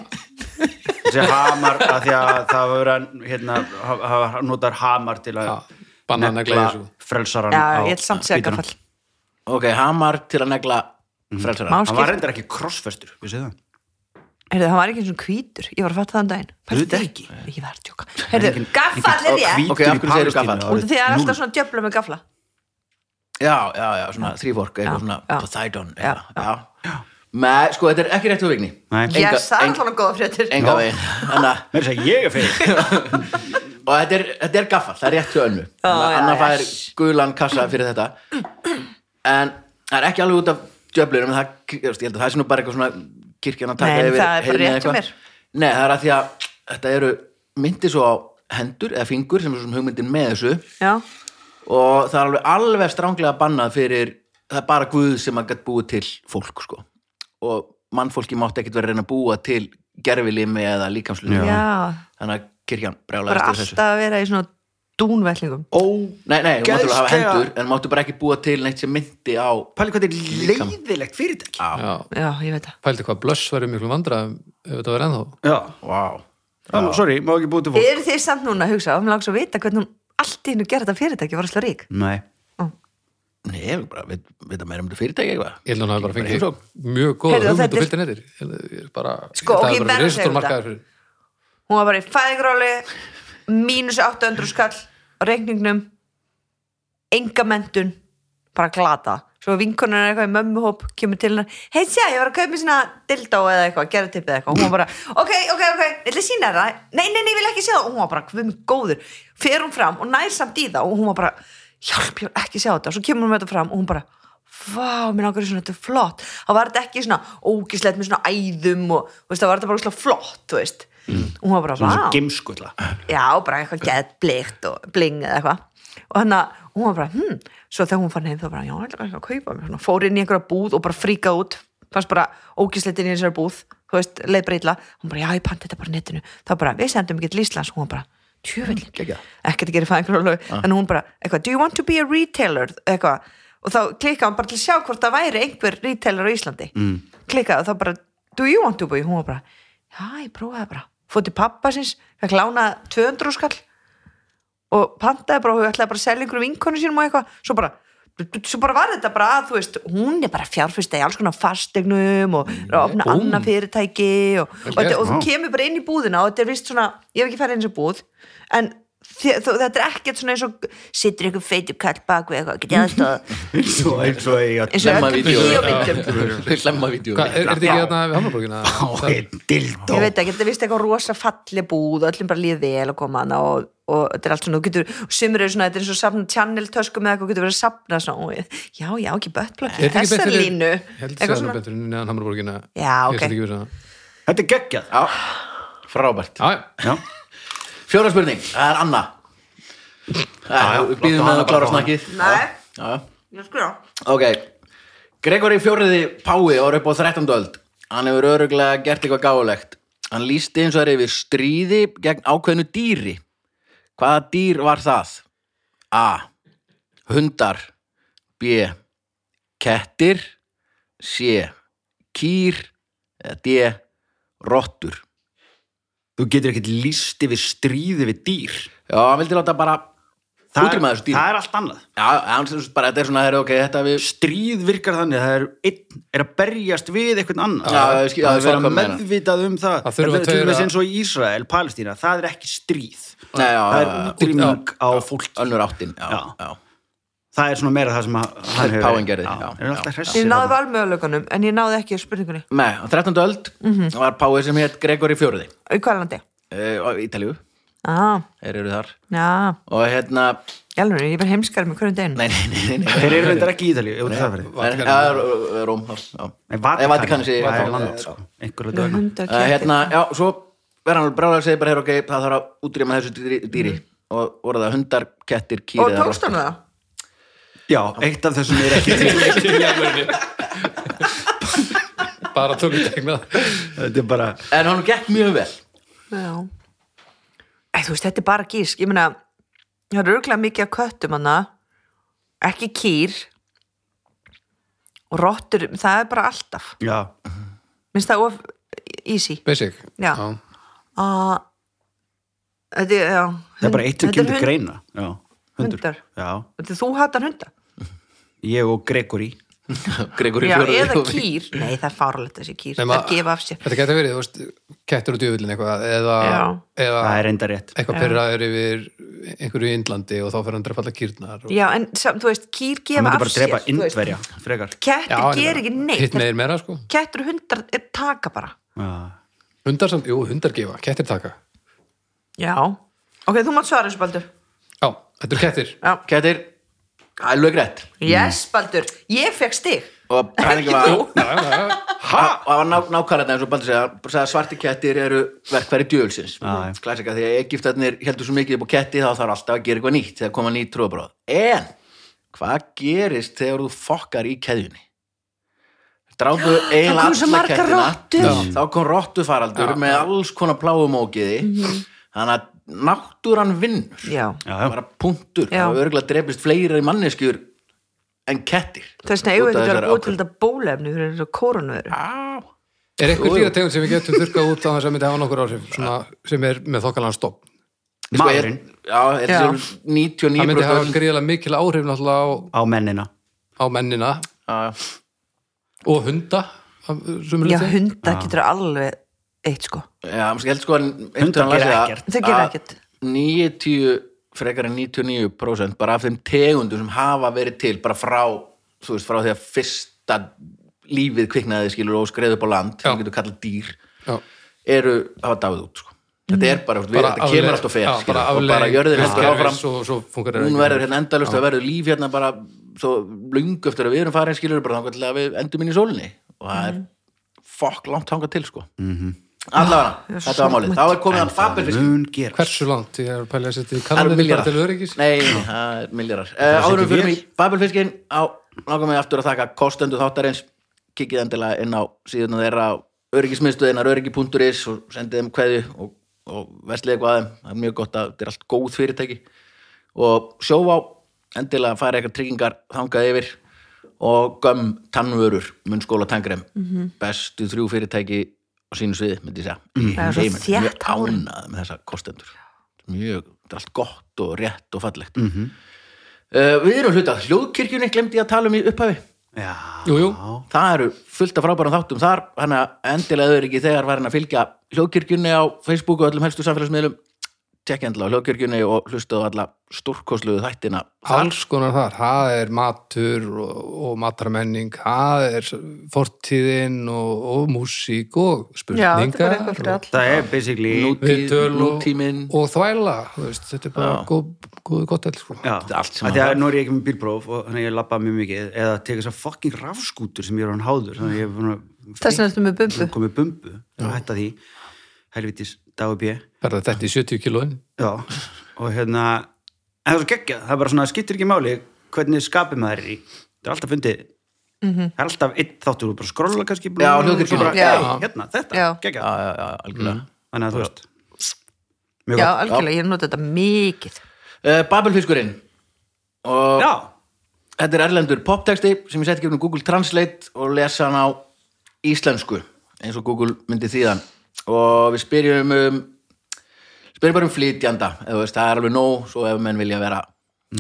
[SPEAKER 2] ætla að segja hamar að því að það var að hérna, hafa- hafa notar hamar til að
[SPEAKER 4] Já, banana glaze og-
[SPEAKER 2] frelsaran
[SPEAKER 3] Já,
[SPEAKER 2] á
[SPEAKER 3] ég ætla samt að segja
[SPEAKER 2] spýtunum.
[SPEAKER 3] gafall
[SPEAKER 1] Ok, hamar til að negla
[SPEAKER 2] Mhm.
[SPEAKER 1] frelsara
[SPEAKER 3] Má
[SPEAKER 2] Hann var
[SPEAKER 3] skipta
[SPEAKER 2] reyndar ekki krossfestur, við segja það
[SPEAKER 3] Heyrðu, hann var ekki eins og hvítur, ég var að fatta það um daginn
[SPEAKER 2] Auðvitað
[SPEAKER 3] Pældu í
[SPEAKER 2] ekki.
[SPEAKER 3] því. Ég var að djóka Heyrðu, gaffall er ég
[SPEAKER 1] Ok, af hverju segirðu gaffall?
[SPEAKER 3] Út af því að það er alltaf svona djöfla með gafla
[SPEAKER 1] Já, já, já, svona þrývork eitthvað svona
[SPEAKER 3] já.
[SPEAKER 1] Poseidon
[SPEAKER 3] Já,
[SPEAKER 1] eitthvað, já. Með, sko, þetta er ekki rétt hjá vigni
[SPEAKER 2] Nei,
[SPEAKER 1] Enga-
[SPEAKER 3] Yes, það er
[SPEAKER 1] enga-
[SPEAKER 3] svona góða fréttir
[SPEAKER 1] enga veginn Þannig að-
[SPEAKER 2] mér er að segja ég er
[SPEAKER 3] (laughs)
[SPEAKER 2] fyrir
[SPEAKER 1] og þetta er, þetta er gaffal, það er rétt hjá önnu
[SPEAKER 3] Já,
[SPEAKER 1] Þannig að
[SPEAKER 3] já,
[SPEAKER 1] Anna fær
[SPEAKER 3] yes.
[SPEAKER 1] gulan kassa fyrir þetta en það er ekki alveg út af djöflunum en það, ég veist, ég held að það er svona bara eitthvað svona kirkjan að taka
[SPEAKER 3] Nei,
[SPEAKER 1] yfir
[SPEAKER 3] það er bara
[SPEAKER 1] heiðni eða
[SPEAKER 3] rétt hjá
[SPEAKER 1] eitthvað.
[SPEAKER 3] mér.
[SPEAKER 1] Nei, það er að því að þetta eru myndir svo á hendur eða fingur sem er svona hugmyndin með þessu
[SPEAKER 3] Já,
[SPEAKER 1] og það er alveg alveg stránglega bannað fyrir það er bara guð sem að gætt búið til fólk sko. og mannfólki mátti ekkit vera að reyna að búa til gerfilimi eða líkamslunum
[SPEAKER 3] já
[SPEAKER 1] þannig að kirkjan brjálaðist
[SPEAKER 3] Bara
[SPEAKER 1] yfir
[SPEAKER 3] alltaf að vera í svona dúnvellingum
[SPEAKER 2] Ó,
[SPEAKER 1] Nei, nei, þú máttu alveg hafa
[SPEAKER 2] Geðslega-
[SPEAKER 1] hendur en máttu bara ekki búa til neitt sem myndi á
[SPEAKER 2] Palli hvað þetta er leiðilegt fyrirtæki
[SPEAKER 1] Já,
[SPEAKER 4] Já,
[SPEAKER 3] Já, ég veit það
[SPEAKER 4] pældi hvað blöss verið miklu vandræðum ef þetta verið ennþá
[SPEAKER 2] Já,
[SPEAKER 1] vá
[SPEAKER 2] Ó, sorry, má ekki búið til fólk
[SPEAKER 3] Eru þið samt núna að hugsa, og mér langs að vita hvernig hún allt í hennu gera þetta fyrirtæki var alltaf rík
[SPEAKER 2] Nei,
[SPEAKER 1] Nei, ég vil bara veit, veit að meira um þetta fyrirtæki eitthvað
[SPEAKER 4] Ég held að hann hafi bara fengið
[SPEAKER 1] Bara
[SPEAKER 4] mjög góða
[SPEAKER 3] Heyrðu,
[SPEAKER 4] hugmynd
[SPEAKER 3] þetta
[SPEAKER 4] og
[SPEAKER 3] er-
[SPEAKER 4] fylgdi netir Ég er bara,
[SPEAKER 3] Sko,
[SPEAKER 4] þetta
[SPEAKER 3] ok, ég verð að
[SPEAKER 4] hefur bara verið
[SPEAKER 3] segja
[SPEAKER 4] risastór
[SPEAKER 3] þetta.
[SPEAKER 4] markaður fyrir
[SPEAKER 3] Hún var bara í fæðingráli mínus 800 skall á reikningnum enga mentun bara glata svo vinkonan er eitthvað í mömmuhóp kemur til hennar, hei sjá, ég var að kaupa mér svona dildó eða eitthvað, gera tippið eitthvað og hún var bara, ok, ok, ok, ég ætla að sína þér það nei, nei, nei, ég vil ekki sjá það, og hún var bara, hvað mig góður fer hún fram og nær samt í það og hún var bara, hjálp, ég vil ekki sjá þetta og svo kemur hún með þetta fram og hún bara vá, mér langar í svona, þetta er flott þá var þetta ekki svona ógislegt með svona æðum og, þú veist, þá var þetta bara ógislega flott, þú veist og hún var bara,
[SPEAKER 2] Mm. svona
[SPEAKER 3] vá
[SPEAKER 2] sem gemskullar.
[SPEAKER 3] já, bara eitthvað gett blikt og bling eða eitthvað og hann að hún var bara, hm, svo þegar hún fann heim þá bara, já, ég ætla ekki að kaupa mér svona, fór inn í einhverja búð og bara fríkað út fannst bara ógíslegt inn í þessari búð þú veist, leið breytla, hún bara, já, ég panti þetta bara á netinu þá bara, við sendum ekki til Íslands hún var bara, tjöfellin,
[SPEAKER 1] geggjað.
[SPEAKER 3] ekkert að gera fæðingrólög, ah. en hún bara, eitthvað do you want to be a retailer, eitthvað og þá klikkaði hún bara til að sjá hvort það væri einhver retailer á Íslandi, mm. klikkaði og þá bara, do you want to be, hún var bara já, ég prófaði bara, fór til pappa sinns, fekk lána 200 skall og pantaði bara og hún ætlaði bara að selja einhverjum vinkonu sínum og eitthvað svo bara, svo bara var þetta bara að þú veist, hún er bara fjárfyrsta í alls konar fastegnum og er að opna annað fyrirtæki og, og,
[SPEAKER 4] Mm, Vel
[SPEAKER 3] þetta,
[SPEAKER 4] gert,
[SPEAKER 3] og þú
[SPEAKER 2] já.
[SPEAKER 3] kemur bara inn í búðina og þetta er vist svona, ég hef ekki færið eins og búð en þi- þú- þetta er ekkert svona eins og situr einhver feitur kall bak við eitthvað, getið aðstofa
[SPEAKER 2] Eins og eins og ég að
[SPEAKER 3] eins og
[SPEAKER 1] Lemma
[SPEAKER 3] öllum
[SPEAKER 1] vídeó.
[SPEAKER 3] bíómyndum
[SPEAKER 1] Slemma vídeo
[SPEAKER 4] Hvað, er, er þetta ekki hérna við
[SPEAKER 3] (laughs)
[SPEAKER 4] Hammarborgina?
[SPEAKER 2] Á einn dildó
[SPEAKER 3] ég veit ekki, þetta er vist eitthvað rosa falli búð og öllum bara líð vel að koma hana og, og þetta er allt svona, þú getur, og sumir eru svona þetta er eins og safna channel tösku með eitthvað, þú getur verið að safna svona, og, já, já, ekki bötblokki þessar línu,
[SPEAKER 4] Held
[SPEAKER 3] eitthvað
[SPEAKER 4] sér hann
[SPEAKER 3] svona
[SPEAKER 4] betur en neðan Hammarborgina
[SPEAKER 3] Já, ok.
[SPEAKER 4] Ég held ekki við svona
[SPEAKER 2] Þetta er geggjað
[SPEAKER 1] Já, frábært
[SPEAKER 3] (laughs)
[SPEAKER 4] Já, já,
[SPEAKER 2] Já,
[SPEAKER 1] Fjóra spurning, það er Anna
[SPEAKER 2] já,
[SPEAKER 1] Við
[SPEAKER 2] láttu
[SPEAKER 1] býðum með
[SPEAKER 2] hana
[SPEAKER 1] að
[SPEAKER 2] bara
[SPEAKER 1] klára
[SPEAKER 2] fá hana.
[SPEAKER 1] snakkið
[SPEAKER 3] Nei.
[SPEAKER 1] Já, já.
[SPEAKER 3] ég sko,
[SPEAKER 1] Ok, Gregory fjóriði Pái var upp á 13. öld Hann hefur öruglega gert eitthvað gáulegt Hann lísti eins og er yfir stríði gegn ákveðnu dýri Hvaða dýr var það? A. Hundar B. Kettir C. Kýr eða D. Rottur
[SPEAKER 2] þú getur ekkert líst yfir stríði við dýr
[SPEAKER 1] Já, hann vildi láta bara
[SPEAKER 2] Það,
[SPEAKER 1] út um að þessu dýri
[SPEAKER 2] það er allt annað
[SPEAKER 1] Já, hann sem sagt bara, þetta er svona, herri, ok, þetta við
[SPEAKER 2] Stríð virkar þannig, það er, einn, er að berjast við einhvern annan
[SPEAKER 1] Já, ég skil- já,
[SPEAKER 2] Það
[SPEAKER 1] ég
[SPEAKER 2] er vera
[SPEAKER 1] skil hvað meina.
[SPEAKER 2] meðvitað um það
[SPEAKER 4] Það þurfa
[SPEAKER 2] Þetta er til
[SPEAKER 4] tveir
[SPEAKER 2] dæmis
[SPEAKER 4] að-
[SPEAKER 2] eins og í Ísrael, Palestína Það er ekki stríð
[SPEAKER 1] Nei, já,
[SPEAKER 2] Það er
[SPEAKER 1] já, já.
[SPEAKER 2] útrýming á fólk
[SPEAKER 1] Önnur áttin, já,
[SPEAKER 2] Já.
[SPEAKER 1] já.
[SPEAKER 2] Það er svona meira það sem að- hann hefur
[SPEAKER 1] Páfinn gerði, já,
[SPEAKER 2] já, er
[SPEAKER 1] já.
[SPEAKER 2] alltaf
[SPEAKER 3] ég
[SPEAKER 2] hressir
[SPEAKER 3] náði
[SPEAKER 2] þarna.
[SPEAKER 3] valmöðuleikunum en ég náði ekki spurningunni,
[SPEAKER 1] Nei, á 13. öld var Pái sem hétt Gregory Fjóriði
[SPEAKER 3] í hvað landi
[SPEAKER 1] uh, Eh, Ítalíu
[SPEAKER 3] Já,
[SPEAKER 1] þeir eru þar
[SPEAKER 3] já,
[SPEAKER 1] og hérna,
[SPEAKER 3] í alveg, ég verð heimskar með hverjum deginu
[SPEAKER 1] nei, nei, nei, nei, nei.
[SPEAKER 2] Þeir eru reyndar ekki í Ítalíu, ef það verið.
[SPEAKER 1] En- ja, Ró- Róm þá, já.
[SPEAKER 2] Nei,
[SPEAKER 1] Nei, Vatikan,
[SPEAKER 2] Vatikan,
[SPEAKER 1] sé ég.
[SPEAKER 2] það
[SPEAKER 1] Já,
[SPEAKER 2] er landið, sko. Einhverju dagana.
[SPEAKER 1] Uh, hérna, já, svo verður hann bráðlega að segja bara, heyr, ok, það þarf að útrýma þessu dýri, dýri. og voru það hundar, kettir, kýri
[SPEAKER 3] Og tókst hann það?
[SPEAKER 2] Já, eitt af þessum er ekki til. (laughs)
[SPEAKER 4] bara tölutegna
[SPEAKER 2] Þetta er bara...
[SPEAKER 1] en hann gekk mjög vel
[SPEAKER 3] Já Æ, Þú veist, þetta er bara gísk Ég meina, það eru örgulega mikið að köttum hana Ekki kýr Og rottur Það er bara alltaf
[SPEAKER 2] Já,
[SPEAKER 3] Minnst það of easy
[SPEAKER 4] basic
[SPEAKER 3] Já. uh, Þetta er, já
[SPEAKER 2] það er bara eitt
[SPEAKER 3] þetta
[SPEAKER 2] sem
[SPEAKER 3] er
[SPEAKER 2] kemur til
[SPEAKER 3] hund-
[SPEAKER 2] greina. Já, hundur.
[SPEAKER 3] Hundar.
[SPEAKER 2] Já,
[SPEAKER 3] Þetta er- Þú hattar hunda
[SPEAKER 2] ég og Gregory.
[SPEAKER 1] (laughs) Gregory
[SPEAKER 3] Já,
[SPEAKER 1] fjórði
[SPEAKER 3] eða
[SPEAKER 1] kom í.
[SPEAKER 3] kýr Nei, það er fáralegt þessi kýr
[SPEAKER 4] Nema-
[SPEAKER 3] Það gefa af sér
[SPEAKER 4] þetta getur verið, þú veist, kettur og djöfullin eitthvað eða, eða
[SPEAKER 2] Það er enda rétt.
[SPEAKER 4] eitthvað pyrraður yfir einhverju í Indlandi og þá fyrir hann að drepa allar kýrnar og...
[SPEAKER 3] Já, en sam, þú veist, kýr
[SPEAKER 2] Það
[SPEAKER 3] gefa
[SPEAKER 2] myndi
[SPEAKER 3] af
[SPEAKER 2] bara
[SPEAKER 3] sér
[SPEAKER 2] drepa
[SPEAKER 3] þú veist.
[SPEAKER 2] indverja, frekar.
[SPEAKER 4] Já,
[SPEAKER 3] Kettir
[SPEAKER 4] en
[SPEAKER 3] ger ekki neitt
[SPEAKER 4] hitt með þeir meira sko
[SPEAKER 3] Kettur og hundar er taka bara
[SPEAKER 2] Já.
[SPEAKER 4] hundar samt, jú, hundar gefa, kettir taka
[SPEAKER 3] Já Ok, þú mátt svara þessu Baldur
[SPEAKER 4] já, þetta eru kettir
[SPEAKER 1] kettir, alveg greitt
[SPEAKER 3] Yes Baldur, ég fekk stig
[SPEAKER 1] og pælingi
[SPEAKER 3] Ekki
[SPEAKER 1] var
[SPEAKER 3] þú
[SPEAKER 4] já, já, já.
[SPEAKER 1] og það var ná- nákvæmlega eins og Baldur segja, bara segja að svarti kettir eru verkfæri djöfulsins
[SPEAKER 2] Já, já.
[SPEAKER 1] klassika því að Egiptarnir heldur svo mikið upp á ketti þá þarf alltaf að gera eitthvað nýtt þegar koma nýtt tróðbróð en hvað gerist þegar þú fokkar í keðjunni
[SPEAKER 3] (gasps)
[SPEAKER 1] dráðu eiginlega
[SPEAKER 3] komu svo
[SPEAKER 1] alla
[SPEAKER 3] margar
[SPEAKER 1] kettina
[SPEAKER 3] rottur.
[SPEAKER 1] Já. þá kom rottufaraldur með alls konar pláum ógiði
[SPEAKER 3] Mhm.
[SPEAKER 1] þannig að náttúran vinnur
[SPEAKER 3] Já,
[SPEAKER 2] Já, já.
[SPEAKER 1] bara punktur,
[SPEAKER 3] Já.
[SPEAKER 1] það var örgulega drefist fleiri manneskjur en kettir
[SPEAKER 3] þess vegna eigum
[SPEAKER 1] Út
[SPEAKER 3] við
[SPEAKER 1] af
[SPEAKER 3] ekki að
[SPEAKER 1] þessari
[SPEAKER 3] búið til
[SPEAKER 1] ákvörðun.
[SPEAKER 3] þetta bólefni fyrir þessu koronaviru
[SPEAKER 1] Á.
[SPEAKER 4] er einhver
[SPEAKER 1] Jú, jú.
[SPEAKER 4] dýrategund sem við getum þurkað út á þess að myndi hafa nokkur áhrif svona, sem er með þokkalann stopp
[SPEAKER 1] Sko, ég-
[SPEAKER 2] Maðurinn
[SPEAKER 1] Já, þetta
[SPEAKER 3] Já.
[SPEAKER 1] eru
[SPEAKER 4] það
[SPEAKER 1] 99
[SPEAKER 4] myndi hafa
[SPEAKER 1] brúst
[SPEAKER 4] gríðarlega mikil áhrif náttúrulega á,
[SPEAKER 2] á mennina.
[SPEAKER 4] á mennina og hunda sem
[SPEAKER 3] Já, hunda getur alveg eitt sko
[SPEAKER 1] Já, ég held sko að
[SPEAKER 2] Hundar gera ekkert.
[SPEAKER 3] Þau
[SPEAKER 1] Ah.
[SPEAKER 3] gera ekkert.
[SPEAKER 1] 90, frekar en 99% bara af þeim tegundum sem hafa verið til bara frá, þú veist, frá því að fyrsta lífið kviknaði skilur og skreið upp á land,
[SPEAKER 4] Já.
[SPEAKER 1] sem getur kallað dýr
[SPEAKER 4] Já.
[SPEAKER 1] eru, hafa dáið út sko.
[SPEAKER 3] Mhm.
[SPEAKER 1] þetta er bara, við, þetta
[SPEAKER 4] afleið-
[SPEAKER 1] kemur allt og fer
[SPEAKER 4] já,
[SPEAKER 1] skilur,
[SPEAKER 4] bara
[SPEAKER 1] og bara
[SPEAKER 4] afleið
[SPEAKER 1] jörðin heldur
[SPEAKER 4] vistkerfis
[SPEAKER 1] áfram
[SPEAKER 4] og svo funkar
[SPEAKER 1] hún verður hérna endalust það verður líf hérna bara svo lungu eftir að við erum farin skilur bara þangar til að við endum inn í sólinni og það er fokk langt hangað til sko mm
[SPEAKER 4] Mhm.
[SPEAKER 1] -hmm. allavega, þetta var málið þá er komið hann fabelfisk
[SPEAKER 2] Mun gera.
[SPEAKER 4] hversu langt ég er að pæla að
[SPEAKER 1] það
[SPEAKER 4] setja í
[SPEAKER 1] eru
[SPEAKER 4] kanalinn um bara til
[SPEAKER 1] milljarar
[SPEAKER 4] öryggis
[SPEAKER 1] nei, nei, það er milljarar uh, áður en við fyrir í fabelfiskin á langar mig aftur að þakka kostendu þáttarins kikið endilega inn á síðuna þeirra öryggismiðstöðinar öryggi.is og sendið þeim kveðju og, og vesliði hvað þeim það er mjög gott að þetta er allt góð fyrirtæki og sjóvá endilega færa eitthvað tryggingar þangað yfir og göm tannvörur munnskóla tangrem
[SPEAKER 3] Mhm.
[SPEAKER 1] bestu þrjú fyrirtæki á sínu sviði myndi ég segja í
[SPEAKER 3] Það er svo
[SPEAKER 1] heiminum.
[SPEAKER 3] þétt
[SPEAKER 1] mjög
[SPEAKER 3] hárin.
[SPEAKER 1] ánað með þessa kostendur mjög, þetta er allt gott og rétt og fallegt uh, við erum hluta hljóðkirkjunni glemdi ég að tala um í upphafi
[SPEAKER 2] Já.
[SPEAKER 4] Jú, jú.
[SPEAKER 1] það eru fullt af frábærum þáttum þar þannig að endilega þau eru ekki þegar varin að fylgja hljóðkirkjunni á Facebook og öllum helstu samfélagsmiðlum tekja endilega á hljóðkirkjunni og hlustaðu á alla stórkosluðu þættina
[SPEAKER 4] alls konar þar, það er matur og, og matarmenning það er fortíðin og, og músík og
[SPEAKER 3] Já, þetta er bara eitthvað
[SPEAKER 4] spurningar
[SPEAKER 3] fyrir
[SPEAKER 4] og
[SPEAKER 3] alla
[SPEAKER 2] Það er basically...
[SPEAKER 4] viðtöl og,
[SPEAKER 1] nútímin
[SPEAKER 4] og þvæla þú veist, þetta er bara góð, góð gott all, sko.
[SPEAKER 2] Já,
[SPEAKER 1] Þetta er allt sem
[SPEAKER 2] af því
[SPEAKER 1] hann
[SPEAKER 2] að
[SPEAKER 1] þarf.
[SPEAKER 2] nú er ég ekki með bílpróf og þannig að ég labba mjög mikið eða teka þess að fucking rafskútur sem ég er hann háður þannig að ég er búin að
[SPEAKER 3] Þess vegna ertu með bumbu.
[SPEAKER 2] komið bumbu og hætta því helvitis dagur bjö
[SPEAKER 4] verða þetta í 70 kílóin
[SPEAKER 2] já og hérna en það er svo geggjað það er bara svona skiptir ekki máli hvernig skapið maður er í það er alltaf fundið það er alltaf einn þáttur og bara skrolla kannski blú,
[SPEAKER 1] Já,
[SPEAKER 2] og svo
[SPEAKER 1] hljóðkirkjunni.
[SPEAKER 2] bara,
[SPEAKER 3] Já.
[SPEAKER 2] "Hey, hérna þetta
[SPEAKER 3] Já.
[SPEAKER 1] já,
[SPEAKER 2] geggjað
[SPEAKER 1] já, já, algjörlega
[SPEAKER 2] þannig að þú veist
[SPEAKER 3] Já,
[SPEAKER 2] mjög gott
[SPEAKER 3] algjörlega, ég nota þetta mikið
[SPEAKER 1] uh, Babelfiskurinn og
[SPEAKER 2] já
[SPEAKER 1] þetta er erlendur poptexti sem ég sett gefnum Google Translate og lesa hann á íslensku eins og Google myndi þýðan og við spyrjum um spyrjum bara um flytjanda eða veist, það er alveg nóg svo ef menn vilja vera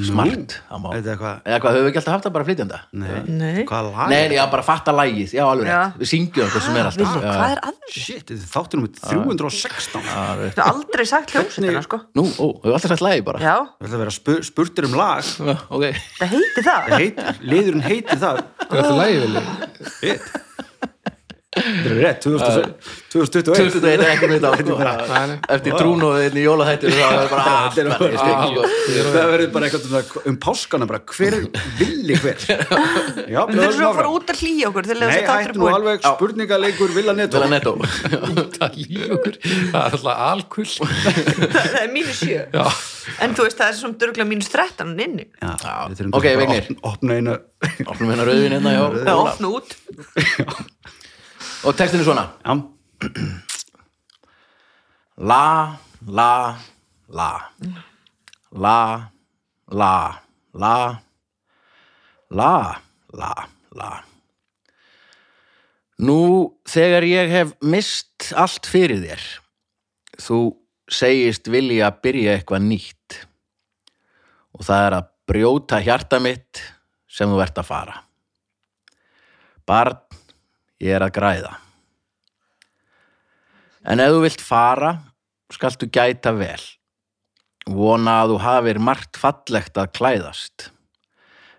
[SPEAKER 1] smart þá má-
[SPEAKER 2] Þetta er eitthvað-
[SPEAKER 1] eða hvað, höfum við ekki alltaf haft það bara flytjanda
[SPEAKER 2] nei,
[SPEAKER 3] Nei.
[SPEAKER 2] hvað lag
[SPEAKER 1] nei, já, bara fatta lagið, já alveg
[SPEAKER 3] Já.
[SPEAKER 1] rétt við syngjum okkur sem er
[SPEAKER 3] Villi,
[SPEAKER 1] alltaf
[SPEAKER 3] Ah, hvað er að?
[SPEAKER 2] shit, þetta er þáttur nummer 316
[SPEAKER 1] Já, við-
[SPEAKER 3] Þú hefur aldrei sagt hljómsveitina sko
[SPEAKER 1] nú, ó, höfum við alltaf sett lagið bara
[SPEAKER 3] Já,
[SPEAKER 2] Það ætla að vera spur, spurtir um lag
[SPEAKER 1] Já, ok
[SPEAKER 3] það heiti það
[SPEAKER 2] Það heitir, liðurinn heitir það
[SPEAKER 4] er þetta lægi vel
[SPEAKER 2] Shit. Þetta er rétt, 2021
[SPEAKER 1] þetta
[SPEAKER 3] (laughs)
[SPEAKER 1] er ekki mitt áttu sko. eftir trún og einni jólahættir þá er bara allt
[SPEAKER 3] sko.
[SPEAKER 1] sko. verið
[SPEAKER 2] Þetta er-
[SPEAKER 1] stengi og-
[SPEAKER 2] Það verður bara eitthvað um það- um páskana bara, hver er villi hver Já,
[SPEAKER 3] Þú þurfum svo að fara
[SPEAKER 2] áfram.
[SPEAKER 3] út að hlýja okkur til þess
[SPEAKER 2] Nei,
[SPEAKER 3] að það er
[SPEAKER 2] hættu nú
[SPEAKER 3] búin
[SPEAKER 2] alveg spurningaleikur Villa Neto
[SPEAKER 1] Vela Netto
[SPEAKER 4] það líf okkur það er alltaf alkull
[SPEAKER 3] (laughs) Það er mínus sjö
[SPEAKER 4] já,
[SPEAKER 3] En þú veist það er svona dörgla mínus 13 hann inni
[SPEAKER 2] Já,
[SPEAKER 1] Já.
[SPEAKER 2] við þurfum
[SPEAKER 1] Ok,
[SPEAKER 2] bara að
[SPEAKER 1] Vignir.
[SPEAKER 2] opna- Opna einu
[SPEAKER 1] Opnum hérna rauðin hérna já.
[SPEAKER 3] Það er ofn út
[SPEAKER 1] Og textin er svona
[SPEAKER 2] Já,
[SPEAKER 1] La, la, la La, la, la La, la, la Nú þegar ég hef mist allt fyrir þér Þú segist vilja byrja eitthvað nýtt Og það er að brjóta hjarta mitt sem þú ert að fara Barn, ég er að græða En ef þú vilt fara, skaltu gæta vel. Vona að þú hafir margt fallegt að klæðast.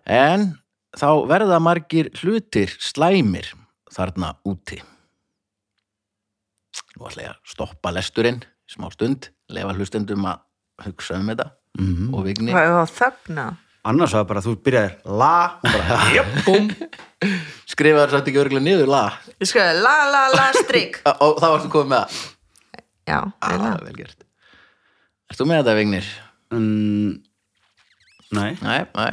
[SPEAKER 1] En þá verða margir hlutir slæmir þarna úti. Nú ætla ég að stoppa lesturinn í smá stund, lefa hlustendum að hugsa um þetta og vigni.
[SPEAKER 3] Það er þögna
[SPEAKER 2] annars var bara að þú byrjaðir la, hún bara, jöp
[SPEAKER 4] búm
[SPEAKER 1] Skrifa þér satt ekki örgulega niður lag
[SPEAKER 3] Ég skrifaði la la la (laughs) strik
[SPEAKER 1] og þá varstu komið með það.
[SPEAKER 3] Já,
[SPEAKER 1] Ah,
[SPEAKER 3] eiginlega.
[SPEAKER 1] vel gert. Ertu með þetta, Vignir?
[SPEAKER 2] Mm, Nei
[SPEAKER 1] Nei, nei.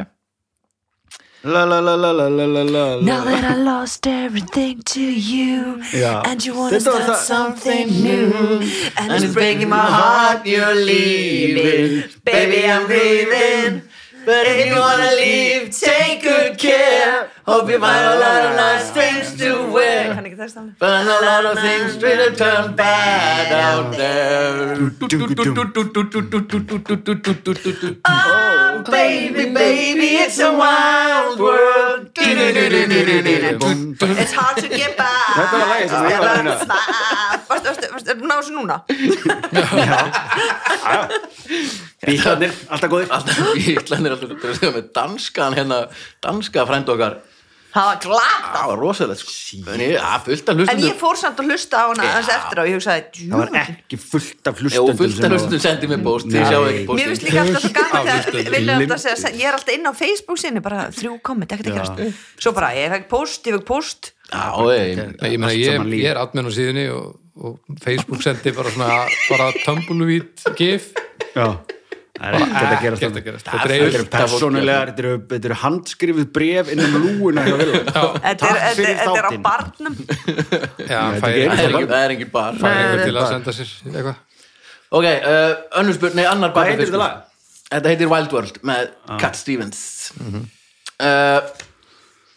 [SPEAKER 2] La la la la la la la la
[SPEAKER 5] Now that I lost everything to you,
[SPEAKER 2] Yeah.
[SPEAKER 5] and you want to
[SPEAKER 2] Þetta var
[SPEAKER 5] start
[SPEAKER 2] það-
[SPEAKER 5] something
[SPEAKER 3] Mm.
[SPEAKER 5] new, and,
[SPEAKER 1] And
[SPEAKER 5] it's breaking my heart.
[SPEAKER 1] heart you're leaving Baby I'm grieving But if you wanna leave Take good care Hope you find a lot of nice things to
[SPEAKER 3] Ég
[SPEAKER 1] wear
[SPEAKER 3] kann ekki þess að
[SPEAKER 1] But a lot of things will turn bad out there Oh baby, baby, it's a wild world
[SPEAKER 3] It's hard to get back
[SPEAKER 2] Þetta var lagið sem ég var að reyna.
[SPEAKER 3] Varstu, varstu, varstu, er náðu þessu núna?
[SPEAKER 2] Bílarnir, alltaf góðir
[SPEAKER 1] Ítlendir alltaf þegar við séum með danskan hérna, danska frænd okkar
[SPEAKER 3] Það var glatt
[SPEAKER 1] það var rosalegt sko en ég, að fullt af
[SPEAKER 3] En ég
[SPEAKER 1] hlustundur
[SPEAKER 3] fór samt að hlusta á hana
[SPEAKER 1] Já.
[SPEAKER 3] aðeins eftir á og ég hugsaði,
[SPEAKER 2] Það var
[SPEAKER 3] djú
[SPEAKER 2] ekki fullt af
[SPEAKER 1] og
[SPEAKER 2] hlustendum
[SPEAKER 1] fullt
[SPEAKER 2] sem
[SPEAKER 1] af
[SPEAKER 2] var-
[SPEAKER 1] hlustundur sendið mér bóst þið
[SPEAKER 2] Nei.
[SPEAKER 1] sjáu ekki
[SPEAKER 3] Mér finnst
[SPEAKER 1] bóstin
[SPEAKER 3] líka alltaf svo gaman
[SPEAKER 4] Fullt af
[SPEAKER 3] þegar Vilja alltaf að segja,
[SPEAKER 2] listum.
[SPEAKER 3] ég er alltaf inn á Facebook sinni bara þrjú komment, ekkert ekki Svo bara, ég fekk post, ég fekk post
[SPEAKER 1] á, ég,
[SPEAKER 4] Nei, ég, meina,
[SPEAKER 2] Allt
[SPEAKER 4] ég,
[SPEAKER 2] saman líf.
[SPEAKER 4] ég er admin á síðunni og, og Facebook sendi bara svona bara tumbleweed gif
[SPEAKER 2] Já, það er ekkert að gera
[SPEAKER 4] Ekkert að
[SPEAKER 2] þetta
[SPEAKER 4] gerast.
[SPEAKER 1] Það er
[SPEAKER 4] þetta er
[SPEAKER 2] Þetta
[SPEAKER 4] eiginlega
[SPEAKER 2] eru persónulegar, þetta eru- þetta eru handskrifuð bref innan lúuna um hjá Villa.
[SPEAKER 3] Þetta er-
[SPEAKER 2] Takk
[SPEAKER 3] þetta
[SPEAKER 2] fyrir
[SPEAKER 3] er- þetta er á
[SPEAKER 2] þáttinn.
[SPEAKER 3] barnum
[SPEAKER 4] já, hann
[SPEAKER 2] Þetta er
[SPEAKER 4] fær
[SPEAKER 1] það er engin-
[SPEAKER 4] einhver
[SPEAKER 1] það er engin bar
[SPEAKER 4] til að senda sér eitthvað
[SPEAKER 1] ok, uh, önnur spurning, nei, annar
[SPEAKER 2] Hvað
[SPEAKER 1] Barbie
[SPEAKER 2] heitir þetta
[SPEAKER 1] fiskur.
[SPEAKER 2] lag?
[SPEAKER 1] þetta heitir Wild World með Cat Stevens Mhm. uh,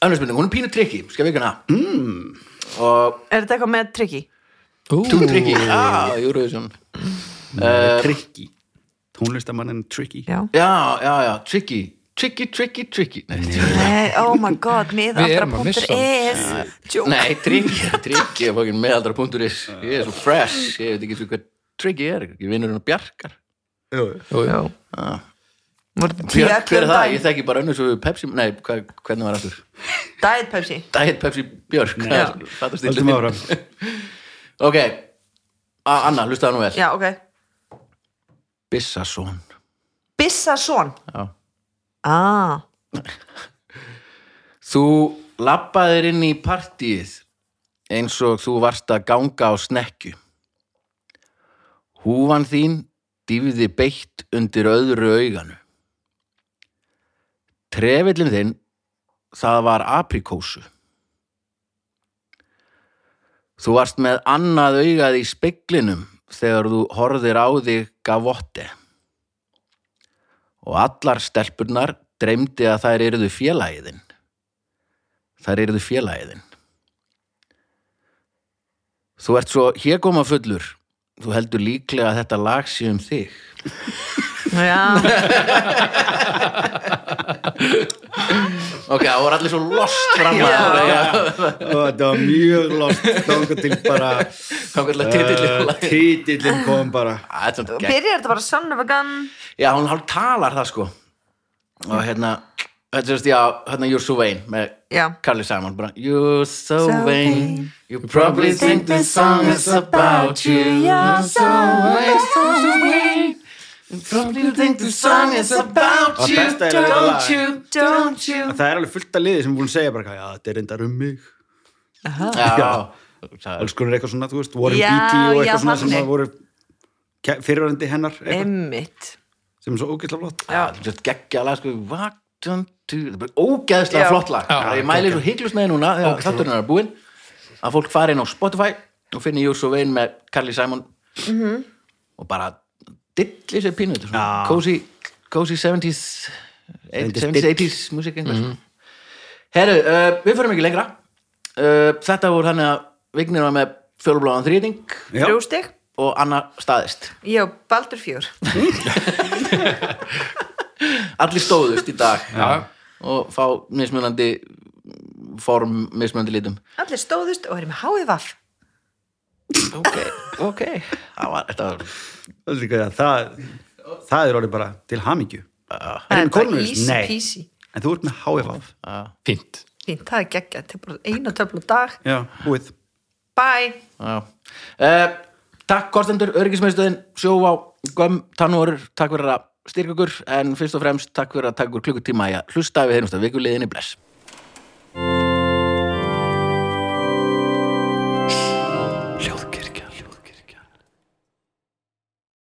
[SPEAKER 1] önnur spurning, hún er pínu trikki skal við ekki hana mm. og
[SPEAKER 3] Er þetta eitthvað með trikki?
[SPEAKER 1] tún trikki já, Ah, Eurovision uh,
[SPEAKER 2] Tricky Tónlistamannin Tricky
[SPEAKER 3] Eh, Já
[SPEAKER 1] já, já, já, tricky tricky, tricky, tricky nei,
[SPEAKER 3] Nei, oh my god,
[SPEAKER 4] Við erum að
[SPEAKER 3] miðaldra.is
[SPEAKER 4] missa
[SPEAKER 3] Joke.
[SPEAKER 1] Nei, tryggi, tryggi er fokkin meðaldra.is Ég er svo fresh, ég veit ekki svo hvað tryggi er Ég vinnur hennar bjarkar
[SPEAKER 4] já,
[SPEAKER 3] Voru
[SPEAKER 1] Björk, Hver er
[SPEAKER 3] allan
[SPEAKER 1] það?
[SPEAKER 3] daginn.
[SPEAKER 1] Ég þekki bara önnur svo Pepsi Nei, hva, hvernig var aftur?
[SPEAKER 3] Diet Pepsi
[SPEAKER 1] Diet Pepsi Björk það er- það er
[SPEAKER 2] Haldum
[SPEAKER 1] stíllinn.
[SPEAKER 2] áfram
[SPEAKER 1] Ok, A, Anna, hlusta það nú vel
[SPEAKER 3] Já, ok
[SPEAKER 1] Bissason
[SPEAKER 3] Bissason
[SPEAKER 1] Já.
[SPEAKER 3] ah.
[SPEAKER 1] Þú lappaðir inn í partíið eins og þú varst að ganga á snekju. Húfan þín dýfði beitt undir öðru auganu. Trefillin þinn, það var aprikósu. Þú varst með annað augað í speglinum þegar þú horfðir á þig gavotte. Og allar stelpurnar dreymdi að þær eruðu félagiðinn. Þær eruðu félagiðinn. Þú ert svo hégóma fullur. Þú heldur líklega að þetta lag sé um þig.
[SPEAKER 3] Já,
[SPEAKER 1] Ok, það voru allir svo lost fram
[SPEAKER 3] Já.
[SPEAKER 2] Og Þetta var mjög lost Þanga til bara
[SPEAKER 1] Þangað til titillinn á
[SPEAKER 2] Eh,
[SPEAKER 1] laginu.
[SPEAKER 2] Titillinn kom bara
[SPEAKER 1] Það er svona gegn.
[SPEAKER 3] byrjar þetta bara Son of a Gun
[SPEAKER 1] Já, hún hálf talar það sko. Og hérna, Þetta er já, hérna You're So Vain með
[SPEAKER 3] já,
[SPEAKER 1] Carly Simon bara, You're so,
[SPEAKER 3] So
[SPEAKER 1] vain
[SPEAKER 3] vain.
[SPEAKER 1] You probably think this song is about you You're so vain, so vain You probably think this song is about
[SPEAKER 2] Það
[SPEAKER 1] you
[SPEAKER 2] besta er þetta lag.
[SPEAKER 1] Don't you, don't you
[SPEAKER 2] En Það er alveg fullt af liði sem búin að segja bara eitthvað, já, þetta er reyndar um mig.
[SPEAKER 1] Já, það er
[SPEAKER 2] Alls konar eitthvað svona, þú veist, Warren
[SPEAKER 3] Já,
[SPEAKER 2] Beatty og eitthvað
[SPEAKER 3] já,
[SPEAKER 2] svona sem
[SPEAKER 3] þannig.
[SPEAKER 2] það voru ke- fyrirverandi hennar, eitthvað,
[SPEAKER 3] einmitt
[SPEAKER 2] sem er svo ógætla flott.
[SPEAKER 3] já,
[SPEAKER 1] Þetta geggja lag sko What don't you Það er bara ógeðslega
[SPEAKER 3] Já.
[SPEAKER 1] flott lag
[SPEAKER 4] Já,
[SPEAKER 1] Ég mæli svo hygglust með því núna þegar þátturinn er búinn að fólk fari inn á Spotify og finni You're So Vain með Carly Simon og bara dilli sér pínu þetta er svona
[SPEAKER 2] Já.
[SPEAKER 1] cozy, cozy 70s
[SPEAKER 2] 70s
[SPEAKER 1] 70s, 80s músík mm -hmm. Herru, uh, við förum ekki lengra uh, Þetta voru þannig að Vignir var með fjólubláðan þrýting
[SPEAKER 2] Já.
[SPEAKER 3] þrjú stig
[SPEAKER 1] og annar staðist
[SPEAKER 3] já, baldur fjör
[SPEAKER 1] Allir stóðust í (laughs) dag
[SPEAKER 4] Já.
[SPEAKER 1] og fá mismunandi form, mismunandi litum
[SPEAKER 3] allir stóðust og erum háið vaff
[SPEAKER 1] ok, ok það var, þetta var
[SPEAKER 2] Það er líka það, það er orðið bara til hamingju.
[SPEAKER 1] uh,
[SPEAKER 2] Er
[SPEAKER 3] það er
[SPEAKER 2] hún
[SPEAKER 3] bara
[SPEAKER 2] kólunavirus?
[SPEAKER 3] easy
[SPEAKER 2] Nei.
[SPEAKER 3] peasy
[SPEAKER 2] En þú ert með HFF.
[SPEAKER 4] fínt
[SPEAKER 3] Fínt, það er geggja, þetta er bara einu töflu á dag
[SPEAKER 2] Já, búið.
[SPEAKER 3] bye,
[SPEAKER 1] uh, takk Kostendur, öryggismiðstöðin sjóvá, göm, tannúarur takk fyrir að styrka okkur en fyrst og fremst takk fyrir að taka okkur klukkutíma í að hlusta við heyrumst að vikuliðinni bless